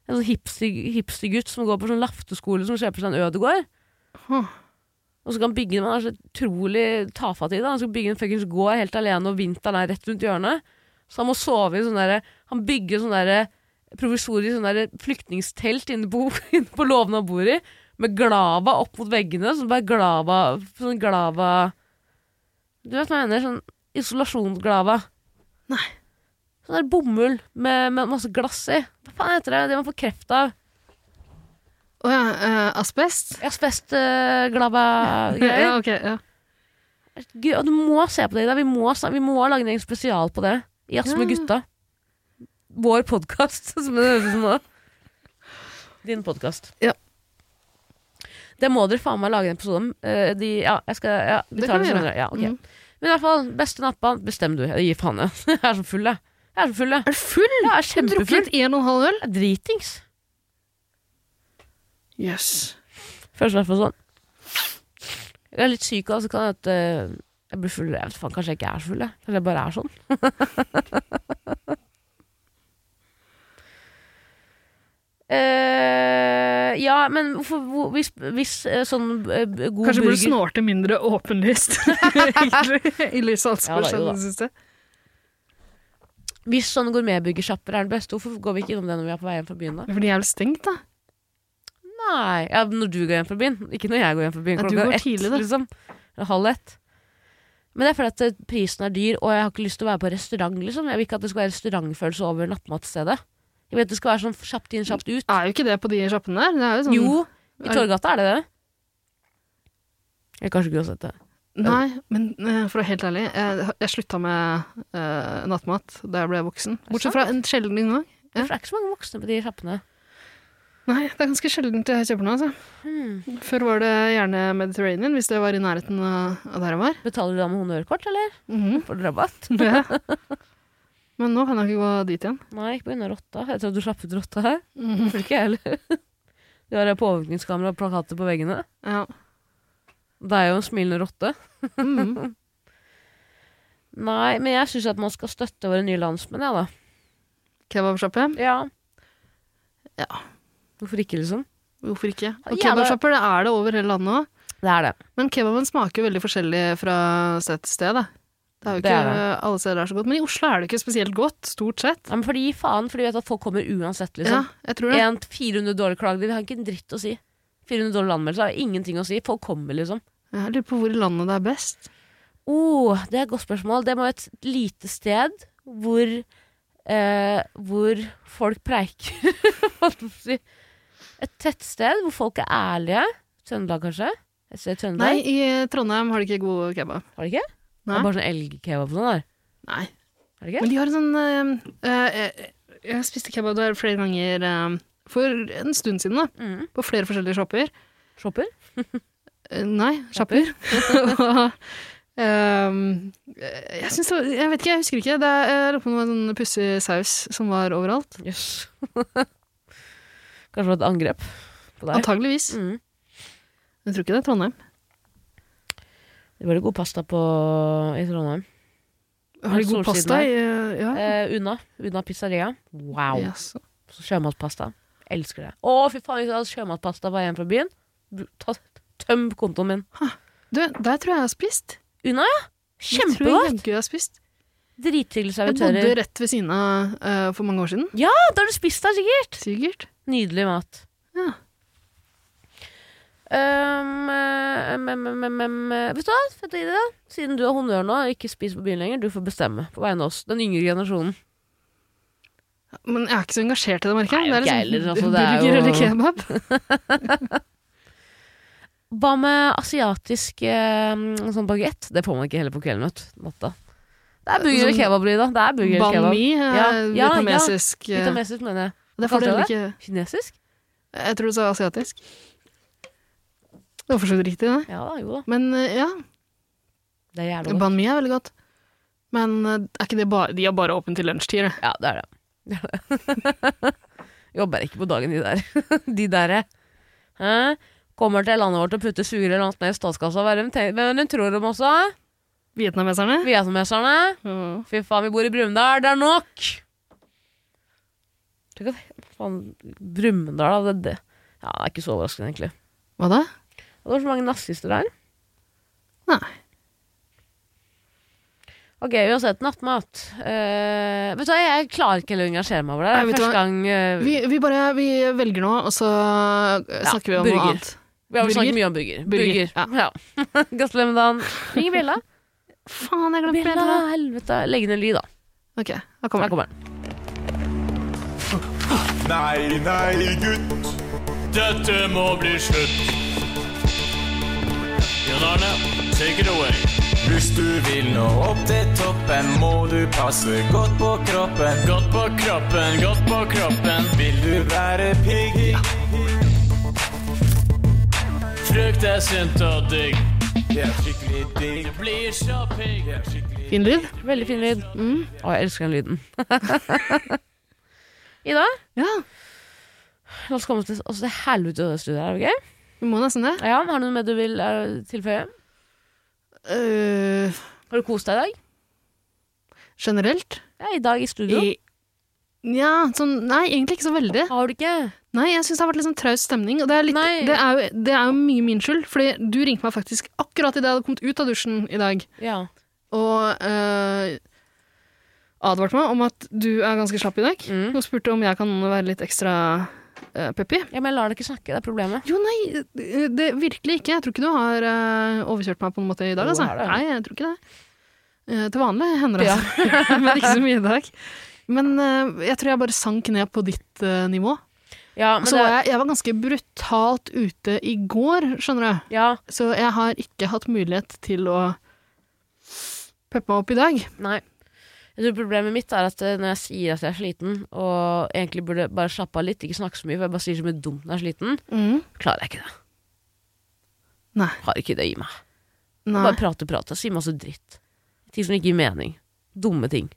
B: En sånn hipster- hipstergutt som går på sånn lafteskole som kjøper seg en ødegård.
C: Huh.
B: Og så skal han bygge Man er så utrolig tafatt i det. Han skal bygge en fuckings gård helt alene, og vinteren er rett rundt hjørnet. Så han må sove i sånn derre Han bygger sånn derre provisorisk sånn derre flyktningstelt inne på, inne på låven han bor i, med glava opp mot veggene. Sånn bare glava Sånn glava Du vet hva jeg mener? Sånn isolasjonsglava.
C: Nei.
B: Sånn der bomull med, med masse glass i. Hva faen heter det? Det man får kreft av.
C: Å ja, eh, asbest?
B: eh, Asbestglava-greier.
C: Ja, ok, ja.
B: Gud, og du må se på det, Ida. Vi må, sa- vi må lage en egen spesial på det. Jazz med
C: Ja.
B: gutta. Vår podkast, som det høres ut som nå. Din podkast.
C: Ja.
B: Det må dere faen meg lage en episode om. Eh, de, ja, jeg skal, ja, vi
C: Det
B: tar
C: kan
B: det
C: vi gjøre.
B: senere. Ja, ok.
C: Mm.
B: Men i hvert fall, beste nattband, bestem du. Jeg gir faen, jeg. Jeg er så full, jeg. Jeg er så full, jeg.
C: Er du full?
B: Jeg er
C: Du har
B: kjempefull.
C: drukket en og en halv øl?
B: Jeg er dritings.
C: Jøss.
B: Føles i hvert fall sånn. Jeg er litt syk, og så kan jeg at eh, jeg blir full. Jeg vet faen, kanskje jeg ikke er så full, jeg. Kanskje jeg bare er sånn. Eh, ja, men hvorfor, hvor, hvis, hvis eh, sånn eh, b- god
C: Kanskje burde
B: burger
C: du snorte mindre åpenlyst, egentlig, i lys av alt som
B: Ja,
C: har
B: da, jo
C: skjedd i
B: da.
C: det siste.
B: Hvis sånn gourmetburgersjapper er den beste, hvorfor går vi ikke innom det når vi er på vei hjem fra byen da?
C: Det er fordi jeg er vel stengt, da.
B: Nei. Ja, når du går hjem fra byen. Ikke når jeg går hjem fra byen
C: Ja, du
B: klokka
C: går
B: ett.
C: tidlig, da.
B: Liksom. Eller Halv ett. Men det er fordi at eh, prisen er dyr, og jeg har ikke lyst til å være på restaurant. Liksom. Jeg vil ikke at det skal være restaurantfølelse over nattmatstedet. Jeg vil at det skal være sånn kjapt inn, kjapt ut.
C: Er jo ikke det på de sjappene der? Det er jo sånn
B: Jo, i
C: Er-
B: Torgata er det det. Jeg kanskje ikke har sett det.
C: Nei, men eh, for å være helt ærlig, jeg, jeg slutta med eh, nattmat da jeg ble voksen. Bortsett fra en sjelden gang. Ja.
B: For det er ikke så mange voksne på de sjappene.
C: Nei, det er ganske sjeldent jeg kjøper noe. Altså.
B: Hmm.
C: Før var det gjerne Mediterranean, hvis det var i nærheten av av der jeg var.
B: Betaler du da med honnørkort, eller?
C: Mhm.
B: Får du rabatt?
C: Ja. Men nå kan jeg ikke gå dit igjen.
B: Nei, ikke pga. rotta. Jeg trodde du slapp ut rotta her.
C: Mhm.
B: Det får du ikke jeg heller. Du har påvirkningskamera og plakater på veggene.
C: Ja.
B: Det er jo en smilende rotte.
C: Mhm.
B: Nei, men jeg syns at man skal støtte våre nye landsmenn, jeg, da.
C: Kebabsjappe?
B: Ja.
C: Ja.
B: Hvorfor ikke, liksom?
C: Hvorfor ikke?
B: Ja,
C: Og
B: det-
C: kebabsjapper det er det over hele landet òg.
B: Det er det.
C: Men kebaben smaker jo veldig forskjellig fra sted til sted. Da. Det er jo
B: Det
C: ikke
B: er
C: alle steder det er så godt. Men i Oslo er det ikke spesielt godt, stort sett.
B: Ja, men fordi faen, fordi vi vet at folk kommer uansett,
C: Ja,
B: liksom.
C: jeg tror det.
B: En 400 dollar klagde, vi har ikke en dritt å si. 400 dollar anmeldelse har ingenting å si. Folk kommer, liksom.
C: Jeg lurer på hvor i landet det er best.
B: oh, det er et godt spørsmål. Det må være et lite sted hvor eh, Hvor folk preiker, hva skal jeg si. Et tettsted hvor folk er ærlige. Trøndelag, kanskje? Et sted i
C: Nei,
B: Trøndelag?
C: i Trondheim har de ikke god kebab.
B: Har de ikke? Det
C: Nei.
B: er bare sånn elgkebab og sånn der.
C: Nei.
B: Er det
C: Men
B: ikke?
C: de har en sånn eh, eh, Jeg spiste kebab der flere ganger eh, for en stund siden, da.
B: Mm.
C: På flere forskjellige sjapper.
B: Shopper?
C: Eh, nei, sjapper. Og, ehm, eh, jeg syns det var Jeg vet ikke, jeg husker ikke. Det er, jeg lurer på om det var en sånn pussig saus som var overalt.
B: Jøss. Kanskje det var et angrep på deg.
C: Antageligvis.
B: Mm.
C: Jeg tror ikke det er Trondheim.
B: Det var det god pasta på, i Trondheim.
C: Har de god
B: Solsiden
C: pasta?
B: her.
C: i, eh, Ja.
B: Eh, Unna. Unna pizzeria. Wow.
C: Jaså.
B: Så sjømatpasta. Elsker det. Å, fy faen, hvis jeg hadde sjømatpasta på vei hjem fra byen Bl- ta, Tøm kontoen min.
C: Du, der tror jeg jeg har spist.
B: Unna, ja!
C: Jeg tror jeg
B: Kjempegodt!
C: jaggu jeg har spist.
B: Drithyggelige
C: Jeg bodde
B: servitører.
C: rett ved siden av eh, for mange år siden.
B: Ja, da har du spist der, sikkert!
C: Sikkert.
B: Nydelig mat.
C: Ja.
B: Um, eh, mm, mm, mm, mm, eh, vet du hva, fett idé. Siden du er honnør nå, og ikke spiser på byen lenger, du får bestemme på vegne av oss. Den yngre generasjonen.
C: Men jeg er ikke så engasjert i det, merker jeg.
B: Nei,
C: Det
B: ikke
C: er
B: jeg heller,
C: liksom
B: altså, det er
C: burger
B: jo-
C: eller kebab.
B: Hva med asiatisk eh, sånn bagett? Det får man ikke heller på kvelden, vet du. Natta. Det er burger og
C: Sånn
B: kebab, Lyda. Det er burger og
C: Banh
B: kebab.
C: mi, eh,
B: Ja, ja,
C: vietnamesisk eh,
B: Vietnamesisk, mener jeg.
C: Det er
B: Hva kalte
C: fordel
B: du
C: ikke
B: Kinesisk?
C: Jeg tror du sa asiatisk. Det var for så vidt riktig, det.
B: Ja da, jo da.
C: Men eh, ja,
B: Det er jævlig godt.
C: banh mi er veldig godt. Men eh, er ikke det bare De har bare åpent til lunsjtid, det.
B: Ja, det er det. det, er det. Jobber ikke på dagen, de der. de der, eh. Hæ? Kommer til landet vårt og putter sugerør eller annet ned i statskassa. Hva er det de tenker- Hvem er det de tror de også?
C: Vietnameserne.
B: Vietnameserne?
C: Ja.
B: sånn, eh. Fy faen, vi bor i Brumunddal, det er nok! Tenk at faen, Brumunddal, da. Det, det. Ja, det er ikke så overraskende, egentlig.
C: Hva da?
B: Det var så mange nazister der.
C: Nei.
B: Ok, uansett, nattmat. Eh, vet du hva, jeg klarer ikke heller å engasjere meg over det.
C: Nei, vet du
B: Første
C: hva?
B: gang eh, vi,
C: Vi, vi bare vi velger nå, og så eh,
B: Ja,
C: snakker vi om
B: burger.
C: noe
B: har
C: annet.
B: jo
C: burger?
B: snakket mye om burger.
C: Burger,
B: Ja. Gratulerer med dagen. Ring Bjella.
C: Faen, jeg glemte
B: Bjella,
C: bjella!
B: helvete. Legg ned lyd, da.
C: Ok, da
B: Her
C: kommer den.
B: kommer den.
E: Nei, nei, gutt.
F: Dette må bli slutt. Jon Arne, take it away.
E: Hvis du vil nå opp til toppen, må du passe godt på kroppen.
F: Godt på kroppen, godt på kroppen.
E: Vil du være pigg?
F: Frukt er sunt og digg.
E: Det er skikkelig digg.
F: Du blir så pigg.
E: Det er skikkelig
C: Fin lyd?
B: Veldig fin lyd. Mm. Å, jeg elsker den lyden. Ida,
C: Ja,
B: la oss komme til oss til helvete i det studioet her, ok?
C: vi må nesten det.
B: Ja, har du noe mer du vil eh, tilføye?
C: Eh,
B: Har du kost deg i dag?
C: generelt?
B: Ja, i dag i studio.
C: I, ja, sånn Nei, egentlig ikke så veldig.
B: Har du ikke?
C: Nei, jeg syns det har vært litt sånn traust stemning. Og det er, litt,
B: Nei.
C: det, er jo, det er jo mye min skyld, fordi du ringte meg faktisk akkurat idet jeg hadde kommet ut av dusjen i dag,
B: Ja.
C: og eh, advarte meg om at du er ganske slapp i dag,
B: Mm.
C: og spurte om jeg kan være litt ekstra eh, Peppi.
B: Ja, men jeg lar deg ikke snakke, det er problemet.
C: Jo, nei, det virkelig ikke. Jeg tror ikke du har eh, overkjørt meg på noen måte i dag,
B: Jo,
C: altså.
B: her er det.
C: Nei, jeg tror ikke det. Eh, til vanlig hender det, altså. Men ikke så mye i dag. Men eh, jeg tror jeg bare sank ned på ditt eh, nivå.
B: Ja, men
C: Så
B: det,
C: var jeg, jeg var ganske brutalt ute i går, skjønner du.
B: ja,
C: Så jeg har ikke hatt mulighet til å peppe meg opp i dag.
B: nei. Jeg tror problemet mitt er at eh, når jeg sier at jeg er sliten, og egentlig burde bare slappe av litt, ikke snakke så mye, for jeg bare sier så mye dumt når jeg er sliten, klarer jeg ikke det.
C: Nei.
B: Har ikke det i meg.
C: Nei.
B: Bare prate, prate, si masse dritt. Ting som ikke gir mening. Dumme ting.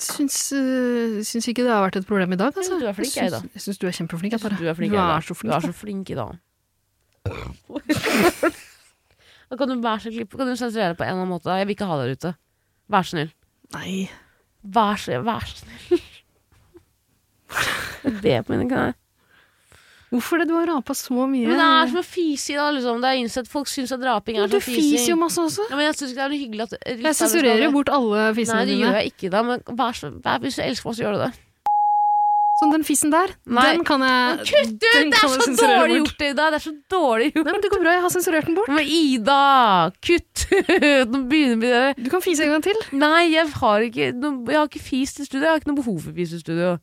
C: Syns, eh, syns ikke det har vært et problem i dag,
B: Jeg
C: altså.
B: synes du er flink, jeg, da.
C: syns- Jeg syns du er kjempeflink.
B: Jeg
C: Jeg bare.
B: synes du er flink,
C: du
B: Ida.
C: er så flink.
B: Du er så flink i dag. Da kan du være så klipp, kan du sensurere det på en eller annen måte. Jeg vil ikke ha deg der ute. Vær så snill.
C: da. Nei.
B: Vær så, vær så snill. Jeg ber på mine knær.
C: Hvorfor det? Du har rapa så mye.
B: Men det er som å fise i det, liksom. Det er innsett. Folk syns at draping
C: Men
B: er
C: du
B: som
C: fiser jo
B: fising.
C: masse også.
B: Ja, men jeg syns ikke det er noe hyggelig at
C: Jeg sensurerer jo bort alle
B: Nei,
C: fisene
B: det gjør
C: dine.
B: jeg ikke, da. Men vær så, vær, hvis du elsker meg, så gjør du det.
C: Sånn den fisen der,
B: Nei.
C: den kan jeg
B: Kutt ut!
C: den
B: Det
C: kan
B: er
C: jeg
B: så
C: sensurere
B: dårlig
C: bort.
B: gjort, Ida. Det er så dårlig gjort.
C: Nei, men det går bra, jeg har sensurert den bort.
B: Men Ida, kutt ut! Nå begynner vi det.
C: Du kan fise en gang til.
B: Nei, jeg har ikke, no, jeg har ikke fist i studio. Jeg har ikke noe behov for fis i studio.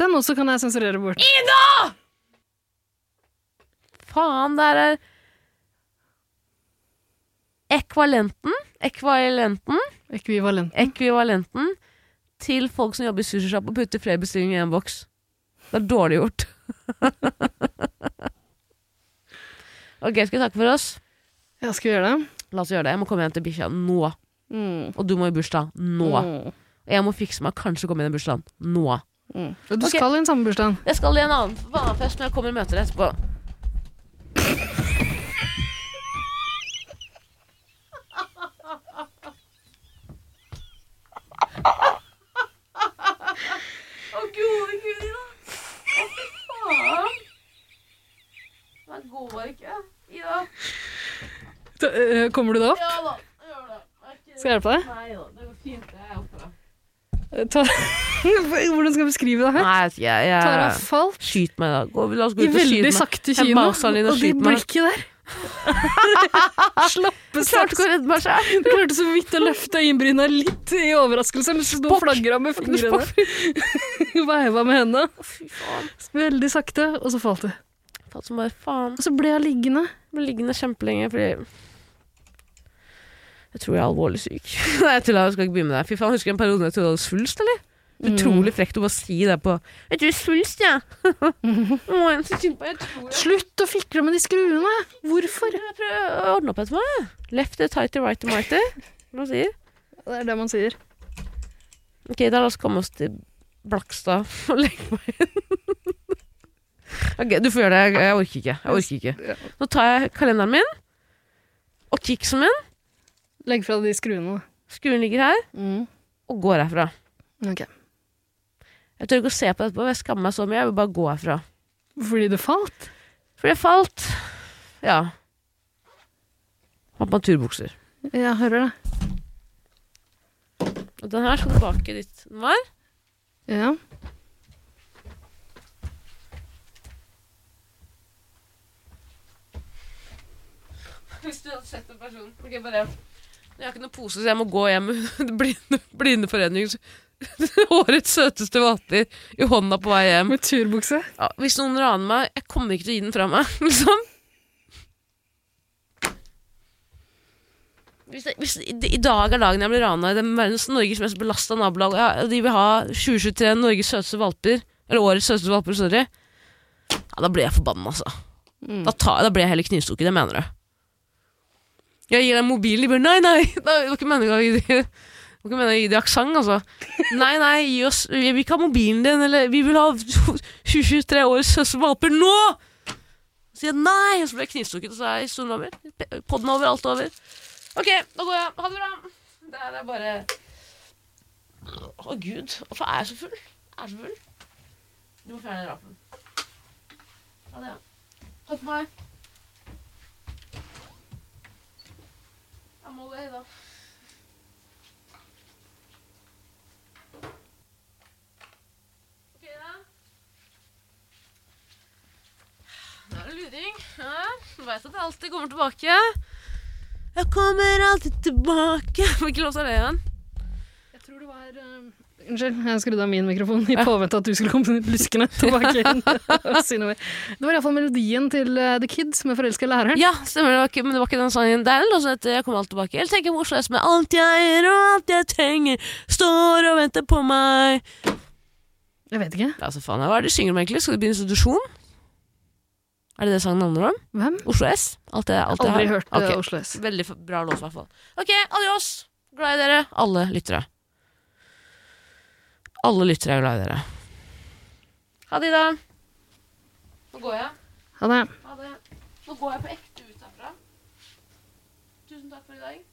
C: Den også kan jeg sensurere bort.
B: Faen, det her er eh, Ekvalenten. Ekvalenten.
C: Ekvivalent.
B: Ekvivalenten til folk som jobber i sushisjapp og putter flere bestillinger i en boks. Det er dårlig gjort. ok, skal vi takke for oss?
C: Jeg skal gjøre det.
B: La oss gjøre det. Jeg må komme hjem til bikkja nå.
C: Mm.
B: Og du må i bursdag nå.
C: Mm.
B: Og jeg må fikse meg, kanskje komme inn i bursdagen nå.
C: Mm. Du
B: Ok.
C: skal i en samme bursdag.
B: Jeg skal i en annen vannfest, men jeg kommer og møter deg etterpå. Å, gode gud, Ida. Å, fy faen. Det går ikke. Ida.
C: Da, øh, Kommer du da opp?
B: Ja eh, da, gjør det. Det er ikke-
C: Skal jeg hjelpe deg? Eh,
B: Nei da, det går fint. Jeg er oppe.
C: Ta... Hvordan skal jeg beskrive det her?
B: Nei, altså, jeg, jeg,
C: Tara falt
B: Skyt meg, da. Gå, la oss gå
C: i
B: ut og skyte
C: veldig
B: meg.
C: sakte
B: Jeg
C: kino,
B: maser han inn og
C: og det
B: skyter meg.
C: blikket der. Slappe
B: Klarte
C: saks.
B: ikke å redde meg selv.
C: Du klarte så vidt å løfte øyenbryna litt i overraskelse, mens du
B: Spokk.
C: flagra med fingrene. Veiva med hendene.
B: Fy faen.
C: Veldig sakte, og så falt du.
B: Faen som bare faen.
C: Og så ble jeg liggende.
B: Ble liggende kjempelenge fordi Jeg tror jeg er alvorlig syk. Nei, jeg tuller, jeg skal ikke begynne med det. Fy faen, Husker du en periode jeg trodde jeg hadde svulst, eller? Utrolig frekt å bare si det på Jeg tror jeg er svulst, jeg. Å, jeg er så synd på deg. Jeg tror jeg
C: Slutt å fikle med de skruene! Hvorfor?
B: Jeg prøver å ordne opp etter meg. Left it tighty, right it mighty. Hva sier
C: Det er det man sier.
B: Ok, da la oss komme oss til Blakstad og legge meg inn. ok, du får gjøre det. Jeg, jeg orker ikke. Jeg orker ikke. Nå tar jeg kalenderen min og kicksen min.
C: Legg fra deg de skruene. da.
B: Skruen ligger her.
C: Mm.
B: Og går herfra.
C: Ok.
B: Jeg tør ikke å se på etterpå. for Jeg skammer meg så mye. Jeg vil bare gå herfra.
C: Fordi du falt?
B: Fordi jeg falt. Ja. Har på meg turbukser.
C: Jeg hører det.
B: Og den her skal tilbake dit den var.
C: Ja.
B: Hvis du hadde sett en person Ok, bare Jeg har ikke noen pose, så jeg må gå hjem med blinde, blindeforeningens Årets søteste vater i hånda på vei hjem.
C: Med turbukse.
B: Ja, hvis noen raner meg, jeg kommer ikke til å gi den fra meg, liksom. Hvis, jeg, hvis i, I dag er dagen jeg blir rana i den verdens Norges mest belasta nabolag. og jeg- og De vil ha 2023 Norges søteste valper. Eller årets søteste valper, sorry. Ja, da blir jeg forbanna, altså. Da, tar, da blir jeg heller knivstukket. Det mener du. Jeg gir deg mobilen, de bare Nei, nei! Det var ikke meningen å gi det Det var ikke meningen å gi det aksent, altså. Nei, nei, gi oss Vi vil ikke ha mobilen din, eller Vi vil ha 23 år søstervalper nå! Så sier jeg nei, og så ble jeg knivstukket, og så er historien over. P- Podden er over, alt er over. Ok, da går jeg. Ha det bra. Det her er bare Å, gud. Hvorfor er jeg så full? Jeg er så full. Du må fjerne rapen. Ha det. ja. Takk for meg. Jeg må gå, jeg, da. Ok, da. Du veit at jeg alltid kommer tilbake. Jeg kommer alltid tilbake. Hvilken låt er det igjen?
C: Jeg tror det var eh, Unnskyld, jeg skrudde av min mikrofon i påvente at du skulle komme luskende tilbake inn. og si noe mer. Det var iallfall melodien til eh, The Kids med 'Forelska læreren'.
B: Ja, stemmer det. var ikke, men det var ikke den sangen. Det er en låt som heter 'Jeg kommer alltid tilbake'. Eller tenker på Oslo S med 'Alt jeg er og alt jeg trenger, står og venter på meg'.
C: Jeg vet ikke.
B: Ja, så faen, Hva er det de synger om egentlig? Skal de bli institusjon? Er det det sangen handler om?
C: Hvem?
B: Oslo S? Alt jeg, alt jeg
C: Aldri
B: har.
C: hørt eh,
B: Ok.
C: Oslo S.
B: Veldig f- bra låt, i hvert fall. Ok, adios! Glad i dere, alle lyttere. Alle lyttere er glad i dere. Ha det, Ida. Nå går jeg.
C: Ha det.
B: Ha det. Nå går jeg på ekte ut herfra. Tusen takk for i dag.